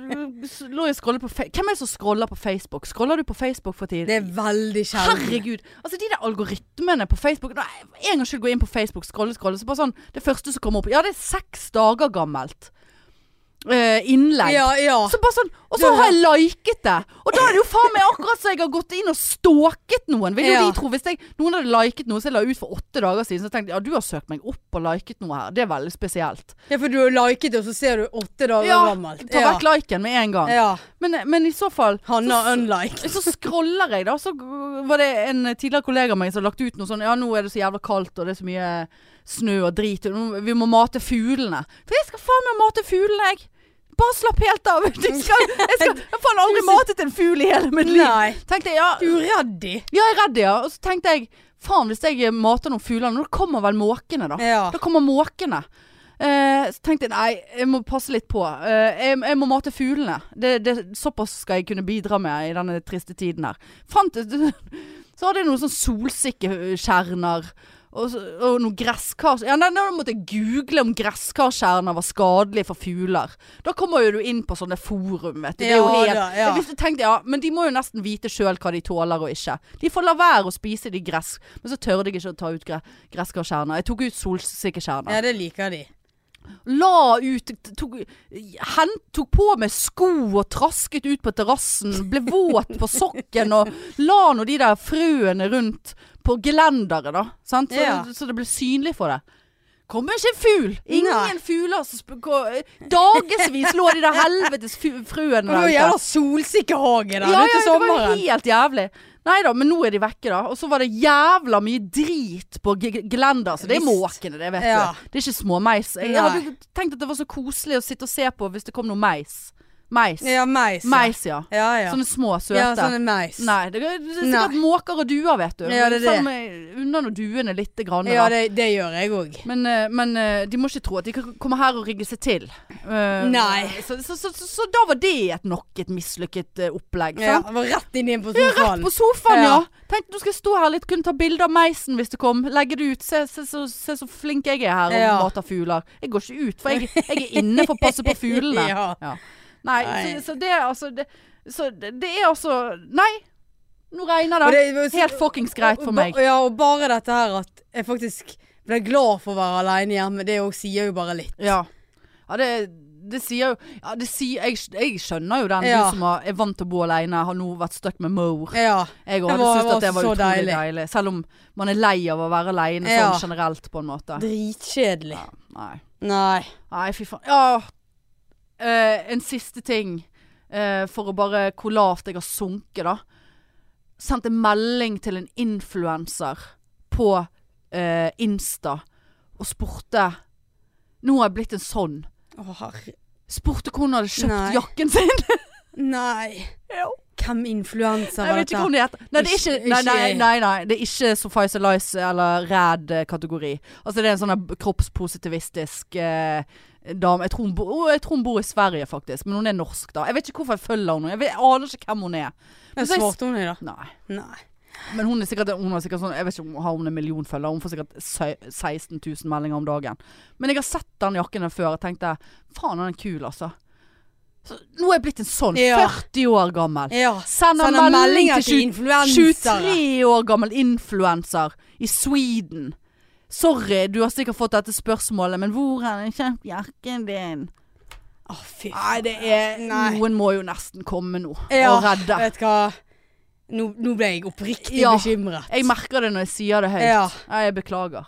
Speaker 1: så lå jeg og scrollet på Fe- Hvem er det som scroller på Facebook? Scroller du på Facebook for tiden?
Speaker 2: Det er veldig sjelden.
Speaker 1: Herregud. Altså de der algoritmene på Facebook Nei, En gang skyld gå inn på Facebook, scrolle, scrolle. Så bare sånn Det første som kommer opp Ja, det er seks dager gammelt eh, innlegg.
Speaker 2: Ja, ja.
Speaker 1: Så bare sånn, og så har jeg liket det. Og da er det jo faen meg akkurat som jeg har gått inn og stalket noen. Vil jo
Speaker 2: Ja.
Speaker 1: de tro Hvis jeg, noen hadde liket noe som jeg la ut for åtte dager siden, så tenkte jeg ja, du har søkt meg opp og liket noe her. Det er veldig spesielt.
Speaker 2: Ja, for du har liket det, og så ser du åtte dager
Speaker 1: Ja,
Speaker 2: gammelt.
Speaker 1: ta vekk liken med en gang.
Speaker 2: Ja.
Speaker 1: Men, men i så fall
Speaker 2: Hanna
Speaker 1: så-
Speaker 2: unlike.
Speaker 1: så scroller jeg, da. Så g- var det en tidligere kollega av meg som lagt ut noe sånn Ja, nå er det så jævla kaldt, og det er så mye snø og drit. og nå- Vi må mate fuglene. For jeg skal faen meg mate fuglene, jeg. Bare slapp helt av. De skal, jeg, skal, jeg har faen aldri matet en fugl i hele mitt liv.
Speaker 2: Nei.
Speaker 1: Tenkte jeg, ja,
Speaker 2: Du er redd i.
Speaker 1: ja, jeg er redd, ja. Og så tenkte jeg faen, hvis jeg mater noen fugler Nå kommer vel måkene, da.
Speaker 2: Ja.
Speaker 1: Da kommer måkene. Eh, så tenkte jeg nei, jeg må passe litt på. Eh, jeg, jeg må mate fuglene. Det, det, såpass skal jeg kunne bidra med i denne triste tiden her. Fant, så hadde jeg noen sånn solsikkekjerner Og, så- og noe gresskar Ja, nei, da måtte jeg google om gresskarkjerner var skadelige for fugler. Da kommer jo du inn på sånne forum, vet du. Det er jo
Speaker 2: Ja,
Speaker 1: helt,
Speaker 2: da, ja.
Speaker 1: Jeg visste, tenkte, ja, men de må jo nesten vite sjøl hva de tåler og ikke. De får la være å spise de gress... Men så tørde jeg ikke å ta ut gre gresskarkjerner. Jeg tok ut solsikkekjerner.
Speaker 2: Ja, det liker de.
Speaker 1: La ut tok, hent, tok på meg sko og trasket ut på terrassen. Ble våt på sokken og la nå de der frøene rundt på gelenderet, da. Sant? Så,
Speaker 2: Ja.
Speaker 1: så det ble synlig for det. Kom ikke en fugl! Ingen
Speaker 2: Nei.
Speaker 1: fugler som sp- gå- Dagevis lå de der helvetes fu- frøene
Speaker 2: Og det var
Speaker 1: der
Speaker 2: jo
Speaker 1: ute.
Speaker 2: jævla solsikkehage der
Speaker 1: Ja, ja,
Speaker 2: ute
Speaker 1: det var
Speaker 2: sommeren.
Speaker 1: helt jævlig. Nei da, men nå er de vekke, da. Og så var det jævla mye drit på g- g- gelender. Så det er
Speaker 2: Visst.
Speaker 1: måkene, det vet
Speaker 2: Ja.
Speaker 1: du. Det er ikke småmeis. Jeg,
Speaker 2: Nei.
Speaker 1: jeg hadde jo tenkt at det var så koselig å sitte og se på hvis det kom noe meis. Meis.
Speaker 2: Ja, meis. ja.
Speaker 1: Meis, ja.
Speaker 2: Ja, ja.
Speaker 1: Sånne små, søte.
Speaker 2: ja, sånne meis.
Speaker 1: Nei, det er det er sikkert
Speaker 2: Nei.
Speaker 1: måker og duer, vet du.
Speaker 2: Ja, det er det.
Speaker 1: Selv om jeg unner nå duene lite grann.
Speaker 2: Ja,
Speaker 1: da.
Speaker 2: det, det gjør jeg òg.
Speaker 1: Men, eh, men eh, de må ikke tro at de kan komme her og rigge seg til. Eh,
Speaker 2: Nei.
Speaker 1: Så, så, så, så, så da var det et nok et mislykket eh, opplegg.
Speaker 2: Ja,
Speaker 1: sant?
Speaker 2: det var rett inn i på
Speaker 1: Rett
Speaker 2: sofaen.
Speaker 1: på sofaen, ja.
Speaker 2: Ja.
Speaker 1: Tenkte du skal jeg stå her litt, kunne ta bilde av meisen hvis det kom. Legge det ut. Se, se, så- se så flink jeg er her og
Speaker 2: Ja.
Speaker 1: mater fugler. Jeg går ikke ut, for jeg, jeg er inne for å passe på fuglene.
Speaker 2: Ja.
Speaker 1: Nei,
Speaker 2: Nei.
Speaker 1: Så, så det er altså det, Så det, det er altså Nei, nå regner
Speaker 2: Og
Speaker 1: det.
Speaker 2: det-
Speaker 1: Helt fuckings greit for
Speaker 2: Og ba-
Speaker 1: meg.
Speaker 2: Ja, og bare dette her at jeg faktisk ble glad for å være aleine hjemme, det òg sier jo bare litt.
Speaker 1: Ja. ja det, det sier jo ja, det sier, jeg, jeg skjønner jo den,
Speaker 2: Ja.
Speaker 1: du som har, er vant til å bo alene, har nå vært stuck med Moore.
Speaker 2: Ja.
Speaker 1: Jeg
Speaker 2: Det
Speaker 1: hadde
Speaker 2: var-
Speaker 1: syntes
Speaker 2: var
Speaker 1: at det var
Speaker 2: så
Speaker 1: utrolig
Speaker 2: deilig.
Speaker 1: deilig. Selv om man er lei av å være alene
Speaker 2: Ja.
Speaker 1: sånn generelt, på en måte.
Speaker 2: Dritkjedelig.
Speaker 1: Ja, nei.
Speaker 2: Nei.
Speaker 1: Nei, fy faen. Ja. Eh, en siste ting, eh, for å bare hvor lavt jeg har sunket, da. Sendte en melding til en influenser på eh, Insta og spurte Nå har jeg blitt en sånn.
Speaker 2: Å, herre
Speaker 1: Spurte hvor hun hadde kjøpt
Speaker 2: Nei.
Speaker 1: jakken sin.
Speaker 2: Nei.
Speaker 1: Jo.
Speaker 2: Hvem influenser
Speaker 1: Jeg
Speaker 2: var
Speaker 1: vet ikke
Speaker 2: dette?
Speaker 1: hva hun heter. Nei, det er
Speaker 2: Ikke-
Speaker 1: ikke, nei, nei,
Speaker 2: ikke-
Speaker 1: nei, nei, det er ikke Suffice Elice eller Ræd-kategori. Altså det er en sånn her kroppspositivistisk eh, dame. Jeg tror, hun bo, å, jeg tror hun bor i Sverige faktisk, men hun er norsk da. Jeg vet ikke hvorfor jeg følger henne. Jeg, vet, jeg aner ikke hvem hun er.
Speaker 2: Jeg svarte hun i da?
Speaker 1: Nei.
Speaker 2: Nei.
Speaker 1: Men hun er sikkert, hun har sikkert sånn, jeg vet ikke om hun har hun en million følgere. Hun får sikkert se- 16 000 meldinger om dagen. Men jeg har sett den jakken der før og tenkte, faen han er kul altså. Så, nå er jeg blitt en sånn,
Speaker 2: Ja.
Speaker 1: 40 år gammel.
Speaker 2: Ja.
Speaker 1: Sender
Speaker 2: Sender
Speaker 1: melding
Speaker 2: meldinger
Speaker 1: til
Speaker 2: til
Speaker 1: 20
Speaker 2: influensere.
Speaker 1: 23 år gammel influenser i Sweden. Sorry, du har sikkert fått dette spørsmålet, men hvor har jeg kjøpt jakken din?
Speaker 2: Å, fy
Speaker 1: Nei, det er
Speaker 2: Nei.
Speaker 1: Noen må jo nesten komme nå
Speaker 2: Ja,
Speaker 1: og redde.
Speaker 2: Vet du hva? Nå, nå ble jeg oppriktig
Speaker 1: Ja.
Speaker 2: bekymret.
Speaker 1: Jeg merker det når jeg sier det høyt.
Speaker 2: Ja.
Speaker 1: Nei, jeg beklager.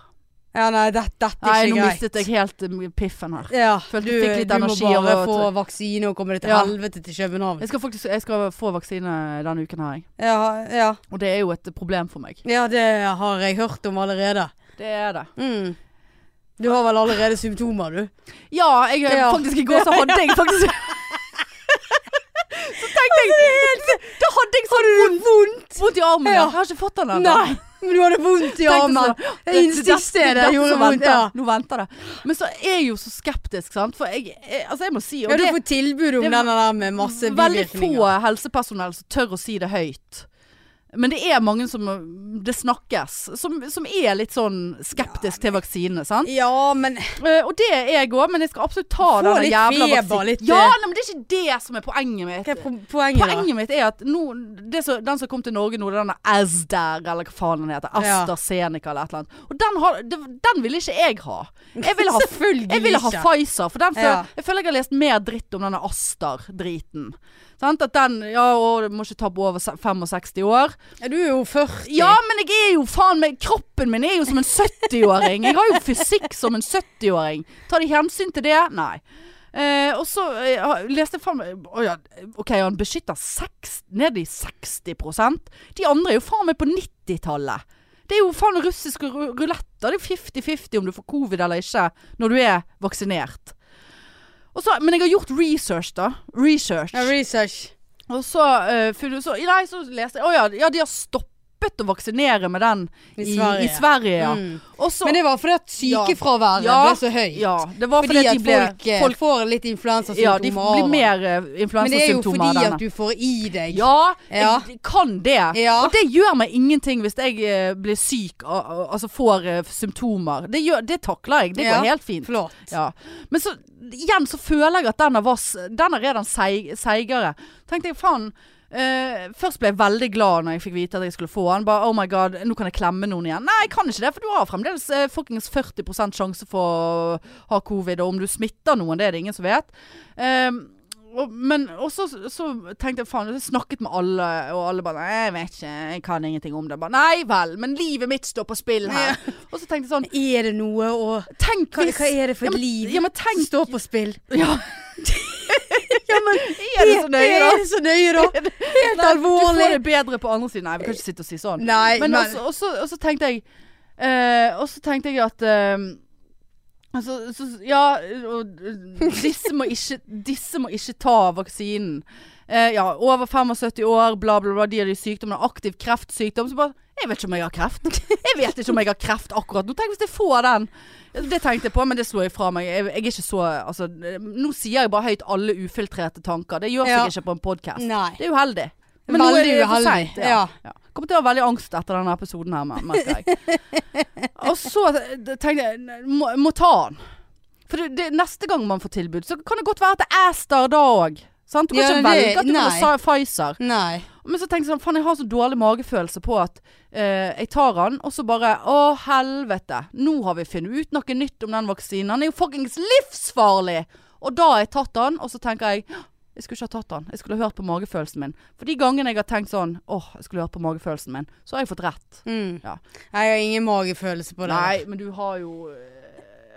Speaker 2: Ja, nei, dette, dette
Speaker 1: Nei,
Speaker 2: er
Speaker 1: nå
Speaker 2: ikke greit.
Speaker 1: mistet jeg helt eh, piffen her.
Speaker 2: Ja,
Speaker 1: Følte
Speaker 2: du,
Speaker 1: jeg fikk litt
Speaker 2: du må
Speaker 1: energi
Speaker 2: bare
Speaker 1: av å-
Speaker 2: få vaksine og komme deg til
Speaker 1: Ja.
Speaker 2: helvete til København.
Speaker 1: Jeg skal faktisk jeg skal få vaksine denne uken her, jeg.
Speaker 2: Ja, ja.
Speaker 1: Og det er jo et problem for meg.
Speaker 2: ja, det har jeg hørt om allerede.
Speaker 1: Det er det.
Speaker 2: Mm. Du har vel allerede symptomer, du?
Speaker 1: Ja, jeg,
Speaker 2: Ja.
Speaker 1: faktisk i går så hadde jeg faktisk Så tenkte jeg Da hadde jeg sånn vondt,
Speaker 2: Vondt!
Speaker 1: vondt i armen.
Speaker 2: Ja.
Speaker 1: Jeg har ikke fått den ennå.
Speaker 2: Nei, men du hadde vondt i
Speaker 1: Tenkte
Speaker 2: armen.
Speaker 1: sånn,
Speaker 2: Det innstikkstedet
Speaker 1: dette
Speaker 2: gjorde
Speaker 1: som
Speaker 2: vondt,
Speaker 1: venter.
Speaker 2: ja.
Speaker 1: Nå venter det. Men så er jeg jo så skeptisk, sant. For jeg, jeg altså jeg må si og
Speaker 2: Ja, du
Speaker 1: det
Speaker 2: får tilbud om
Speaker 1: det-
Speaker 2: denne der med masse
Speaker 1: er veldig få
Speaker 2: bivirkninger.
Speaker 1: helsepersonell som tør å si det høyt. Men det er mange som det snakkes, som, som er litt sånn skeptisk til vaksinene, sant.
Speaker 2: Ja, men
Speaker 1: Eh, og det er jeg òg, men jeg skal absolutt ta
Speaker 2: Få
Speaker 1: denne
Speaker 2: litt
Speaker 1: jævla
Speaker 2: feber,
Speaker 1: vaksinen.
Speaker 2: litt,
Speaker 1: ja,
Speaker 2: eh,
Speaker 1: nei, men det er ikke det som er poenget mitt.
Speaker 2: hva er po- poenget, da?
Speaker 1: Poenget mitt er at nå, det som- den som kom til Norge nå, det er denne Asder, eller hva faen den heter.
Speaker 2: Ja.
Speaker 1: AstraZeneca eller et eller annet. Og den, har, det- den ville ikke jeg ha. Jeg ville ha,
Speaker 2: Selvfølgelig
Speaker 1: jeg ville ha
Speaker 2: ikke.
Speaker 1: Pfizer, for den føler,
Speaker 2: Ja.
Speaker 1: jeg føler jeg har lest mer dritt om denne Aster-driten. Sant? At den Ja, og du må ikke ta på over se- 65 år.
Speaker 2: Ja, Du er jo 40.
Speaker 1: Ja, men jeg er jo faen meg Kroppen min er jo som en 70-åring. Jeg har jo fysikk som en 70-åring. Tar de hensyn til det? Nei. Eh, og så eh, har- leste jeg faen meg å ja, OK, han beskytter seks, ned i 60 De andre er jo faen meg på 90-tallet. Det er jo faen russiske ru- ruletter. Det er jo 50-50 om du får covid eller ikke når du er vaksinert. Og så, men jeg har gjort research, da. Research.
Speaker 2: Ja, research.
Speaker 1: Og så, eh, funnet- så Nei, så leste jeg Å ja, ja, de har stoppet sluppet å vaksinere med den
Speaker 2: I
Speaker 1: i,
Speaker 2: Sverige.
Speaker 1: i Sverige. Ja.
Speaker 2: Mm.
Speaker 1: Og så-
Speaker 2: Men det var fordi at sykefraværet
Speaker 1: Ja.
Speaker 2: ble så høyt.
Speaker 1: ja, det var fordi,
Speaker 2: fordi
Speaker 1: at de ble
Speaker 2: folk, eh, får litt influensasymptomer.
Speaker 1: Ja, de
Speaker 2: av
Speaker 1: blir
Speaker 2: det.
Speaker 1: mer eh,
Speaker 2: Men det er jo
Speaker 1: influensasymptomer av
Speaker 2: fordi
Speaker 1: denne.
Speaker 2: at du får i deg
Speaker 1: Ja,
Speaker 2: Ja.
Speaker 1: jeg kan det.
Speaker 2: Ja.
Speaker 1: Og det gjør meg ingenting hvis jeg eh, blir syk, og- og- altså får eh, symptomer. Det, gjør, det takler jeg. Det går
Speaker 2: Ja.
Speaker 1: helt fint.
Speaker 2: Flott.
Speaker 1: Ja. Men så, igjen så føler jeg at denne, var, s- denne er den seig, seigere. Tenkte jeg, faen. eh, først ble jeg veldig glad når jeg fikk vite at jeg skulle få den. Bare, oh my god, nå kan jeg klemme noen igjen. Nei, jeg kan ikke det, for du har fremdeles uh, fuckings 40 sjanse for å ha covid. Og om du smitter noen, det er det ingen som vet. Ehm, og, men og så, så tenkte jeg faen, jeg snakket med alle, og alle bare Nei, jeg vet ikke, jeg kan ingenting om det. Bare, Nei vel, men livet mitt står på spill her. Og så tenkte jeg sånn
Speaker 2: Er det noe å
Speaker 1: Tenk
Speaker 2: Hva,
Speaker 1: hvis
Speaker 2: hva er det for
Speaker 1: Ja,
Speaker 2: et
Speaker 1: men-
Speaker 2: liv
Speaker 1: Ja, men tenk
Speaker 2: som står på spill?
Speaker 1: ja.
Speaker 2: Er
Speaker 1: det så nøye, da?
Speaker 2: Er det så nøye, da? Helt
Speaker 1: Du får
Speaker 2: alvorlig.
Speaker 1: det bedre på andre siden. Nei, vi kan ikke sitte og si sånn.
Speaker 2: Nei,
Speaker 1: Men også, også, også tenkte jeg eh, Også tenkte jeg at eh, altså, så, Ja, og, eh, disse, må ikke, disse må ikke ta vaksinen. Eh, ja, over 75 år, bla, bla, bla. De har de sykdommene. Aktiv kreftsykdom. Så bare Jeg vet ikke om jeg har kreft. Jeg vet ikke om jeg har kreft akkurat nå. Tenk hvis jeg får den. Det tenkte jeg på, men det slo jeg fra meg. Jeg, jeg er ikke så altså, Nå sier jeg bare høyt alle ufiltrerte tanker. Det gjør seg
Speaker 2: Ja.
Speaker 1: ikke på en podkast.
Speaker 2: Nei.
Speaker 1: Det er uheldig.
Speaker 2: Men
Speaker 1: nå er
Speaker 2: veldig
Speaker 1: det for
Speaker 2: uheldig.
Speaker 1: sent, ja. Ja. Kommer til å ha veldig angst etter denne episoden her, mer- merker jeg. Og så eh, tenkte jeg ne- må, må ta den. For det, det, neste gang man får tilbud, så kan det godt være at det er Aster da òg. Sant? Du kan
Speaker 2: Ja,
Speaker 1: ikke
Speaker 2: det-
Speaker 1: velge at du
Speaker 2: nei.
Speaker 1: vil ha Pfizer.
Speaker 2: Nei.
Speaker 1: Men så tenkte jeg sånn, faen jeg har så dårlig magefølelse på at eh, jeg tar den, og så bare Å, helvete. Nå har vi funnet ut noe nytt om den vaksinen. Den er jo fuckings livsfarlig! Og da har jeg tatt den, og så tenker jeg «Hå, jeg skulle ikke ha tatt den. Jeg skulle ha hørt på magefølelsen min. For de gangene jeg har tenkt sånn åh, jeg skulle hørt på magefølelsen min, så har jeg fått rett.
Speaker 2: Mm.
Speaker 1: Ja.
Speaker 2: Jeg har ingen magefølelse på det.
Speaker 1: Nei, men du har jo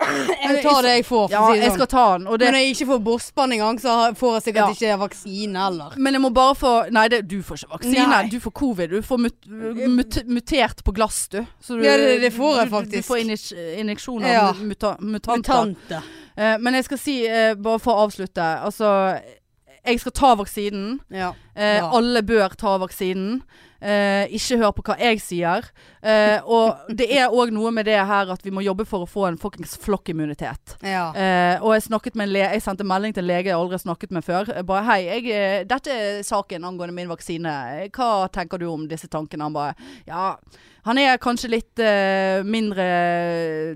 Speaker 2: Jeg tar det jeg får, for
Speaker 1: Ja,
Speaker 2: å si det
Speaker 1: jeg
Speaker 2: sånn.
Speaker 1: skal ta den. Og det,
Speaker 2: Men når jeg ikke får brystbånd engang, så har- får jeg sikkert
Speaker 1: Ja.
Speaker 2: ikke vaksine heller.
Speaker 1: men jeg må bare få Nei, det, du får ikke vaksine.
Speaker 2: Nei.
Speaker 1: Du får covid. Du får mut, mut, mutert på glass, du. Så du
Speaker 2: Ja, det- det får jeg
Speaker 1: du- Du,
Speaker 2: faktisk.
Speaker 1: du får injek- injeksjon av
Speaker 2: Ja.
Speaker 1: muta, mutanter.
Speaker 2: Tante.
Speaker 1: Eh, men jeg skal si, eh, bare for å avslutte Altså, jeg skal ta vaksinen.
Speaker 2: Ja.
Speaker 1: Eh,
Speaker 2: Ja.
Speaker 1: Alle bør ta vaksinen. Eh, ikke hør på hva jeg sier. Eh, og det er òg noe med det her at vi må jobbe for å få en fuckings flokkimmunitet.
Speaker 2: ja.
Speaker 1: Eh, og jeg, snakket med en le jeg sendte melding til en lege jeg aldri har snakket med før. Jeg bare hei, jeg, eh, dette er saken angående min vaksine. Hva tenker du om disse tankene? Han bare ja, han er kanskje litt eh, mindre eh,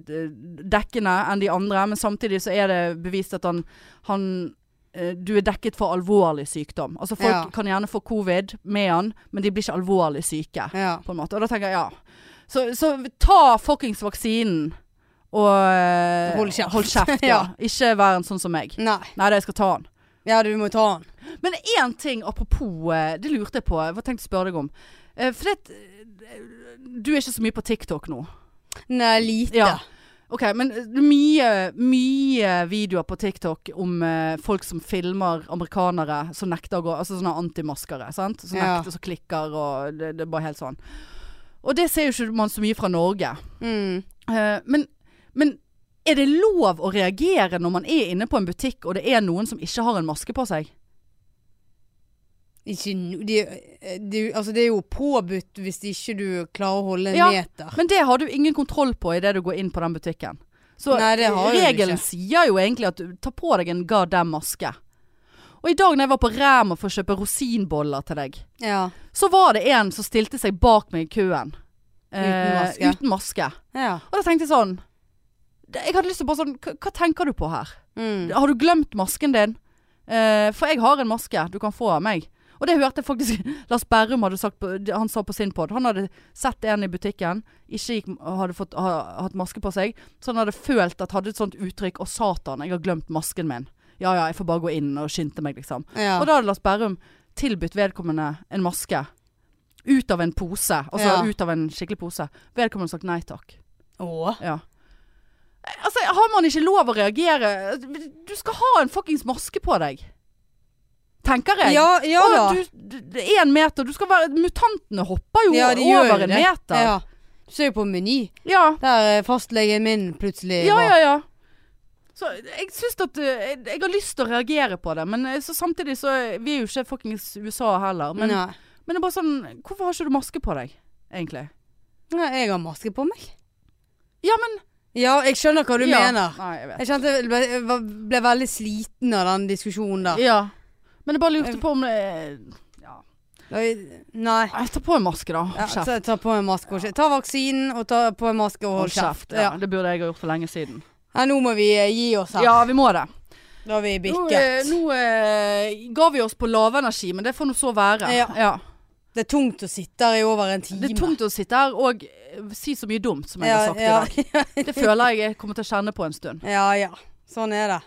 Speaker 1: dekkende enn de andre, men samtidig så er det bevist at han, han eh, du er dekket for alvorlig sykdom. Altså Folk
Speaker 2: Ja.
Speaker 1: kan gjerne få covid med han, men de blir ikke alvorlig syke.
Speaker 2: ja.
Speaker 1: På en måte. Og da tenker jeg ja. Så, så ta fuckings vaksinen. Og eh,
Speaker 2: Hold kjeft.
Speaker 1: Hold kjeft ja.
Speaker 2: Ja. Mm.
Speaker 1: Ikke vær en sånn som meg.
Speaker 2: Nei.
Speaker 1: Nei, det jeg skal ta den.
Speaker 2: Ja, du må ta den.
Speaker 1: Men én ting apropos eh, Det lurte jeg på. Jeg var tenkt å spørre deg om. Eh, For det, eh, du er ikke så mye på TikTok nå.
Speaker 2: Nei, lite.
Speaker 1: Ja. Ok, men eh, mye, mye videoer på TikTok om eh, folk som filmer amerikanere som nekter å gå Altså sånne antimaskere, sant? Som
Speaker 2: Ja.
Speaker 1: nekter, som klikker og det, det er bare helt sånn. Og det ser jo ikke man så mye fra Norge.
Speaker 2: Mm.
Speaker 1: Eh, men, men er det lov å reagere når man er inne på en butikk og det er noen som ikke har en maske på seg?
Speaker 2: Ikke no... De, de, altså, det er jo påbudt hvis ikke du klarer å holde en
Speaker 1: Ja,
Speaker 2: meter.
Speaker 1: Men det har du ingen kontroll på idet du går inn på den butikken. Så
Speaker 2: Nei, det har du
Speaker 1: regelen
Speaker 2: ikke.
Speaker 1: sier jo egentlig at du tar på deg en goddam maske. Og i dag når jeg var på Ræma for å kjøpe rosinboller til deg,
Speaker 2: Ja.
Speaker 1: så var det en som stilte seg bak meg i køen. eh,
Speaker 2: Uten maske.
Speaker 1: uten maske.
Speaker 2: ja.
Speaker 1: Og da tenkte jeg sånn det- Jeg hadde lyst til å bare sånn Hva hva tenker du på her?
Speaker 2: Mm.
Speaker 1: Har du glemt masken din? Eh, for jeg har en maske du kan få av meg. Og det hørte jeg faktisk Lars Berrum hadde sagt på, det Han sa på sin pod. Han hadde sett en i butikken, ikke gikk, hadde fått, ha, hatt maske på seg. Så han hadde følt at hadde et sånt uttrykk 'Å, satan, jeg har glemt masken min'. Ja ja, jeg får bare gå inn og skynde meg, liksom.
Speaker 2: Ja.
Speaker 1: Og da hadde Lars Berrum tilbudt vedkommende en maske. Ut av en pose. Altså
Speaker 2: Ja.
Speaker 1: ut av en skikkelig pose. Vedkommende sagt nei takk.
Speaker 2: Å.
Speaker 1: Ja. Altså, har man ikke lov å reagere? Du skal ha en fuckings maske på deg. Tenker jeg.
Speaker 2: Ja, ja
Speaker 1: Å,
Speaker 2: da.
Speaker 1: du- du- det er en meter. Du skal være Mutantene hopper jo
Speaker 2: Ja, de gjør
Speaker 1: over en
Speaker 2: det.
Speaker 1: meter.
Speaker 2: Ja. Du ser jo på Meny,
Speaker 1: Ja.
Speaker 2: der eh, fastlegen min plutselig
Speaker 1: ja,
Speaker 2: var.
Speaker 1: ja, ja. Så jeg syns at eh, jeg, jeg har lyst til å reagere på det, men eh, så samtidig så Vi er jo ikke fuckings USA heller. Men,
Speaker 2: Nei.
Speaker 1: men det er bare sånn Hvorfor har ikke du maske på deg? egentlig.
Speaker 2: Nei, jeg har maske på meg.
Speaker 1: Ja, men
Speaker 2: Ja, jeg skjønner hva du
Speaker 1: ja.
Speaker 2: mener.
Speaker 1: Nei, jeg vet.
Speaker 2: Jeg kjente jeg ble, jeg var- ble veldig sliten av den diskusjonen der.
Speaker 1: Ja. Men jeg bare lurte på om eh,
Speaker 2: Og- Nei.
Speaker 1: Jeg tar på en maske, da.
Speaker 2: Ja,
Speaker 1: Hold kjeft.
Speaker 2: ta, ta på en maske og kjeft. Ta vaksinen og ta på en maske og hold kjeft.
Speaker 1: Ja.
Speaker 2: Ja.
Speaker 1: Det burde jeg ha gjort for lenge siden.
Speaker 2: Ja, nå må vi eh, gi oss her.
Speaker 1: Ja, vi må det.
Speaker 2: Da har
Speaker 1: Nå,
Speaker 2: vi
Speaker 1: eh,
Speaker 2: bikket.
Speaker 1: nå eh, ga vi oss på lavenergi, men det får nå så være.
Speaker 2: Ja. Det er tungt å sitte her i over en time.
Speaker 1: Det er tungt å sitte her og eh, si så mye dumt som jeg
Speaker 2: ja,
Speaker 1: har sagt i dag.
Speaker 2: ja,
Speaker 1: Det føler jeg jeg kommer til å kjenne på en stund.
Speaker 2: ja, ja. Sånn er det.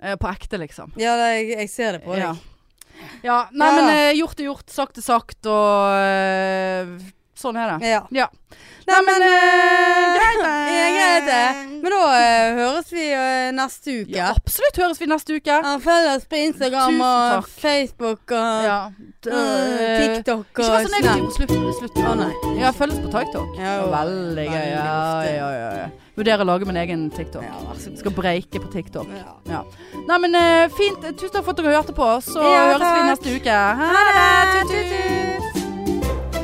Speaker 1: Eh, på ekte, liksom.
Speaker 2: Ja, det, jeg, jeg ser det på deg.
Speaker 1: Ja. Ja, nei,
Speaker 2: Ja
Speaker 1: men
Speaker 2: da.
Speaker 1: eh, gjort er gjort, sagt er sagt, og eh, sånn er det.
Speaker 2: Ja.
Speaker 1: Ja.
Speaker 2: Nei, men eh,
Speaker 1: greit det.
Speaker 2: ja, greit det. Men da eh, høres vi eh, neste uke.
Speaker 1: Ja, absolutt høres vi neste uke.
Speaker 2: Ja, Følg oss på Instagram
Speaker 1: Tusen
Speaker 2: og
Speaker 1: takk.
Speaker 2: Facebook og
Speaker 1: Ja.
Speaker 2: eh,
Speaker 1: Eh,
Speaker 2: TikTok
Speaker 1: Ikke
Speaker 2: og
Speaker 1: vær så negativ på slutten. slutten.
Speaker 2: Å, nei.
Speaker 1: Ja, følges på TikTok.
Speaker 2: Ja, jo.
Speaker 1: Veldig gøy.
Speaker 2: Veldig
Speaker 1: Ja,
Speaker 2: ofte.
Speaker 1: ja, ja, ja. Vurderer å lage min egen TikTok.
Speaker 2: Ja, vær så god.
Speaker 1: Skal breike på TikTok.
Speaker 2: Ja.
Speaker 1: Ja. Nei, men eh, fint. Tusen takk for at dere hørte på. Så
Speaker 2: Ja,
Speaker 1: høres vi
Speaker 2: takk.
Speaker 1: neste uke. Ha det! Tut, tut, tut.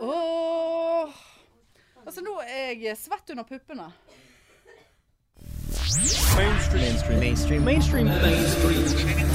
Speaker 1: Åh. Altså, nå er jeg svett under puppene.
Speaker 3: mainstream mainstream mainstream mainstream mainstream